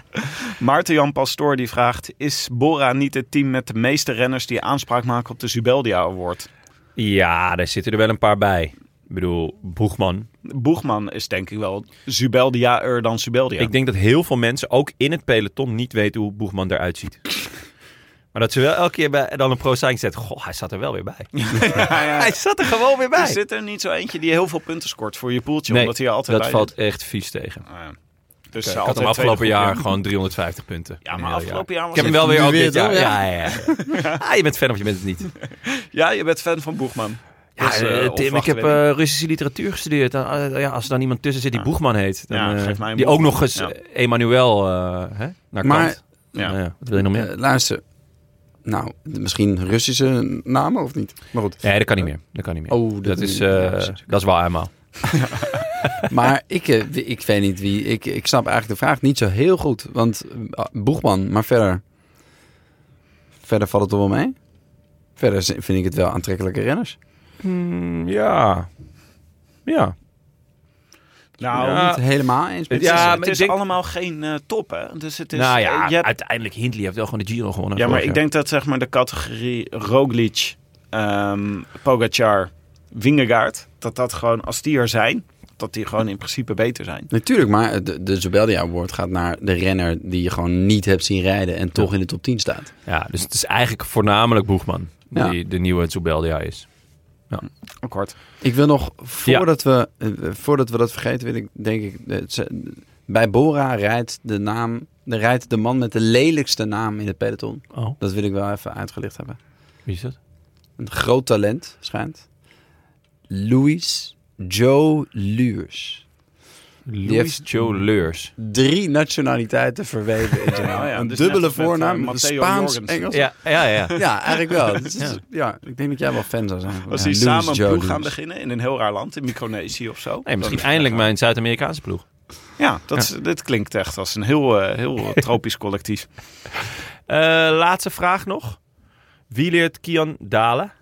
A: Maarten Jan Pastoor die vraagt, is Bora niet het team met de meeste renners die aanspraak maken op de Zubeldia Award?
C: Ja, daar zitten er wel een paar bij. Ik bedoel, Boegman.
A: Boegman is denk ik wel Zubeldia-er dan Zubeldia.
C: <laughs> Ik denk dat heel veel mensen ook in het peloton niet weten hoe Boegman eruit ziet. Maar dat ze wel elke keer bij, dan een pro-signing zet. Goh, hij zat er wel weer <laughs> bij.
A: Ja, ja.
C: Hij zat er gewoon weer
A: Er
C: bij.
A: zit er niet zo eentje die heel veel punten scoort voor je poeltje,
C: Nee,
A: omdat hij er altijd
C: dat
A: bij
C: valt echt vies tegen.
A: zit. Ah, ja. Dus
C: Ik had
A: ze
C: hem
A: altijd
C: afgelopen
A: tweede
C: jaar
A: goed
C: gewoon 350 punten.
A: in. Ja,
C: Een
A: maar
C: heel
A: afgelopen
C: Ik
A: jaar was
C: heb hem
A: het-
C: wel weer
B: Nu
C: ook
B: weer,
C: dit jaar.
B: toch?
C: Ja, ja, ja. <laughs> Ah, je bent fan of je bent het niet.
A: Ja, je bent fan van Boegman.
C: Ja,
A: Dus, eh,
C: eh, Tim, ik
A: onverwachte
C: heb
A: winnaar.
C: eh, Russische literatuur gestudeerd. Dan, eh, ja, als er dan iemand tussen zit die
A: Ja.
C: Boegman heet. Dan,
A: Ja,
C: eh,
A: geef mij een
C: die ook
A: Boegman.
C: nog eens
A: Ja.
C: eh, Emmanuel eh, hè, naar
B: Maar-
C: kant.
A: Ja.
C: Nou ja, wat wil je nog meer?
B: Eh, luister. Nou, misschien Russische namen of niet? Maar goed.
C: nee, dat kan niet meer. Dat kan niet meer.
B: Oh, dat
C: dat,
B: kan
C: is,
B: niet meer.
C: eh,
B: Ja, precies.
C: dat is wel eenmaal. <laughs>
B: Maar ik, eh, w- ik weet niet wie. Ik, ik snap eigenlijk de vraag niet zo heel goed. Want eh, Boegman, maar verder. Verder valt het er wel mee. Verder z- vind ik het wel aantrekkelijke renners.
C: ja. Ja.
A: Nou,
C: Ja.
B: Niet helemaal eens. met-
A: het is,
C: Ja, maar
A: het
C: ik
A: is
C: denk-
A: allemaal geen eh, top, hè? Dus het is,
C: nou ja,
A: eh, je hebt-
C: uiteindelijk Hindley heeft wel gewoon de Giro gewonnen.
A: ja, maar
C: vorig
A: ik
C: jaar.
A: denk dat zeg maar de categorie Roglic, ehm Pogacar, Wingegaard, dat dat gewoon, als die er zijn, dat die gewoon in principe beter zijn.
B: Natuurlijk, maar de, de Zobeldia Award gaat naar de renner die je gewoon niet hebt zien rijden en toch in de top 10 staat.
C: Ja, dus het is eigenlijk voornamelijk Boegman
B: Ja.
C: die de nieuwe Zubeldia is.
A: Ook hard.
B: Ik wil nog, voordat, we, eh, voordat we dat vergeten, wil ik denk ik... eh, ze- Bij Bora rijdt de, naam, de, rijdt de man met de lelijkste naam in het peloton.
C: Oh,
B: Dat wil ik wel even uitgelicht hebben.
C: wie is dat?
B: Een groot talent, schijnt. Louis Joe Luurs.
C: Louis
B: heeft-
C: Joe Leurs.
B: Drie nationaliteiten verweven
A: <laughs>
B: in zijn naam.
A: Oh ja,
B: een
A: dus net
B: dubbele
A: als met, eh,
B: voornaam,
A: Matteo
B: Spaans,
A: Jorgensen.
B: Engels.
C: Ja, ja, ja.
B: Ja, eigenlijk
A: <laughs>
B: wel. Dus het is- ja. ik denk dat jij wel fan zou zijn.
A: Als
B: ja,
A: die
B: Louis
A: samen een
B: Joe
A: ploeg gaan
B: Lewis.
A: beginnen in een heel raar land, in Micronesië of zo.
C: Nee, misschien
A: dan-
C: eindelijk mijn Zuid-Amerikaanse ploeg.
A: Ja, dat is- dit klinkt echt als een heel,
C: <laughs>
A: eh, heel tropisch collectief.
C: Eh, laatste vraag nog. Wie leert Kian dalen?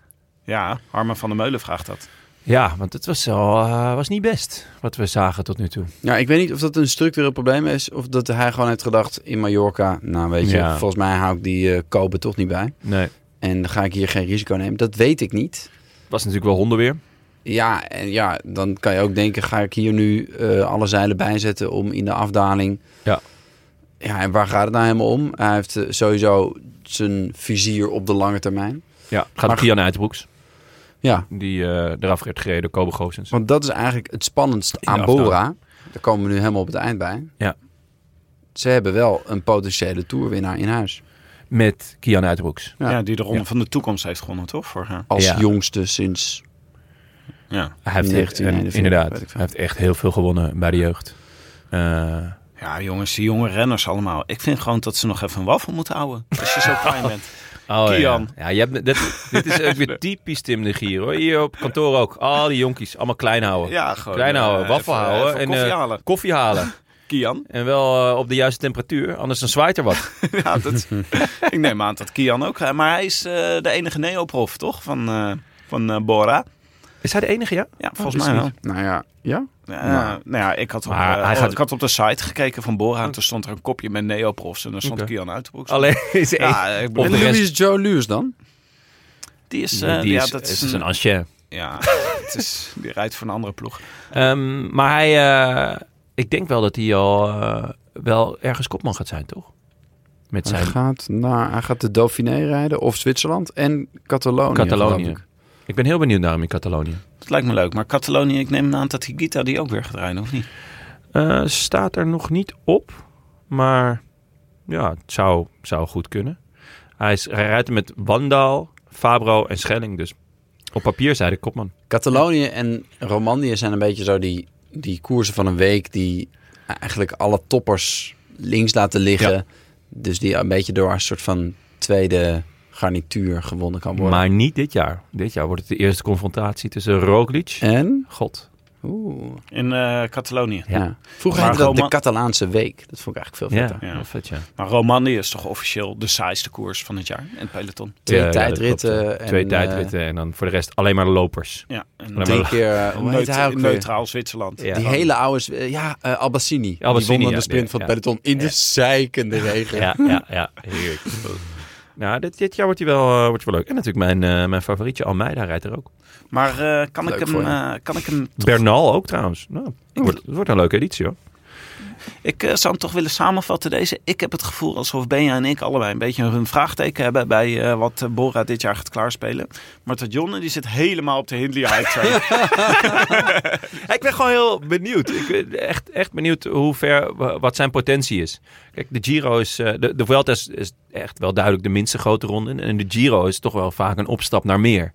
A: Ja, Harman van der Meulen vraagt dat.
C: Ja, want het was, wel, eh, was niet best wat we zagen tot nu toe.
B: Ja, ik weet niet of dat een structureel probleem is. Of dat hij gewoon heeft gedacht in Mallorca. Nou, weet je,
C: Ja.
B: volgens mij hou ik die eh kopen toch niet bij.
C: Nee.
B: En dan ga ik hier geen risico nemen. Dat weet ik niet.
C: Het was natuurlijk wel hondenweer.
B: Ja, en ja, dan kan je ook denken: ga ik hier nu eh, alle zeilen bijzetten om in de afdaling.
C: Ja.
B: Ja, en waar gaat het nou helemaal om? Hij heeft eh, sowieso zijn vizier op de lange termijn.
C: Ja, gaat
B: Maar-
C: om Kian Uitbroeks.
B: Ja,
C: Die eh, eraf werd gereden door Kobe Goossens.
B: Want dat is eigenlijk het spannendste
C: de
B: aan
C: afdaling.
B: Bora. Daar komen we nu helemaal op het eind bij.
C: Ja.
B: Ze hebben wel een potentiële toerwinnaar in huis.
C: Met Kian Uitbroeks.
B: Ja.
A: Ja, die de Ronde van de Toekomst heeft gewonnen, toch? Vorig jaar.
B: Als
C: Ja.
B: jongste sinds...
A: Ja.
C: Hij heeft echt,
B: 1941,
C: inderdaad,
B: weet
C: hij
B: ik veel.
C: heeft echt heel veel gewonnen bij de jeugd. Eh,
A: ja, jongens, die jonge renners allemaal. Ik vind gewoon dat ze nog even een waffel moeten houden.
C: <laughs>
A: Als je zo klein bent.
C: Oh,
A: Kian.
C: Ja, ja je hebt, dit, dit is ook weer typisch Tim de Gier. Hoor. Hier op kantoor ook. Al die jonkies, allemaal klein houden.
A: Ja, gewoon.
C: klein houden,
A: eh,
C: waffel
A: even-
C: houden.
A: even
C: en,
A: koffie
C: eh,
A: halen.
C: koffie <laughs> halen.
A: Kian. <laughs>
C: En wel eh, op de juiste temperatuur, anders dan zwaait er wat.
A: ja, dat, ik neem aan dat Kian ook. eh, Maar hij is eh, de enige neoprof, toch? Van, eh, van eh, Bora.
C: <laughs> Is hij de enige, ja?
A: Ja, volgens mij wel.
B: Nou ja, ja?
A: Eh,
B: Nou.
A: nou ja, ik had, op,
C: Maar
A: eh,
C: hij gaat-
A: ik had op de site gekeken van Bora. En toen stond er een kopje met neoprofs. En daar stond
C: Oké.
A: Kian uit de boek.
C: Alleen <laughs> is één.
A: Ja, ik bedoel,
C: Op
B: En
C: de
B: Louis
C: rest-
B: Joe Lewis dan?
A: die is...
C: Nee,
A: eh,
C: die
A: ja,
C: is,
A: dat
C: het is een ancien.
A: Ja,
C: <laughs>
A: het is, die rijdt voor een andere ploeg.
C: Ehm, maar hij, eh, ik denk wel dat hij al eh, wel ergens kopman gaat zijn, toch? Met
B: Hij
C: zijn
B: gaat, naar, hij gaat de Dauphiné rijden of Zwitserland en Catalonië.
C: Catalonië.
B: geloof ik.
C: Ik ben heel benieuwd naar hem in Catalonië.
A: Dat lijkt me leuk. Maar Catalonië, ik neem aan dat Higuita die ook weer gaat rijden, of niet?
C: Eh, staat er nog niet op, maar ja, het zou, zou goed kunnen. Hij, is, hij rijdt met Wandaal, Fabro en Schelling, dus op papier zei de kopman.
B: Catalonië en Romandie zijn een beetje zo die, die koersen van een week die eigenlijk alle toppers links laten liggen. Dus die een beetje door een soort van tweede garnituur gewonnen kan worden.
C: Maar niet dit jaar. Dit jaar wordt het de eerste confrontatie tussen Roglic en
B: En?
C: God.
B: Oeh.
A: In eh, Catalonië.
B: Ja.
C: Ja.
B: Vroeger
A: Maar
B: heette dat de
A: Roma-
B: Catalaanse week. Dat vond ik eigenlijk veel
C: Ja,
B: vetter.
A: Ja.
C: wel vet ja.
A: Maar Romandie is toch officieel de saaiste koers van het jaar in het peloton.
B: Twee
C: Ja, ja, dat
B: tijdritten.
C: klopt, ja.
B: en,
C: Twee
B: eh,
C: tijdritten en dan voor de rest alleen maar lopers.
A: Ja, en
C: Maar-
B: Drie
C: <laughs>
B: keer. eh, Hoe heet
A: neut-
B: hij ook weer?
A: neutraal Zwitserland.
C: Ja. oh.
B: Die hele oude... Zw- eh, Ja, eh, Albassini. Die
C: Albassini,
B: won dan
C: ja,
B: de sprint
C: die-
B: van het
C: ja.
B: peloton in de zeikende regen.
C: Ja, ja, ja. Heerlijk.
B: <laughs>
C: Nou, dit, dit jaar wordt hij wel, eh, wordt hij wel leuk. En natuurlijk mijn, eh, mijn favorietje Almeida rijdt er ook.
A: Maar eh, kan,
B: Leuk
A: ik hem,
B: voor je.
A: eh, kan ik hem...
C: Bernal ook trouwens. Nou, het wordt, het wordt een leuke editie hoor.
A: Ik eh, zou hem toch willen samenvatten deze. Ik heb het gevoel alsof Benja en ik allebei een beetje een vraagteken hebben bij eh, wat eh, Bora dit jaar gaat klaarspelen. Maar Tadjonne die zit helemaal op
B: <laughs>
A: de Hindley-hype.
C: <laughs> Ik ben gewoon heel benieuwd. Ik ben echt, echt benieuwd hoe ver, wa- wat zijn potentie is. Kijk, de Giro is... eh, de, de Vuelta is, is echt wel duidelijk de minste grote ronde. En de Giro is toch wel vaak een opstap naar meer.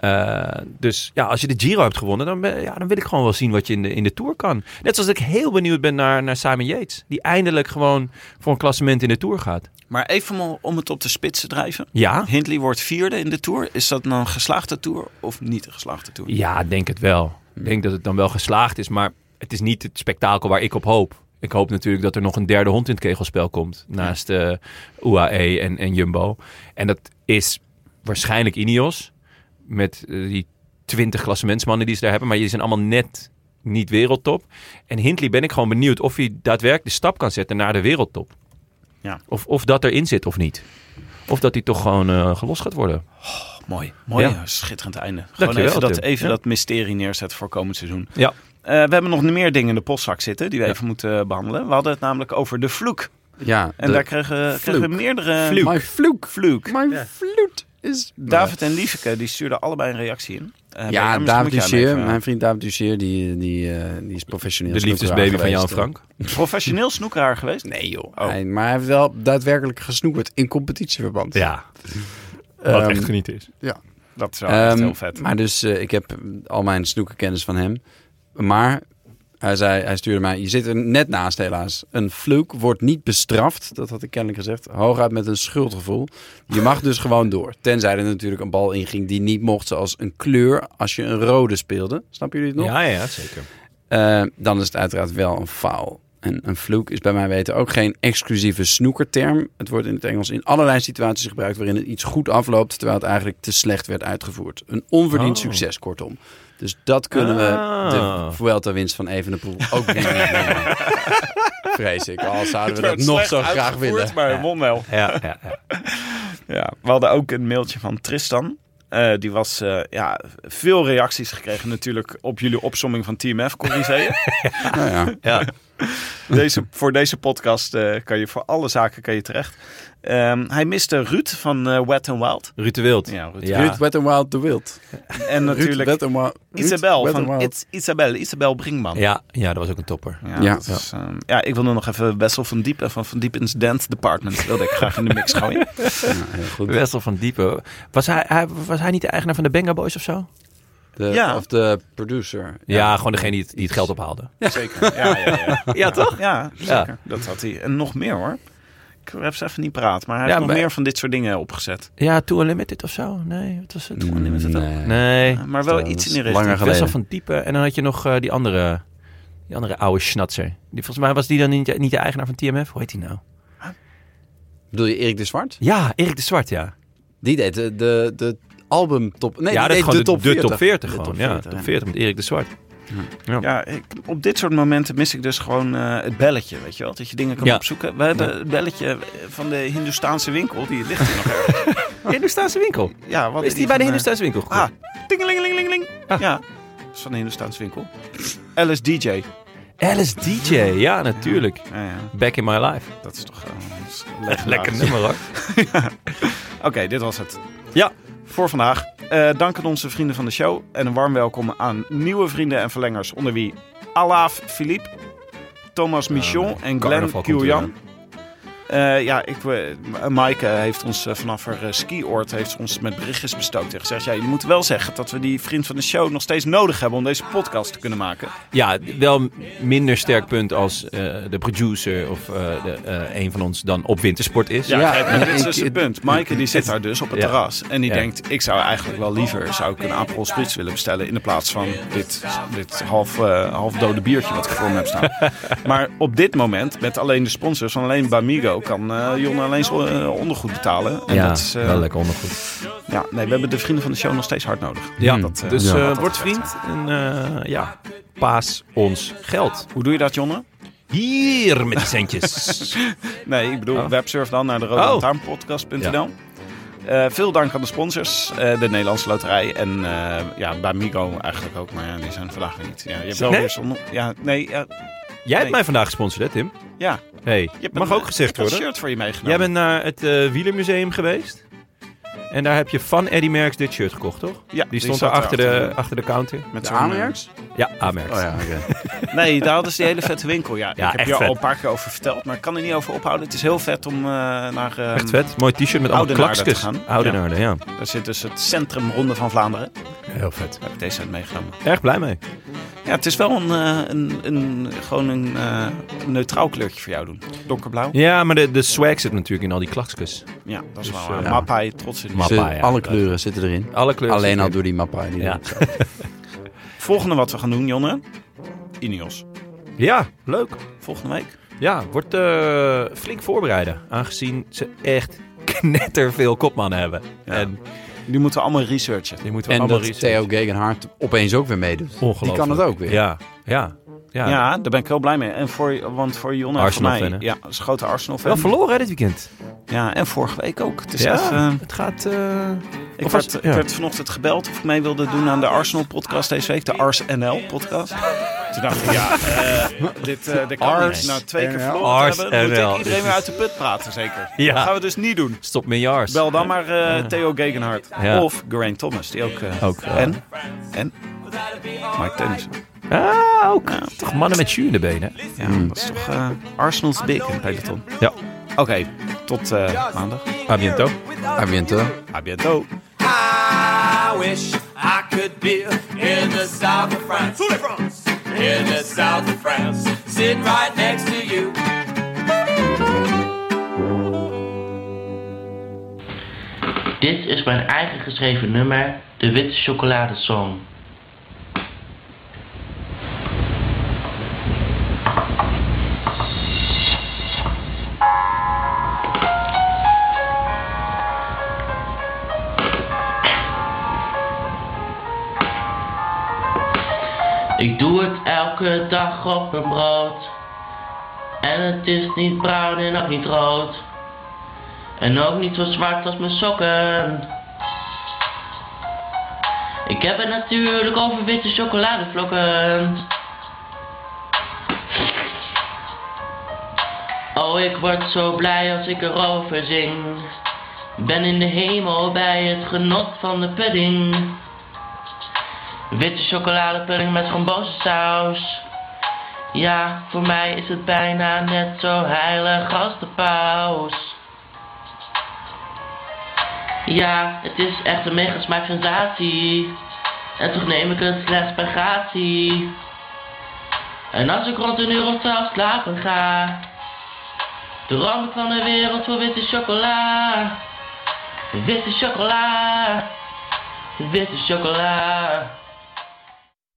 C: Eh, dus ja, als je de Giro hebt gewonnen, dan, ben- ja, dan wil ik gewoon wel zien wat je in de, in de Tour kan. Net zoals ik heel benieuwd ben naar, naar Simon Yates. Die eindelijk gewoon voor een klassement in de Tour gaat.
A: maar even om- om het op de spits te drijven.
C: Ja,
A: Hindley wordt vierde in de Tour. Is dat nou een geslaagde Tour of niet een geslaagde Tour?
C: Ja, denk het wel. Ik denk dat het dan wel geslaagd is, maar het is niet het spektakel waar ik op hoop. Ik hoop natuurlijk dat er nog een derde hond in het kegelspel komt. Naast eh UAE en, en Jumbo. En dat is waarschijnlijk Ineos. Met eh, die 20 klassementsmannen die ze daar hebben. Maar die zijn allemaal net niet wereldtop. En Hindley ben ik gewoon benieuwd of hij daadwerkelijk de stap kan zetten naar de wereldtop.
A: Ja.
C: Of, of dat erin zit of niet. Of dat hij toch gewoon eh, gelost gaat worden.
A: Mooi. Mooi,
C: Ja.
A: schitterend einde. Gewoon
C: Dankjewel,
A: even, dat,
C: Tim.
A: even
C: Ja.
A: dat mysterie neerzetten voor komend seizoen.
C: Ja.
A: Eh, we hebben nog meer dingen in de postzak zitten die we even moeten behandelen. We hadden het namelijk over de vloek.
B: Ja,
A: En
B: de-
A: daar kregen, kregen we
B: vloek.
A: meerdere...
B: Mijn vloek.
A: Vloek.
B: Mijn vloed is...
A: David en Lieveke, die stuurden allebei een reactie in. Eh, Benjamin,
B: Ja,
A: misschien
B: David
A: moet jij hem
B: Dussier,
A: even-
B: mijn vriend David Dussier, die, die, eh, die is professioneel
C: De
B: snoekeraar
C: liefdesbaby van
B: geweest,
C: Jan
B: eh.
C: Frank. Oh.
A: Professioneel snoekeraar geweest?
B: Nee joh, Hij- maar hij heeft wel daadwerkelijk gesnoekerd in competitieverband.
C: Ja.
B: Ehm,
C: genieten is.
A: Dat is wel echt
B: Ehm,
A: heel vet.
B: Maar dus eh, ik heb al mijn snoekenkennis van hem. Maar hij, zei, hij stuurde mij, je zit er net naast helaas. Een fluke wordt niet bestraft, dat had ik kennelijk gezegd. Hooguit met een schuldgevoel. Je mag dus gewoon door. Tenzij er natuurlijk een bal inging die niet mocht, zoals een kleur als je een rode speelde. Snappen jullie het nog?
C: Ja, ja, zeker.
B: Eh, dan is het uiteraard wel een foul. En een vloek is bij mij weten ook geen exclusieve snoekerterm. Het wordt in het Engels in allerlei situaties gebruikt waarin het iets goed afloopt, terwijl het eigenlijk te slecht werd uitgevoerd. Een onverdiend
C: Oh.
B: succes, kortom. Dus dat kunnen we
C: Ah.
B: de Vuelta-winst van Evenepoel ook niet meer. Vrees ik, al zouden we dat
A: werd
B: nog
A: slecht
B: zo graag
A: uitgevoerd,
B: willen.
A: Maar hij won wel.
C: Ja, ja, ja.
A: Ja, we hadden ook een mailtje van Tristan. Eh, die was, eh, ja, veel reacties gekregen natuurlijk op jullie opsomming van
B: <laughs>
A: TMF, Corrizeeën.
B: Nou ja.
C: ja.
A: deze, voor deze podcast eh, kan je voor alle zaken kan je terecht. Ehm, hij miste Ruud van eh, Wet and Wild.
C: Ruud de Wild.
A: Ja, Ruud.
B: Ruud Wet and Wild de Wild.
A: En natuurlijk
B: Ruud Wet and Wild. Ruud
A: Isabel
B: Wet and
A: van
B: Wild.
A: It's Isabel, Isabel Brinkman.
C: Ja, ja, dat was ook een topper.
A: Ja,
B: Ja.
A: dat is, ehm, ja, ik wilde nog even Wessel van Diepen van Van Diepen's Dance Department. wilde ik graag in de mix gooien.
B: Ja, heel goed.
C: Wessel van Diepen. Was hij, hij, was hij niet de eigenaar van de Benga Boys of zo?
B: De,
A: Ja.
B: Of de producer.
C: Ja, gewoon degene die het, die het geld ophaalde.
A: Zeker. Ja, ja, ja.
C: <laughs> Ja, toch?
A: ja zeker. Dat had hij. En nog meer hoor. Ik heb ze even niet praat, maar hij
C: Ja,
A: heeft nog
C: maar-
A: meer van dit soort dingen opgezet.
C: Ja, Too Unlimited of zo. Nee, wat was het?
B: Mm, Nee.
C: Nee.
A: Ja, Eh, maar wel
B: dat
A: iets in
B: is
A: die richting.
B: langer
C: Wessel
B: geleden.
C: van Diepen. En dan had je nog eh, die andere... Die andere oude schnatser. Die, volgens mij was die dan niet, niet de eigenaar van TMF. Hoe heet die nou?
B: Bedoel je Erik de Zwart?
C: Ja, Erik de Zwart, ja.
B: Die deed de, de, de albumtop. Nee,
C: ja,
B: die deed
C: gewoon
B: de, top 40.
C: top 40
B: De
C: gewoon.
B: top
C: ja,
B: 40,
C: top 40 met Erik de Zwart.
A: Ja, ik, op dit soort momenten mis ik dus gewoon eh, het belletje, weet je wel? Dat je dingen kan
C: Ja.
A: opzoeken. We hebben het belletje van de Hindoestaanse winkel, die ligt hier nog
C: <laughs>
A: ergens.
C: Hindoestaanse winkel.
A: Ja, wat
C: Is die bij de
A: van, eh,
C: Hindoestaanse winkel gekocht?
A: Ah, tingelingelingeling. Ja, dat is van de Hindoestaanse winkel. Alice DJ.
C: Alice DJ, ja natuurlijk.
A: Ja, ja,
C: Back in my life.
A: dat is toch... eh, dat is
C: Lekker
A: legendarisch.
C: nummer hoor.
A: Oké, dit was het.
C: Ja.
A: Voor vandaag. Eh dank aan onze vrienden van de show. En een warm welkom aan nieuwe vrienden en verlengers. Onder wie Alaaf Philippe, Thomas Michon en
C: carnaval
A: Glenn
C: komt
A: Kieljan. Eh, ja, ik, eh, M- Maaike heeft ons eh, vanaf haar eh, skioord heeft ons met berichtjes bestookt. En gezegd, ja, je moet wel zeggen dat we die vriend van de show nog steeds nodig hebben om deze podcast te kunnen maken.
C: Ja, wel minder sterk punt als eh, de producer of eh, de, eh, een van ons dan op wintersport is.
A: Ja,
B: Ja,
A: kijk, maar
B: en
A: dit is
B: ik-
A: dus het
B: het-
A: punt. Maaike die zit daar dus op het
C: Ja.
A: terras. En die
C: Ja.
A: denkt, ik zou eigenlijk wel liever zou ik een Aperol Spritz willen bestellen... in de plaats van dit, dit half, eh, half dode biertje wat ik voor me heb
C: <laughs>
A: staan. maar op dit moment, met alleen de sponsors van alleen Bamigo... kan eh Jonne alleen zo, eh, ondergoed betalen. En
C: Ja,
A: dat is, eh,
C: wel lekker ondergoed.
A: ja, nee, we hebben de vrienden van de show nog steeds hard nodig.
C: Ja,
A: eh,
C: dus
A: laat
C: eh,
A: dat
C: word
A: gezegd
C: vriend en eh, ja, paas ons geld.
A: Hoe doe je dat, Jonne?
C: Hier met die
A: <laughs>
C: centjes.
A: Nee, ik bedoel
C: Oh.
A: websurf dan naar de
C: Oh.
A: roodlantaarnpodcast.nl. Eh, veel dank aan de sponsors, eh, de Nederlandse Loterij en eh, ja, bij Migo eigenlijk ook, maar ja, die zijn vandaag weer niet. Ja, je hebt wel
C: Nee?
A: weer zon- Ja, nee, ja,
C: Jij hebt
A: Nee.
C: mij vandaag gesponsord, hè, Tim?
A: Ja. Nou.
C: Hey,
A: Je hebt
C: mag
A: een-
C: ook gezegd
A: ik heb
C: worden.
A: een shirt voor je meegenomen.
C: Jij bent naar het eh, wielermuseum geweest. En daar heb je van Eddy Merckx dit shirt gekocht, toch?
A: Ja,
C: Die stond daar achter de,
A: erachter.
C: achter de counter.
A: Met
B: De
A: zo'n, eh,
B: aanmerks?
C: Ja, A-Merckx.
B: Oh ja, oké.
A: Nee, daar hadden ze die hele vette winkel. Ja,
C: Ja,
A: ik heb
C: echt
A: je al
C: vet.
A: een paar keer over verteld, maar ik kan er niet over ophouden. Het is heel vet om eh, naar... ehm,
C: Echt vet. Mooi t-shirt met allemaal
A: Oudenaarde te
C: klakskes.
A: gaan.
C: Oudenaarde, ja.
A: Daar zit dus het Centrum Ronde van Vlaanderen. Daar
C: Heel vet.
A: heb ik deze uit meegenomen.
C: Erg blij mee.
A: Ja, het is wel een, eh, een, een, gewoon een eh, neutraal kleurtje voor jou doen. Donkerblauw.
C: Ja, maar de, de swag zit natuurlijk in al die klakskes.
A: Ja, dat
C: Dus,
A: is wel
C: eh,
A: waar.
B: ja.
A: Mappai, trots in.
C: Map-
B: Ze-
C: Mappa, ja.
B: Alle kleuren zitten erin.
C: Alle kleuren.
B: Alleen al
C: zitten
B: door die mappa. Die
C: Ja.
A: Volgende wat we gaan doen, Jonne. Ineos.
C: erin. Ja, leuk.
A: Volgende week.
C: Ja, wordt eh, flink voorbereiden. Aangezien ze echt <laughs> knetterveel kopmannen hebben. En
A: Die moeten we allemaal researchen.
C: die moeten we
B: En
C: allemaal
B: dat
C: researchen.
B: Theo Gegenhardt opeens ook weer meedoet. Die
C: Ongelooflijk.
B: kan het ook weer.
C: Ja, ja, ja.
A: Ja, daar ben ik heel blij mee. En voor, want voor Jonne en voor
C: Arsenal
A: mij...
C: fan, hè?
A: ja, dat is een grote Arsenal fan.
C: Wel verloren hè, dit weekend.
A: Ja, en vorige week ook. Het is
C: ja,
A: echt... eh,
C: het gaat... Dus eh,
A: Ik
C: Of
A: werd,
C: was-
A: ik
C: ja.
A: werd vanochtend gebeld of ik mee wilde doen aan de Arsenal-podcast deze week. De Ars NL-podcast. Toen dacht ik, ja, eh, dit, eh dit kan
C: Ars
A: niet. Nou, twee keer
F: NL.
A: verloren
C: Ars
A: hebben. Dan moet
C: NL.
A: ik iedereen
C: Dit
A: weer
C: is-
A: uit de put praten, zeker.
C: Ja.
A: Dat gaan we dus niet doen.
C: Stop me in je ars.
A: Bel dan maar eh, Theo Gegenhardt.
C: Ja.
A: Of Geraint Thomas, die ook... eh,
C: Ook, ja.
A: en? En? Mike Tennis.
C: Ah, ook. Toch mannen met shoe in de benen. hè?
A: Ja, dat is toch eh, Arsenal's big in het peloton.
C: Ja.
A: Oké, tot eh, maandag.
C: A biento.
B: A biento.
A: A bientôt.
G: I wish I could be in the south of France. In the south of France. Sitting right next to you.
H: Dit is mijn eigen geschreven nummer, de Witte Chocolade Song. Ik doe het elke dag op mijn brood. En het is niet bruin en ook niet rood. En ook niet zo zwart als mijn sokken. Ik heb het natuurlijk over witte chocoladevlokken. Oh, ik word zo blij als ik erover zing. Ben in de hemel bij het genot van de pudding. Witte chocoladepudding met saus. Ja, voor mij is het bijna net zo heilig als de paus. Ja, het is echt een mega smaaksensatie. En toch neem ik het slechts per gratie. En als ik rond een uur of twaalf slapen ga, droom ik van de wereld voor witte chocola. Witte chocola. Witte chocola.